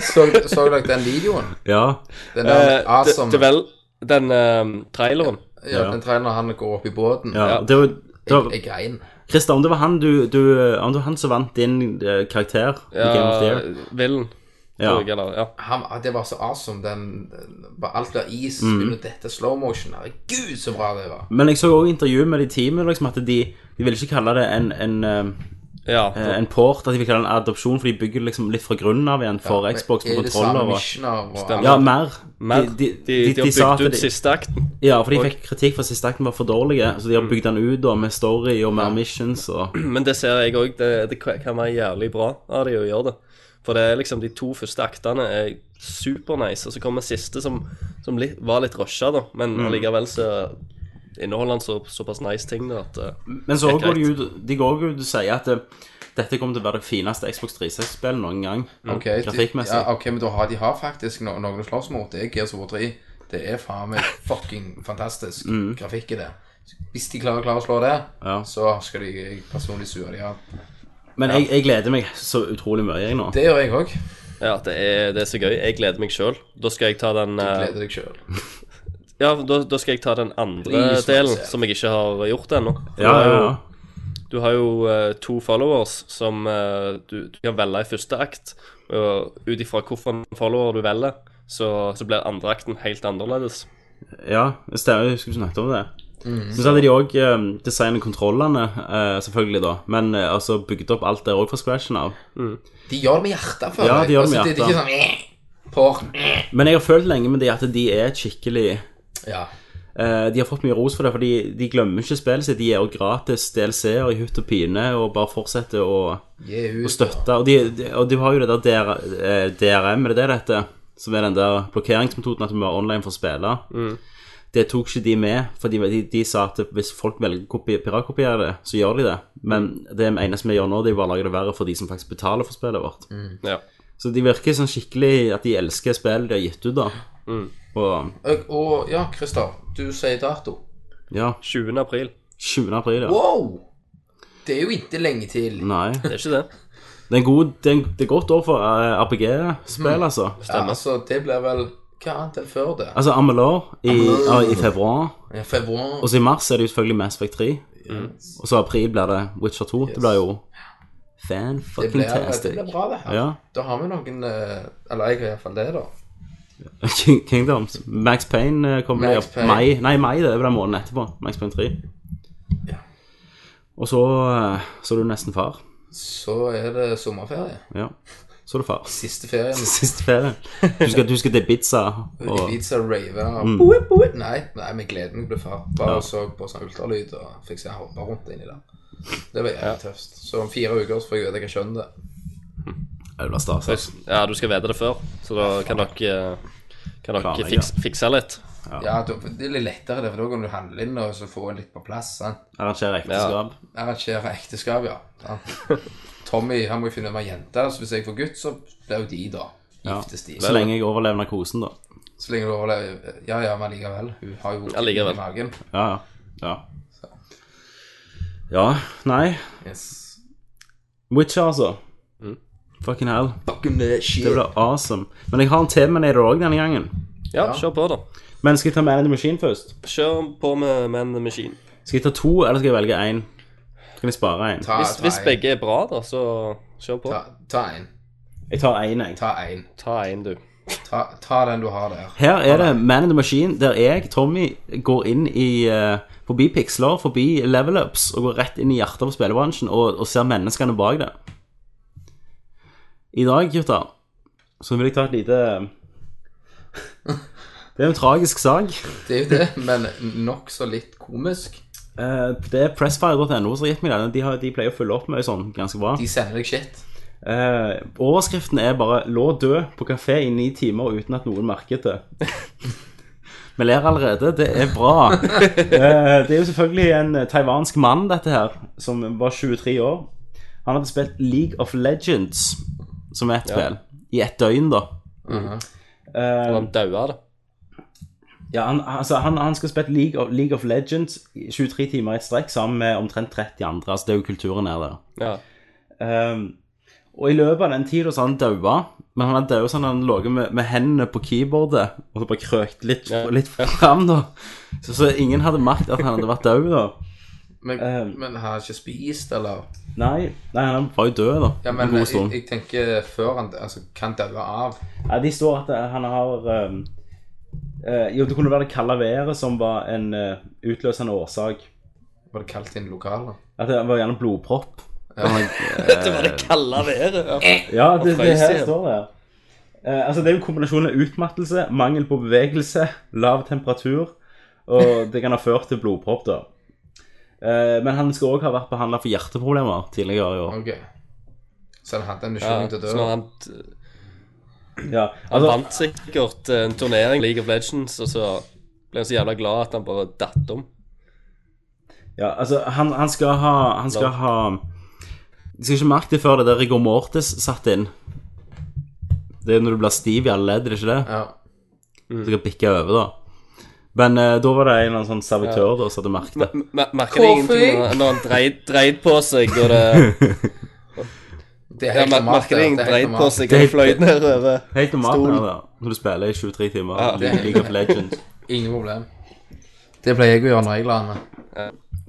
Speaker 3: så, så dere den videoen?
Speaker 6: Ja.
Speaker 3: Den der
Speaker 7: Eh,
Speaker 3: awesome
Speaker 7: det, det vel, den eh, traileren.
Speaker 3: ja, Den traileren han går opp i båten.
Speaker 6: ja. Det var, det var,
Speaker 3: Jeg grein.
Speaker 6: Christer, om det var han du, du Om det var han som vant din eh, karakter i Game of the
Speaker 7: Ja,
Speaker 6: Year
Speaker 7: Villen. tror jeg,
Speaker 6: ja.
Speaker 7: eller- Ja.
Speaker 3: Han, ah, det var så awesome. Den, den- bare alt blir is under dette slow motion. Herregud, så bra det var.
Speaker 6: Men jeg så også intervju med de teamet liksom, At de, de ville ikke kalle det en, en, eh,
Speaker 7: ja.
Speaker 6: en port At de ville kalle det en adopsjon For de bygger liksom litt fra grunnen av igjen For Xbox med
Speaker 3: Er det samme
Speaker 6: kontroller og,
Speaker 3: missioner og
Speaker 7: Stemmer.
Speaker 6: Ja, mer
Speaker 7: Mer. De, de, har bygd ut siste akten.
Speaker 6: Ja, for de fikk kritikk for at siste akten var for dårlige Så
Speaker 7: Mm.
Speaker 6: de har bygd den ut da Med story og mer missions og,
Speaker 7: Men det ser jeg òg. Det, det kan være jævlig bra av de å gjøre det. For det er liksom de to første aktene er supernice, og så kommer siste som, som litt, var litt rusha, da. Men
Speaker 6: Mm.
Speaker 7: allikevel så inneholder han så, såpass nice ting da at eh,
Speaker 6: Men så
Speaker 7: Helt
Speaker 6: går de
Speaker 7: greit.
Speaker 6: ut De går ut og sier at eh, Dette kommer til å være det fineste Xbox 360-spillet noen gang
Speaker 3: Ok, de-
Speaker 6: Grafikkmessig
Speaker 3: Ja, ok, men da har de har faktisk no noen å slåss mot. Det er Gears of War 3. Det er faen meg fucking fantastisk grafikk i det. Hvis de klarer, klarer å slå det,
Speaker 6: Mm. Ja.
Speaker 3: så skal de jeg personlig sure de av.
Speaker 6: Men jeg, jeg gleder meg så utrolig mye jeg nå.
Speaker 3: Det gjør jeg òg.
Speaker 7: Ja, det er, det er så gøy. Jeg gleder meg sjøl. Da skal jeg ta den eh,
Speaker 3: Gleder deg sjøl.
Speaker 7: Ja, da, da skal jeg ta den andre
Speaker 3: Please,
Speaker 7: delen,
Speaker 3: Marcel.
Speaker 7: som jeg ikke har gjort ennå.
Speaker 6: Ja, ja, ja.
Speaker 7: Du har jo eh, to followers som eh, du, du kan velge i første akt. Og ut ifra hvilken follower du velger, så, så blir andre akten helt annerledes.
Speaker 6: ja det stemmer, jeg husker du snakket om det. Så så hadde de òg um, designet kontrollene, eh, selvfølgelig, da. Men eh, altså bygd opp alt der òg fra scratchen av.
Speaker 3: De gjør det med hjertet, føler
Speaker 6: Ja, de gjør det med
Speaker 3: Altså, Det, det er ikke sånn Pork.
Speaker 6: Men jeg har følt lenge med det at de er et skikkelig
Speaker 3: Ja.
Speaker 6: eh, De har fått mye ros for det, for de, de glemmer ikke spillet sitt. De gir jo gratis DLC-er i hutt og pine og bare fortsetter å,
Speaker 3: Gi
Speaker 6: å
Speaker 3: ut.
Speaker 6: støtte. Og de, de, og de har jo det der DR, eh, DRM, er det det det heter? Som er den der blokkeringsmetoden at du må være online for å spille. det tok ikke de med, for de, de, de sa at hvis folk velger å kopi- piratkopiere det, så gjør de det. Men det eneste vi gjør nå, det er bare å lage det verre for de som faktisk betaler for spillet vårt.
Speaker 7: Ja.
Speaker 6: Så de virker sånn skikkelig at de elsker spillet de har gitt ut, da. Og
Speaker 3: Og, og ja, Christer, du sier dato.
Speaker 6: ja,
Speaker 7: 20. april.
Speaker 6: 20. april, ja.
Speaker 3: Wow! Det er jo ikke lenge til.
Speaker 6: Nei.
Speaker 7: Det er ikke det.
Speaker 6: Det er, en god, det er, en, det er godt år for eh, RPG-spill, altså.
Speaker 3: Ja, altså, det blir vel Hva annet enn før det?
Speaker 6: Altså Amelor i, ja, i februar.
Speaker 3: Ja, Februar.
Speaker 6: Og mm. så i mars er det jo selvfølgelig Mass Effect 3. Og så i april blir det Witcher 2. Det blir jo
Speaker 3: Det blir, det
Speaker 6: fan-fucking-tastic.
Speaker 3: blir bra, det her.
Speaker 6: Ja.
Speaker 3: Da har vi noen eh, Eller jeg har iallfall det, da.
Speaker 6: King- Kingdoms. Max Payne eh, kommer
Speaker 3: Max
Speaker 6: i
Speaker 3: Payne.
Speaker 6: mai. Nei, mai det er vel den måneden etterpå. Max Payne 3. Og så eh, så er du nesten far.
Speaker 3: Så er det sommerferie.
Speaker 6: Ja, så er du far.
Speaker 3: Siste ferien.
Speaker 6: Siste ferie. Du skal, du skal til Ibiza og
Speaker 3: Ibiza, rave og boop, boop. Nei, nei, vi gleder meg til å bli far. Bare så på sånn ultralyd og fikk se hoppe rundt inni der. Det var jævlig tøft. Så om fire uker så får jeg vite hva kjønn det er.
Speaker 6: Det blir stas. altså.
Speaker 7: Ja, du skal vite det før, så da kan dere, kan dere
Speaker 6: Planlegge.
Speaker 7: fiks, fikse litt.
Speaker 3: Ja, da- det er litt lettere, det, for da kan du handle inn og så få en litt på plass. sant?
Speaker 6: Arrangere ekteskap.
Speaker 3: Arrangere ekteskap, ja. ja. Tommy han må jo finne meg jente, så hvis jeg får gutt, så blir jo de, da.
Speaker 6: Ja.
Speaker 3: Giftes de.
Speaker 6: Så lenge jeg overlever narkosen, da.
Speaker 3: Så lenge du overlever Ja ja, men likevel. Hun har jo
Speaker 7: Allikevel.
Speaker 3: i magen.
Speaker 6: Ja, ja. Ja, nei.
Speaker 3: Yes.
Speaker 6: Witcher, altså. Fucking hell.
Speaker 7: Fucking shit.
Speaker 6: Det blir awesome. Men jeg har en Terminator òg denne gangen.
Speaker 7: Ja, kjør på, da.
Speaker 6: Men skal jeg ta Man in the Machine først?
Speaker 7: Kjør på med Man in the Machine.
Speaker 6: Skal jeg ta to, eller skal jeg velge én? Kan jeg spare én?
Speaker 3: Ta,
Speaker 7: Hvis,
Speaker 3: ta
Speaker 7: hvis
Speaker 3: en.
Speaker 7: begge er bra, da, så kjør på.
Speaker 3: Ta, ta en.
Speaker 6: Jeg tar én, jeg.
Speaker 3: Ta en.
Speaker 7: Ta én, du.
Speaker 3: Ta, ta den du har der.
Speaker 6: Her er det Man in the Machine, der jeg, Tommy, går inn i eh, Forbi piksler, forbi level-ups, og går rett inn i hjertet av spillebransjen og, og ser menneskene bak det. I dag, gutter, så vil jeg ta et lite Det er en tragisk sak.
Speaker 3: Det er jo det, men nokså litt komisk.
Speaker 6: Eh, det er pressfire.no som har gitt meg den. De, har, de pleier å følge opp med sånn ganske bra.
Speaker 3: De sender deg shit.
Speaker 6: Eh, overskriften er bare 'Lå død på kafé i ni timer uten at noen merket det'. Vi ler allerede. Det er bra. Eh, det er jo selvfølgelig en taiwansk mann, dette her, som var 23 år. Han hadde spilt League of Legends, som er et spill, i ett døgn, da.
Speaker 7: Og han daua, da.
Speaker 6: Ja, han, altså, han, han skal spille League of, League of Legends i 23 timer i et strekk sammen med omtrent 30 andre. Altså, det er jo kulturen her, der.
Speaker 7: Ja.
Speaker 6: Ehm, og i løpet av den tida så har han daua. Men han har daua sånn at han lå med, med hendene på keyboardet og så bare krøkt litt,
Speaker 7: Ja.
Speaker 6: litt fram, da. Så, så ingen hadde merket at han hadde vært død, da.
Speaker 3: Men,
Speaker 6: Eh.
Speaker 3: men har han ikke spist, eller?
Speaker 6: Nei, nei, han var jo død, da.
Speaker 3: Ja, men eh,
Speaker 6: en god
Speaker 3: jeg,
Speaker 6: stund.
Speaker 3: jeg tenker før han altså, kan daue av.
Speaker 6: Ja, de står at eh, han har ehm, eh, Jo, det kunne være det kalde været som var en eh, utløsende årsak.
Speaker 3: Var det kaldt inn i lokalet?
Speaker 6: At det var gjerne blodpropp.
Speaker 7: Det var det kalde været. Ja.
Speaker 6: Ja, det, det
Speaker 7: frøs
Speaker 6: her
Speaker 7: igjen.
Speaker 6: står det. Eh, altså, det er jo en kombinasjon av utmattelse, mangel på bevegelse, lav temperatur, og det kan ha ført til blodpropp, da. Eh, men han skal òg ha vært behandla for hjerteproblemer tidligere i år.
Speaker 3: Ok. Så han hadde en
Speaker 7: Ja,
Speaker 3: unnskyldning til
Speaker 7: så når
Speaker 3: døra?
Speaker 7: han,
Speaker 6: Ja,
Speaker 7: han
Speaker 6: altså,
Speaker 7: vant sikkert eh, en turnering, League of Legends, og så ble han så jævla glad at han bare datt om.
Speaker 6: ja, altså han, han skal ha Han skal ha Jeg skal ikke merke det før det der rigor mortis satt inn. Det er når du blir stiv i alle ledd, er det ikke det?
Speaker 3: Ja.
Speaker 6: Så skal bikke over, da. Men eh, da var det en eller annen sånn servitør da som hadde merket det.
Speaker 7: M- mer- Merker det ingenting når- når han dreid, dreid på seg, og det
Speaker 3: Det er
Speaker 7: ja,
Speaker 3: helt
Speaker 7: mer-
Speaker 3: normalt.
Speaker 7: Merker det
Speaker 3: det. Det
Speaker 7: ingenting
Speaker 3: er
Speaker 7: dreid
Speaker 3: helt
Speaker 7: på
Speaker 3: normalt.
Speaker 7: seg, og det fløy nedover.
Speaker 6: Helt normalt
Speaker 7: Stolen.
Speaker 6: nå, da, når du spiller i 23 timer
Speaker 7: Ja.
Speaker 6: League- League of Legends.
Speaker 3: Ingen problem. Det pleier jeg å gjøre når jeg lander.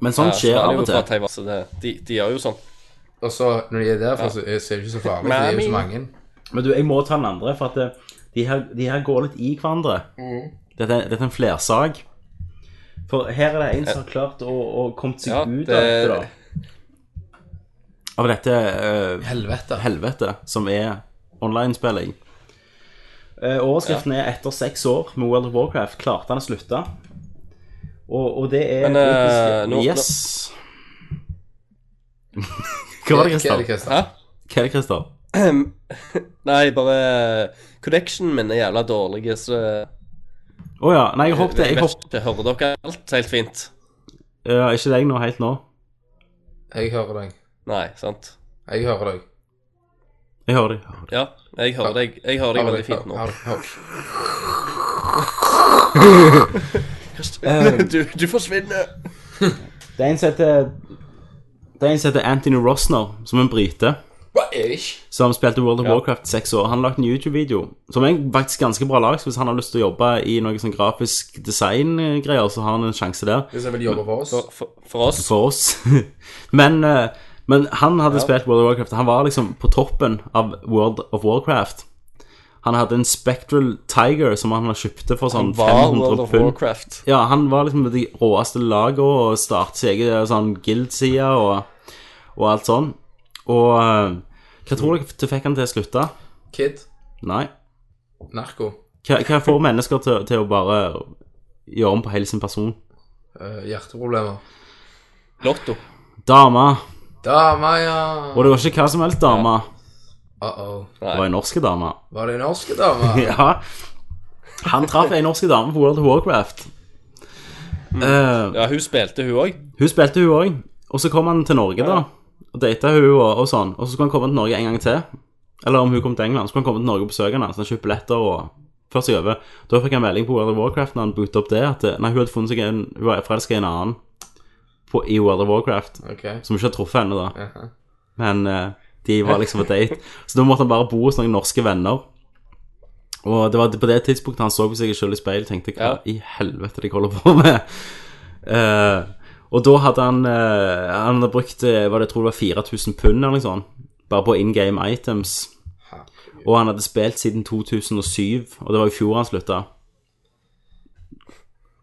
Speaker 6: Men sånt skjer av og til.
Speaker 7: De, de gjør jo sånn.
Speaker 3: Og så, når de er derfor, så er det ikke så farlig. for Det er jo så mange.
Speaker 6: Men du, jeg må ta den andre, for at eh, de her, de her går litt i hverandre.
Speaker 7: Mm.
Speaker 6: Dette, er- dette er en flersak. For her er det en som har klart å, å komme seg
Speaker 7: Eh, Ja,
Speaker 6: ut av
Speaker 7: det-
Speaker 6: dette, da. Av dette eh,
Speaker 3: Helvete.
Speaker 6: helvete som er online-spilling. Eh, overskriften er 'Etter seks år med World of Warcraft klarte han å slutte'. Og, og det er
Speaker 7: Men, eh, nå-
Speaker 6: Yes. Hva var det,
Speaker 3: Hva er
Speaker 6: Christer?
Speaker 3: Kristian?
Speaker 7: Hæ?
Speaker 6: Hva er det, Christer?
Speaker 7: Nei, bare Connectionen min er jævla dårlig, så
Speaker 6: Å ja. Nei, jeg hoppet. Jeg
Speaker 7: vet
Speaker 6: hoppet.
Speaker 7: ikke, hører dere alt helt fint?
Speaker 6: Ja, ikke deg nå, helt nå.
Speaker 3: Jeg hører deg.
Speaker 7: Nei, sant?
Speaker 3: Jeg hører deg.
Speaker 6: Jeg hører deg.
Speaker 7: Ja, jeg hører deg Jeg hører deg veldig fint nå.
Speaker 3: Hører deg. Hører deg.
Speaker 7: Du, du forsvinner.
Speaker 6: Det er en som heter Det er en som heter Anthony Rosner, som er en brite.
Speaker 3: Hva er det ikke?
Speaker 6: som spilte World of Warcraft i seks år. Han har lagt en YouTube-video som er faktisk ganske bra lag. Så hvis han har lyst til å jobbe i noe sånn grafisk design-greier, så har han en sjanse der
Speaker 3: Hvis jeg vil jobbe for oss.
Speaker 7: For, for, for oss.
Speaker 6: for oss. men, eh, men han hadde spilt World of Warcraft. Han var liksom på toppen av World of Warcraft. Han hadde en Spectral Tiger som han kjøpte for sånn
Speaker 7: Var World
Speaker 6: 500
Speaker 7: of
Speaker 6: pund.
Speaker 7: Warcraft.
Speaker 6: Ja, han var liksom med de råeste lagene og startet sin egen sånn guild-side og, og alt sånn. Og eh, hva tror dere det fikk han til å slutte?
Speaker 3: Kid.
Speaker 6: Nei.
Speaker 3: Narko.
Speaker 6: Hva, hva får mennesker til, til å bare gjøre om på hele sin person?
Speaker 3: eh, hjerteproblemer.
Speaker 7: Lotto.
Speaker 6: Dame.
Speaker 3: Dama, ja.
Speaker 6: Og det var ikke hva som helst dame.
Speaker 3: Uh-oh.
Speaker 6: Det var en norsk dame.
Speaker 3: Var det en norsk dame?
Speaker 6: Ja. Han traff ei norsk dame på World of Warcraft. Eh,
Speaker 7: Ja, hun spilte, hun òg.
Speaker 6: hun spilte, hun òg. Og så kom han til Norge, da. Og data hun og, og sånn. Og så skulle han komme til Norge en gang til. Eller om hun kom til England, så skulle han komme til Norge og besøke henne. Så han kjøpte billetter og først seg over. Da fikk han melding på World of Warcraft når han bootet opp det, at eh, nei, hun hadde funnet seg en Hun var forelska i en annen på, i World of Warcraft.
Speaker 3: Ok.
Speaker 6: Som ikke har truffet henne da Men eh, de var liksom på date Så da måtte han bare bo hos noen norske venner Og det var på det tidspunktet han så på seg selv i speil Tenkte hva i helvete de holder på med Eh, Og da hadde han eh, Han hadde brukt, eh, var det, jeg tror det var 4000 pund eller noe sånt Bare på in-game items Og han hadde spilt siden 2007 Og det var i fjor han sluttet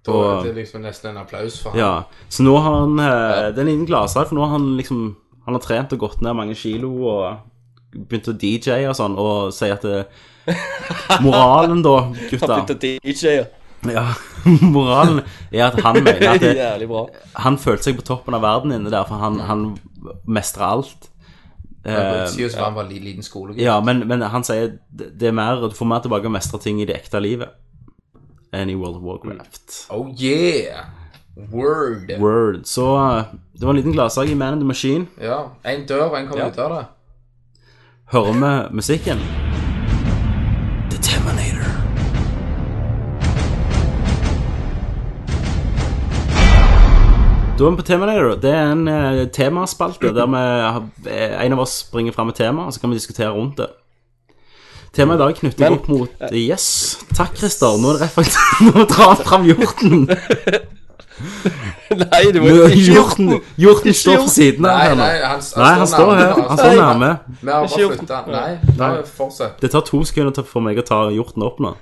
Speaker 3: Da
Speaker 6: Og-
Speaker 3: er det liksom nesten en applaus for han.
Speaker 6: Ja, så nå har han eh, Det er en liten gladsak, for nå har han liksom Han har trent og gått ned mange kilo og begynt å DJ og sånn, og sier at det, Moralen, da, gutta
Speaker 7: DJ-er.
Speaker 6: ja, Moralen er at han mener at det,
Speaker 7: Jævlig bra.
Speaker 6: han følte seg på toppen av verden inne der, for han, han mestra alt.
Speaker 3: Ja.
Speaker 6: Eh,
Speaker 3: Sier jo som han var li- liten skolegutt.
Speaker 6: ja, men, men han sier det det er mer, du får mer tilbake å mestre ting i det ekte livet enn i World of Warcraft.
Speaker 3: Oh yeah! Word.
Speaker 6: Word. Så eh, det var en liten gladsak i Man in the Machine.
Speaker 3: Ja. En dør, og en kommer ut av det.
Speaker 6: hører vi musikken. Da er vi på Terminator. Det er en eh, temaspalte der vi har, eh, en av oss bringer fram et tema, og så kan vi diskutere rundt det. Temaet i dag knytter
Speaker 7: Men-
Speaker 6: opp mot eh, Yes. Takk, Christer. Nå er det rett faktisk Nå drar han fram hjorten.
Speaker 7: Nei, det var
Speaker 6: Nå-
Speaker 7: ikke
Speaker 6: Hjorten, hjorten står
Speaker 7: hjorten.
Speaker 6: på siden av
Speaker 3: Nei,
Speaker 6: her nå.
Speaker 3: nei, han,
Speaker 6: Nei, han står her. Han står nærme.
Speaker 3: Vi har bare
Speaker 7: Ikke
Speaker 3: flytta. Nei, da fortsett.
Speaker 6: Det tar to sekunder til- for meg å ta hjorten opp nå.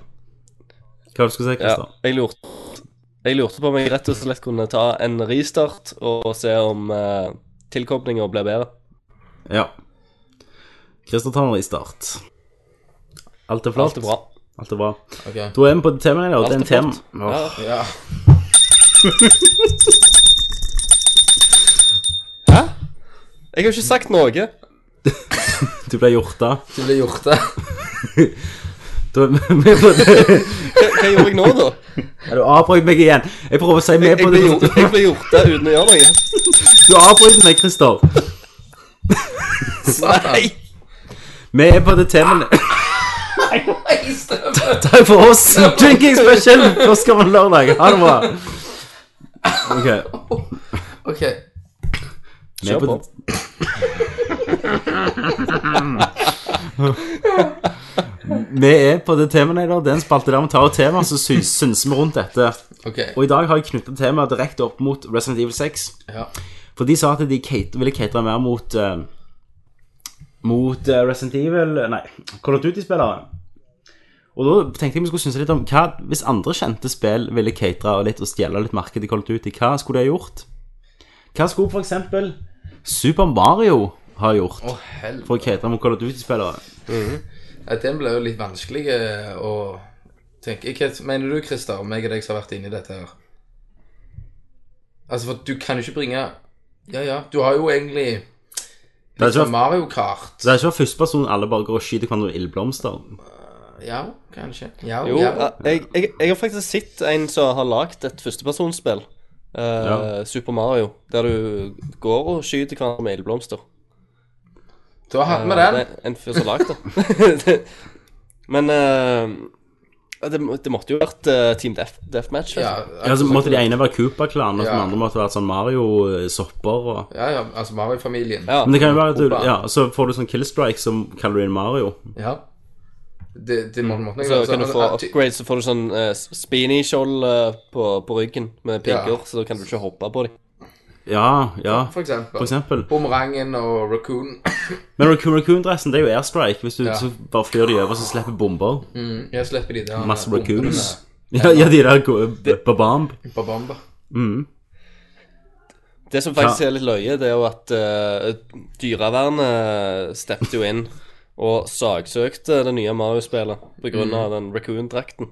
Speaker 6: Hva var det du skulle si,
Speaker 7: Ja,
Speaker 6: Christer?
Speaker 7: jeg lurte Jeg lurte på om jeg rett og slett kunne ta en restart og se om uh, tilkoblinga ble bedre.
Speaker 6: Ja. Christer tar en restart. Alt er flott.
Speaker 7: Alt er bra.
Speaker 6: Alt er bra.
Speaker 3: Ok.
Speaker 6: Da er vi på temaet, og det er en
Speaker 7: Alt er
Speaker 6: tema.
Speaker 7: flott.
Speaker 6: Åh,
Speaker 7: Ja.
Speaker 3: Ja.
Speaker 7: Jeg har ikke sagt noe.
Speaker 6: Du ble hjorta.
Speaker 3: Du ble hjorte.
Speaker 6: Da er vi med på det.
Speaker 7: Hva, hva gjorde jeg nå, da?
Speaker 6: Ja, Du avbrøt meg igjen. Jeg prøver å si med
Speaker 7: Jeg
Speaker 6: på
Speaker 7: ble,
Speaker 6: det.
Speaker 7: gjort, jeg ble gjort det uten å gjøre noe.
Speaker 6: Du avbrøt meg, Christer.
Speaker 7: Nei!
Speaker 6: Vi er på det temaet. Takk for oss. Drinking special på Skammen lørdag. Ha det bra. Ok.
Speaker 3: Ok.
Speaker 6: Vi er på det Vi er på The Terminator. Det er en spalte der vi tar et tema, så sy- synser vi rundt dette.
Speaker 3: ok.
Speaker 6: Og i dag har jeg knyttet temaet direkte opp mot Resident Evil 6.
Speaker 3: Ja.
Speaker 6: For de sa at de kate, ville catere mer mot eh, Mot eh, Resident Evil Nei, Call of Duty-spillere. Og da tenkte jeg vi skulle synse litt om hva Hvis andre kjente spill ville catere og litt og stjele litt marked i Call of Duty, hva skulle de ha gjort? Hva skulle f.eks. Super Mario ha gjort
Speaker 3: Å, helvete.
Speaker 6: for å catere mot Call of Duty-spillere?
Speaker 3: Ja, Den ble jo litt vanskelig eh, å tenke. Hva mener du, Christer, om jeg og deg som har vært inne i dette her? Altså, for du kan jo ikke bringe Ja, ja. Du har jo egentlig
Speaker 6: Det er
Speaker 3: liksom
Speaker 6: ikke,
Speaker 3: Mario Kart.
Speaker 6: så det er ikke første person alle bare går og skyter hverandre med ildblomster.
Speaker 3: Ja, kanskje. Ja,
Speaker 7: Jo,
Speaker 3: ja.
Speaker 7: jeg, jeg, jeg har faktisk sett en som har lagd et førstepersonsspill. eh,
Speaker 6: Ja.
Speaker 7: Super Mario. Der du går og skyter hverandre med ildblomster.
Speaker 3: Da hadde vi
Speaker 7: Eh,
Speaker 3: den.
Speaker 7: det er En fyr som har lagd det. Det- Men eh, det, det måtte jo vært eh, Team Death, Deathmatch.
Speaker 3: Ja,
Speaker 7: altså.
Speaker 6: Ja, så måtte de ene være Cooper-klanen, og så
Speaker 3: Ja.
Speaker 6: den andre måtte være sånn Mario-sopper og
Speaker 3: ja, ja, altså Mario-familien.
Speaker 7: Ja.
Speaker 6: Men det kan jo være at du,
Speaker 3: Opa.
Speaker 6: ja, så får du sånn killstrike som kaller du inn Mario.
Speaker 3: Ja. Det, det må må nok
Speaker 7: Så
Speaker 3: være
Speaker 7: kan du
Speaker 3: sånn-
Speaker 7: få
Speaker 3: Ah, ty-
Speaker 7: upgrade, så får du sånn uh, spinny-skjold eh, på, på ryggen med pigger,
Speaker 3: Ja.
Speaker 7: så da kan du ikke hoppe på dem.
Speaker 6: Ja, ja,
Speaker 3: For eksempel.
Speaker 6: for eksempel.
Speaker 3: Bumerangen og Raccoon.
Speaker 6: Men Raccoon Raccoon-dressen, det er jo airstrike. Hvis du
Speaker 3: Ja.
Speaker 6: så bare flyr de over, så slipper bomber.
Speaker 3: Mm, jeg slipper de der
Speaker 6: Masse
Speaker 3: bombene
Speaker 6: raccoons. Ja, ja de der går babamb.
Speaker 3: På bomba.
Speaker 6: Mm.
Speaker 7: Det som faktisk er litt løye, det er jo at eh, dyrevernet steppte jo inn og saksøkte det nye Mario-spillet på
Speaker 3: Mhm.
Speaker 7: grunn av den raccoon-drakten.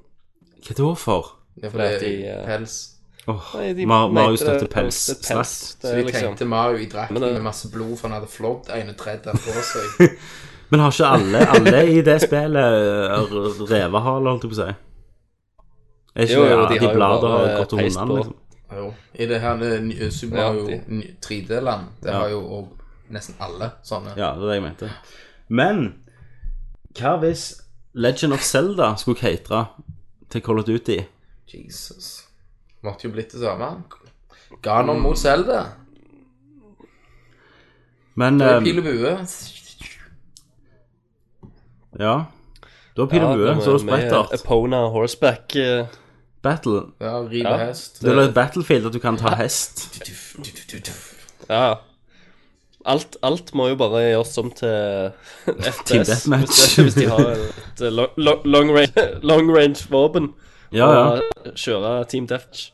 Speaker 6: Hva er det for?
Speaker 3: Ja, for det er
Speaker 7: Fordi,
Speaker 3: i
Speaker 7: eh,
Speaker 3: pels.
Speaker 6: Åh,
Speaker 7: Nei, de
Speaker 6: Ma- Mario
Speaker 7: mente det-
Speaker 6: støtter pels.
Speaker 7: det er
Speaker 6: Snakk.
Speaker 7: pels.
Speaker 3: Så
Speaker 7: Det
Speaker 3: de
Speaker 7: er liksom
Speaker 3: tenkte Mario i drakten
Speaker 7: Men det-
Speaker 3: med masse blod, for han hadde flådd ene tredje på seg.
Speaker 6: eh, Men har ikke alle, alle i det spillet øh, revehaler, holdt jeg på å si? Er ikke
Speaker 7: Jo,
Speaker 6: det,
Speaker 7: jo, de
Speaker 6: ja, de,
Speaker 7: har jo
Speaker 6: blader
Speaker 7: bare
Speaker 6: har gått og
Speaker 7: peist
Speaker 6: vunnet,
Speaker 7: på.
Speaker 6: liksom.
Speaker 3: Jo. I det her eh, ny- eh, Super Mario
Speaker 7: Ja, de-
Speaker 3: ny- 3D-land, det
Speaker 6: Ja.
Speaker 3: har jo og nesten alle sånne.
Speaker 6: Ja, det er det jeg mente. Men hva hvis Legend of Zelda skulle catere til Call of Duty?
Speaker 3: Jesus. Måtte jo blitt det samme. Ganon mot Zelda.
Speaker 6: Men
Speaker 3: Det er
Speaker 6: eh,
Speaker 3: pil og bue.
Speaker 6: Ja. Du har pil og bue, så har du sprettert.
Speaker 7: Epona horseback. eh,
Speaker 6: Battle.
Speaker 3: Ja, rive
Speaker 7: Ja.
Speaker 3: hest.
Speaker 6: Du har lagd Battlefield at du kan ta hest.
Speaker 7: Ja, ja. Alt, alt må jo bare gjøres om til
Speaker 6: Team
Speaker 7: FTS. Hvis,
Speaker 6: Deathmatch.
Speaker 7: de- hvis de har et eh, long, long, long range, long range våpen.
Speaker 6: Ja, ja.
Speaker 7: Og eh, kjøre Team Deathmatch.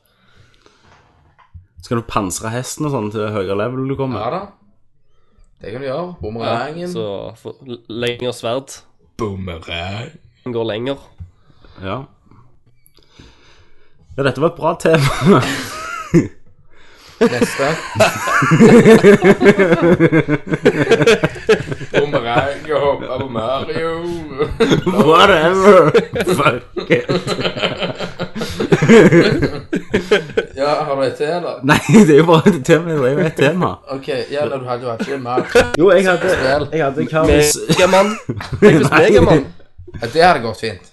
Speaker 6: Så kan du pansre hesten og sånn til høyere level du
Speaker 3: Ja
Speaker 6: kommer.
Speaker 3: da. Det kan du gjøre.
Speaker 7: Ja,
Speaker 3: Bumerangen.
Speaker 7: så for, l- lengre sverd.
Speaker 3: Bumerang.
Speaker 7: Den går lenger.
Speaker 6: Ja. Ja, dette var et bra tema.
Speaker 3: Neste. Bumerang og hoppe på Mario.
Speaker 6: Whatever. Fuck it.
Speaker 3: Ja, har du et til, eller?
Speaker 6: Nei, det er jo bare et tema. Det er jo et tema.
Speaker 3: Ok, ja, da, du hadde jo ikke mer
Speaker 6: Jo, jeg hadde,
Speaker 3: Spill.
Speaker 6: jeg hadde hva hvis
Speaker 7: Megamann. Tenk hvis
Speaker 6: Nei.
Speaker 7: Megamann
Speaker 3: Ja, det hadde gått fint.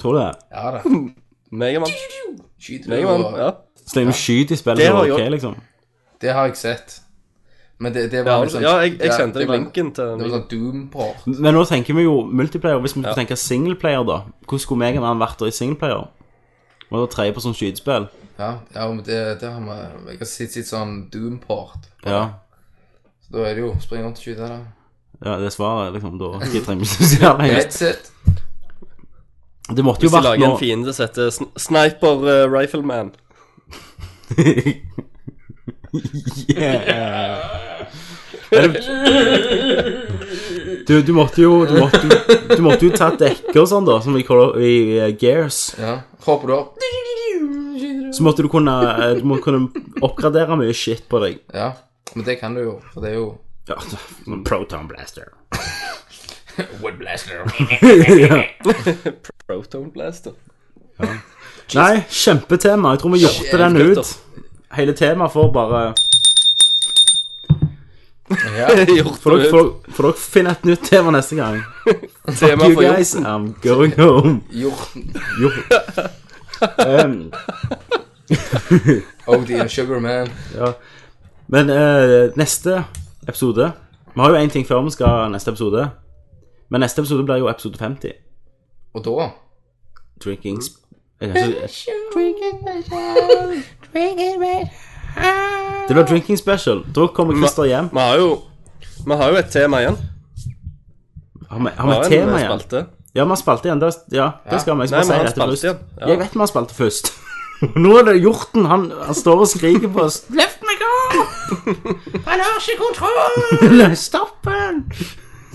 Speaker 6: Tror du det?
Speaker 3: Ja da.
Speaker 7: Megamann.
Speaker 3: Skyter du
Speaker 7: Megamann,
Speaker 3: og
Speaker 7: ja.
Speaker 6: Så lenge du skyter i spillet,
Speaker 7: Det
Speaker 6: så
Speaker 7: var
Speaker 6: er det
Speaker 7: jo-
Speaker 6: ok, liksom.
Speaker 3: Det har jeg sett. Men det, det
Speaker 7: Ja,
Speaker 3: var sånn-
Speaker 7: altså, ja jeg, jeg sendte
Speaker 3: det
Speaker 7: deg
Speaker 3: var-
Speaker 7: linken til
Speaker 3: Det var sånn Doom-port.
Speaker 6: Men nå tenker vi jo multiplayer. Hvis vi skulle
Speaker 7: Ja.
Speaker 6: tenke singleplayer, da Hvordan skulle meg og han vært da i singleplayer? Må da tre på sånn skytespill?
Speaker 3: Ja, ja men det, det har vi Jeg har sett, sett sånn Doom-port.
Speaker 6: Ja.
Speaker 3: Så da er det jo spring rundt og skyte, da.
Speaker 6: ja. Det er svaret, liksom. Da jeg trenger ikke så jævla mye.
Speaker 3: That's it.
Speaker 6: Det måtte jo
Speaker 7: Hvis de
Speaker 6: vært
Speaker 7: lager
Speaker 6: nå
Speaker 7: en fiende som heter sn Sniper eh, Rifleman.
Speaker 6: Yeah. Er det- Du, du måtte jo Du måtte, du måtte jo ta dekker og sånn, da, som vi kaller i eh, Gears.
Speaker 3: Ja. Hopper du opp?
Speaker 6: Så måtte du kunne eh, Du må kunne oppgradere mye shit på deg.
Speaker 3: Ja. Men det kan du jo, for det er jo
Speaker 6: Ja, Proton blaster.
Speaker 3: Woodblaster.
Speaker 6: ja.
Speaker 7: Proton Blaster.
Speaker 6: Nei, kjempetema. Jeg tror vi gjorde den ut.
Speaker 7: Kjempegutter.
Speaker 6: Hele temaet får bare
Speaker 3: Ja.
Speaker 7: Gjort
Speaker 6: Får dere,
Speaker 7: det
Speaker 6: får,
Speaker 7: ut.
Speaker 6: dere- får dere finne et nytt tema neste gang.
Speaker 7: Tema
Speaker 6: You
Speaker 7: for jord.
Speaker 6: guys, I'm going home.
Speaker 3: Hjorten.
Speaker 6: Jo. Ehm,
Speaker 3: Odie and Sugarman.
Speaker 6: men eh, neste episode Vi har jo én ting før vi skal ha neste episode. Men neste episode blir jo episode 50.
Speaker 3: Og da
Speaker 6: Drinking sp... eh, altså, Jeg kan ikke- Det blir drinking special. Da kommer Christer hjem.
Speaker 7: Vi har jo Vi har jo et tema igjen.
Speaker 6: Har vi, har
Speaker 7: Vi
Speaker 6: vi
Speaker 7: har
Speaker 6: et
Speaker 7: en
Speaker 6: tema
Speaker 7: eh,
Speaker 6: igjen?
Speaker 7: spalte.
Speaker 6: Ja, vi har spalte igjen. Det, ja, det skal vi. Jeg skal
Speaker 7: Nei,
Speaker 6: bare
Speaker 7: vi
Speaker 6: si dette først.
Speaker 7: har en spalte igjen. Ja.
Speaker 6: Jeg vet vi har spalte først. Nå er det hjorten. Han, han står og skriker på oss. Løft meg opp! Han har ikke kontroll! Stopp han!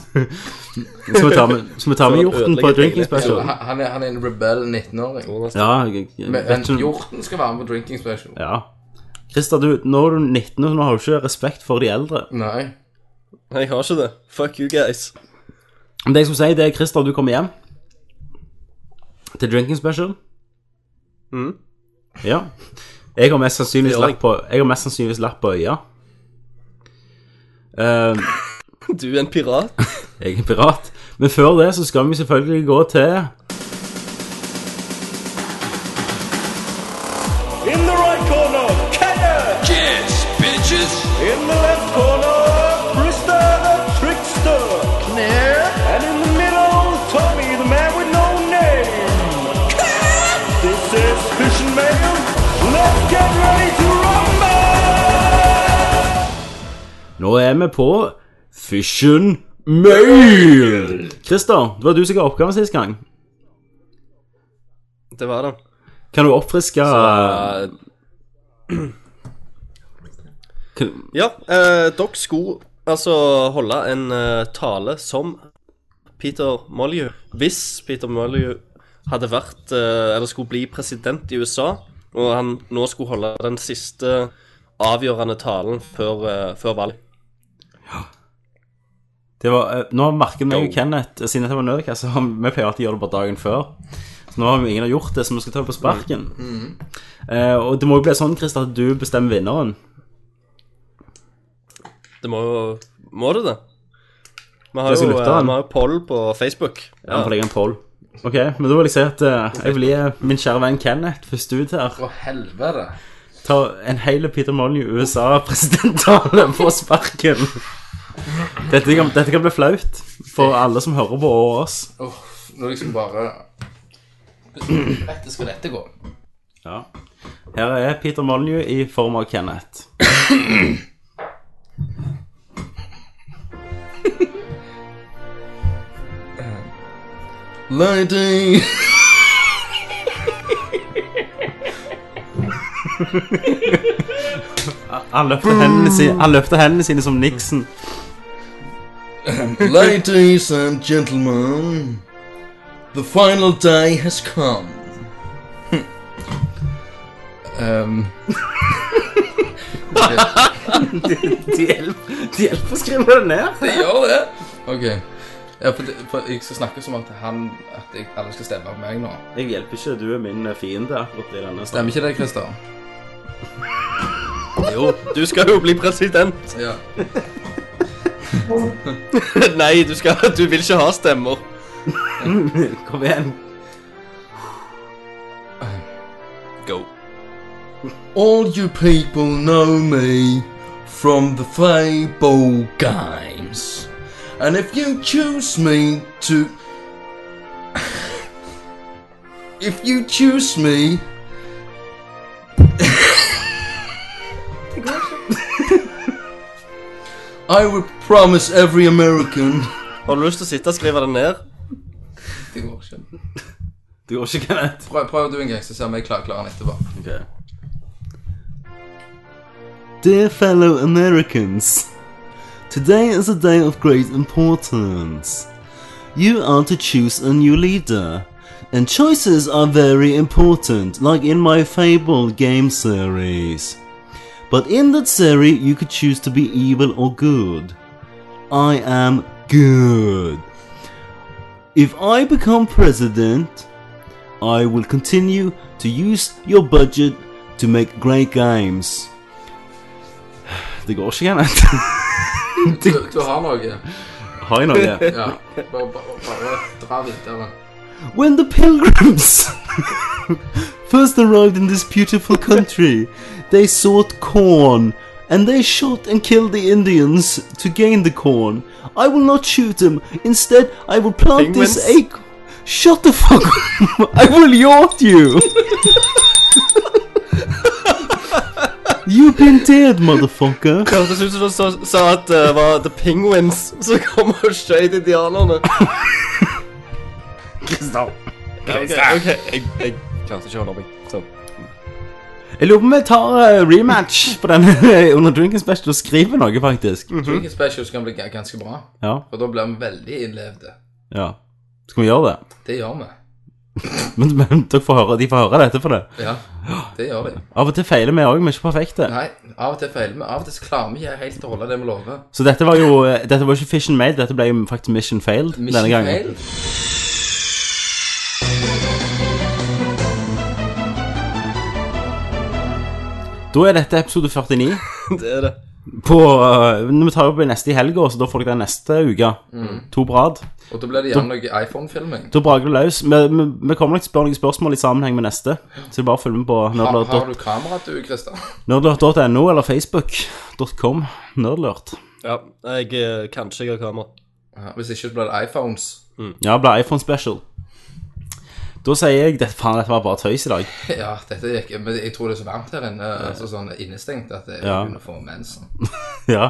Speaker 6: Skal vi ta med, skal vi ta med
Speaker 7: Så
Speaker 6: hjorten på
Speaker 7: ødelegger
Speaker 6: drinking
Speaker 7: hele
Speaker 6: special?
Speaker 3: Han han er, han er en rebell 19-åring.
Speaker 6: Ja, jeg, jeg,
Speaker 3: Men
Speaker 6: vet
Speaker 3: men
Speaker 6: du
Speaker 3: hjorten skal være med på drinking special.
Speaker 6: Ja. Christer, du, nå er du 19, og nå har du ikke respekt for de eldre.
Speaker 3: Nei.
Speaker 7: Nei, jeg har ikke det. Fuck you guys.
Speaker 6: Men det jeg skulle si, det er Christer, du kommer hjem til drinking special. Mm.
Speaker 7: Mhm.
Speaker 6: Ja. Jeg har mest sannsynligvis
Speaker 7: Det gjør jeg.
Speaker 6: lapp på Jeg har mest sannsynligvis lapp på øya. Eh,
Speaker 7: Du er en pirat.
Speaker 6: jeg er pirat. Men før det så skal vi selvfølgelig gå til
Speaker 5: In the right corner, Kaya. Kids, bitches. In the left corner, Krista the trickster. Claire. And in the middle, Tommy the man with no name. this is Fish and Mail. Let's get ready to rumble!
Speaker 6: Nå er vi på Fission Mail. Christer, det var du som ga oppgaven sist gang.
Speaker 7: Det var det.
Speaker 6: Kan du oppfriske
Speaker 7: Eh,
Speaker 6: Uh. kan,
Speaker 7: ja, eh, dere skulle altså holde en eh, tale som Peter Molyneux Hvis Peter Molyneux hadde vært eh, Eller skulle bli president i USA, og han nå skulle holde den siste avgjørende talen før, eh, før valg.
Speaker 6: eh, Det var, eh, nå merker vi jo Kenneth, siden dette var nødvendig, så har vi- vi pleier alltid å gjøre det bare dagen før. Så nå har vi ingen har gjort det, så vi skal ta det på sparken. Eh, og det må jo bli sånn, Christer, at du bestemmer vinneren.
Speaker 7: Det må jo Må det det? Vi har
Speaker 6: Jeg skal
Speaker 7: jo, eh,
Speaker 6: lufte
Speaker 7: vi
Speaker 6: den.
Speaker 7: har jo poll på Facebook.
Speaker 6: Ja. får legge en poll. Ok, men da vil jeg si at eh, jeg vil gi min kjære venn Kenneth først ut her.
Speaker 3: Å, helvete.
Speaker 6: Ta en hel Peter Molyneux USA-presidenttale på sparken. Dette kan, dette kan bli flaut for alle som hører på og oss.
Speaker 3: Uff, nå liksom bare Dette skal dette gå.
Speaker 6: Ja. Her er Peter Molyneux i form av Kenneth.
Speaker 3: Lighting.
Speaker 6: Han løfter hendene sine, han løfter hendene sine som Nixon.
Speaker 3: Ladies and gentlemen, Um, the final day has come. um,
Speaker 6: De hjelper, de hjelper å skrive det ned.
Speaker 3: Gjør det? Ok. Ja, for, det, for jeg skal snakke som at han At jeg, alle skal stemme på meg nå.
Speaker 6: Jeg hjelper ikke, du er min fiende akkurat i denne
Speaker 3: Stemmer ikke det, Christer?
Speaker 7: Jo, du skal jo bli president.
Speaker 3: Ja.
Speaker 7: Nei, du, skal, du vil ikke ha stemmer.
Speaker 6: Kom igjen.
Speaker 7: Go.
Speaker 3: All you people know me from the Fable Games. And if you choose me to. if you choose me. I would promise every American.
Speaker 7: Har du lyst til å sitte og skrive det ned?
Speaker 3: Det går ikke.
Speaker 6: Du går ikke, Kenneth.
Speaker 3: Prøv, prøv du en gang, så ser vi om jeg klarer klarer den etterpå.
Speaker 6: Dear fellow Americans, today is a day of great importance. You are to choose a new leader, and choices are very important, like in my fabled game series. But in that series, you could choose to be evil or good. I am good. If I become president, I will continue to use your budget to make great games. Det går ikke, Kenneth.
Speaker 3: Du, du har noe.
Speaker 6: Har jeg noe?
Speaker 3: Ja. Bare, bare, bare dra videre.
Speaker 6: When the pilgrims first arrived in this beautiful country, they sought corn and they shot and killed the Indians to gain the corn. I will not shoot them. Instead, I will plant this
Speaker 7: Penguins?
Speaker 6: acorn. Shut the fuck up! I will yacht you! You've been dead, motherfucker.
Speaker 7: Det hørtes ut som du sa- sa at det var The Penguins som kom og skjøt indianerne. Ja, ok, ok, Jeg, jeg klarte ikke å holde meg. Så.
Speaker 6: Jeg lurer på om vi tar eh, rematch på denne under drinking special og skriver noe, faktisk.
Speaker 3: Drinking specials kan bli ga- ganske bra.
Speaker 6: Ja,
Speaker 3: Og da blir vi veldig innlevde.
Speaker 6: ja. Skal vi gjøre det?
Speaker 3: Det gjør vi.
Speaker 6: Men, men dere får høre, de får høre dette for det.
Speaker 3: Ja, det gjør vi.
Speaker 6: Av og til feiler vi òg, vi er ikke perfekte.
Speaker 3: Nei, av og til feiler vi. Av og til så klarer vi ikke helt å holde det vi lover.
Speaker 6: Så dette var jo eh, dette var ikke Fish and Made, dette ble jo faktisk Mission Failed
Speaker 3: Mission
Speaker 6: denne gangen.
Speaker 3: failed.
Speaker 6: Da er dette episode 49.
Speaker 7: Det er det.
Speaker 6: På, eh, når vi tar opp i neste i helga, så da får dere den neste uke.
Speaker 3: Mm.
Speaker 6: To på rad.
Speaker 3: Og da blir det gjerne noe iPhone-filming.
Speaker 6: Da braker det løs. Vi, vi, vi kommer nok til å spørre noen spørsmål i sammenheng med neste, så det er bare å følge med på
Speaker 3: Har,
Speaker 6: nerdlert.no.
Speaker 3: har du kamera, du, Christer?
Speaker 6: Nerdlurt.no eller facebook.com Nerdlurt.
Speaker 7: Ja, jeg eh, kanskje jeg har kamera.
Speaker 3: Ja, hvis ikke så blir det iPhones.
Speaker 6: Ja, det ble iPhone special. Da sier jeg det, Faen, dette var bare tøys i dag.
Speaker 3: Ja, dette gikk Men jeg tror det er så varmt her inne, altså sånn innestengt, at jeg
Speaker 6: Ja.
Speaker 3: begynner å få mensen.
Speaker 6: Ja.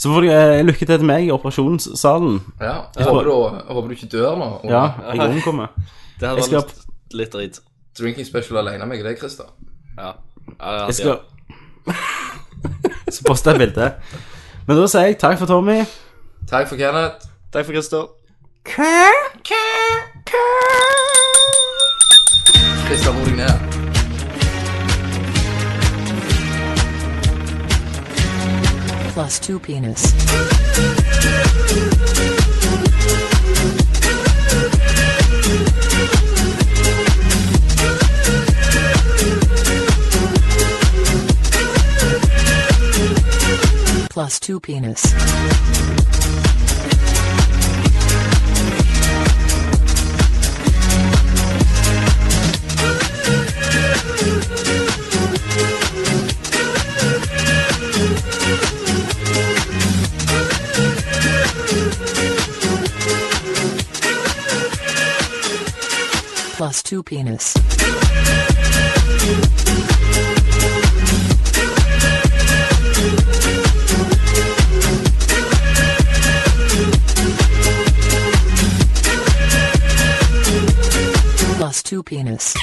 Speaker 6: Så får dere eh, lykke til til meg i operasjonssalen.
Speaker 3: Ja, jeg håper, du, jeg håper du ikke dør nå. Og
Speaker 6: Ja, jeg omkommer.
Speaker 7: Det hadde
Speaker 6: skal-
Speaker 7: vært litt- litt drit.
Speaker 3: Drinking special alene med deg, Christer.
Speaker 7: Ja. Ja, ja,
Speaker 6: Jeg skal Så poster jeg bilde. Men da sier jeg takk for Tommy.
Speaker 3: Takk for Kenneth.
Speaker 7: ja. Takk for Christer.
Speaker 3: Christer, ro deg ned.
Speaker 10: plus two penis. plus two penis. Plus two penis. Plus two penis.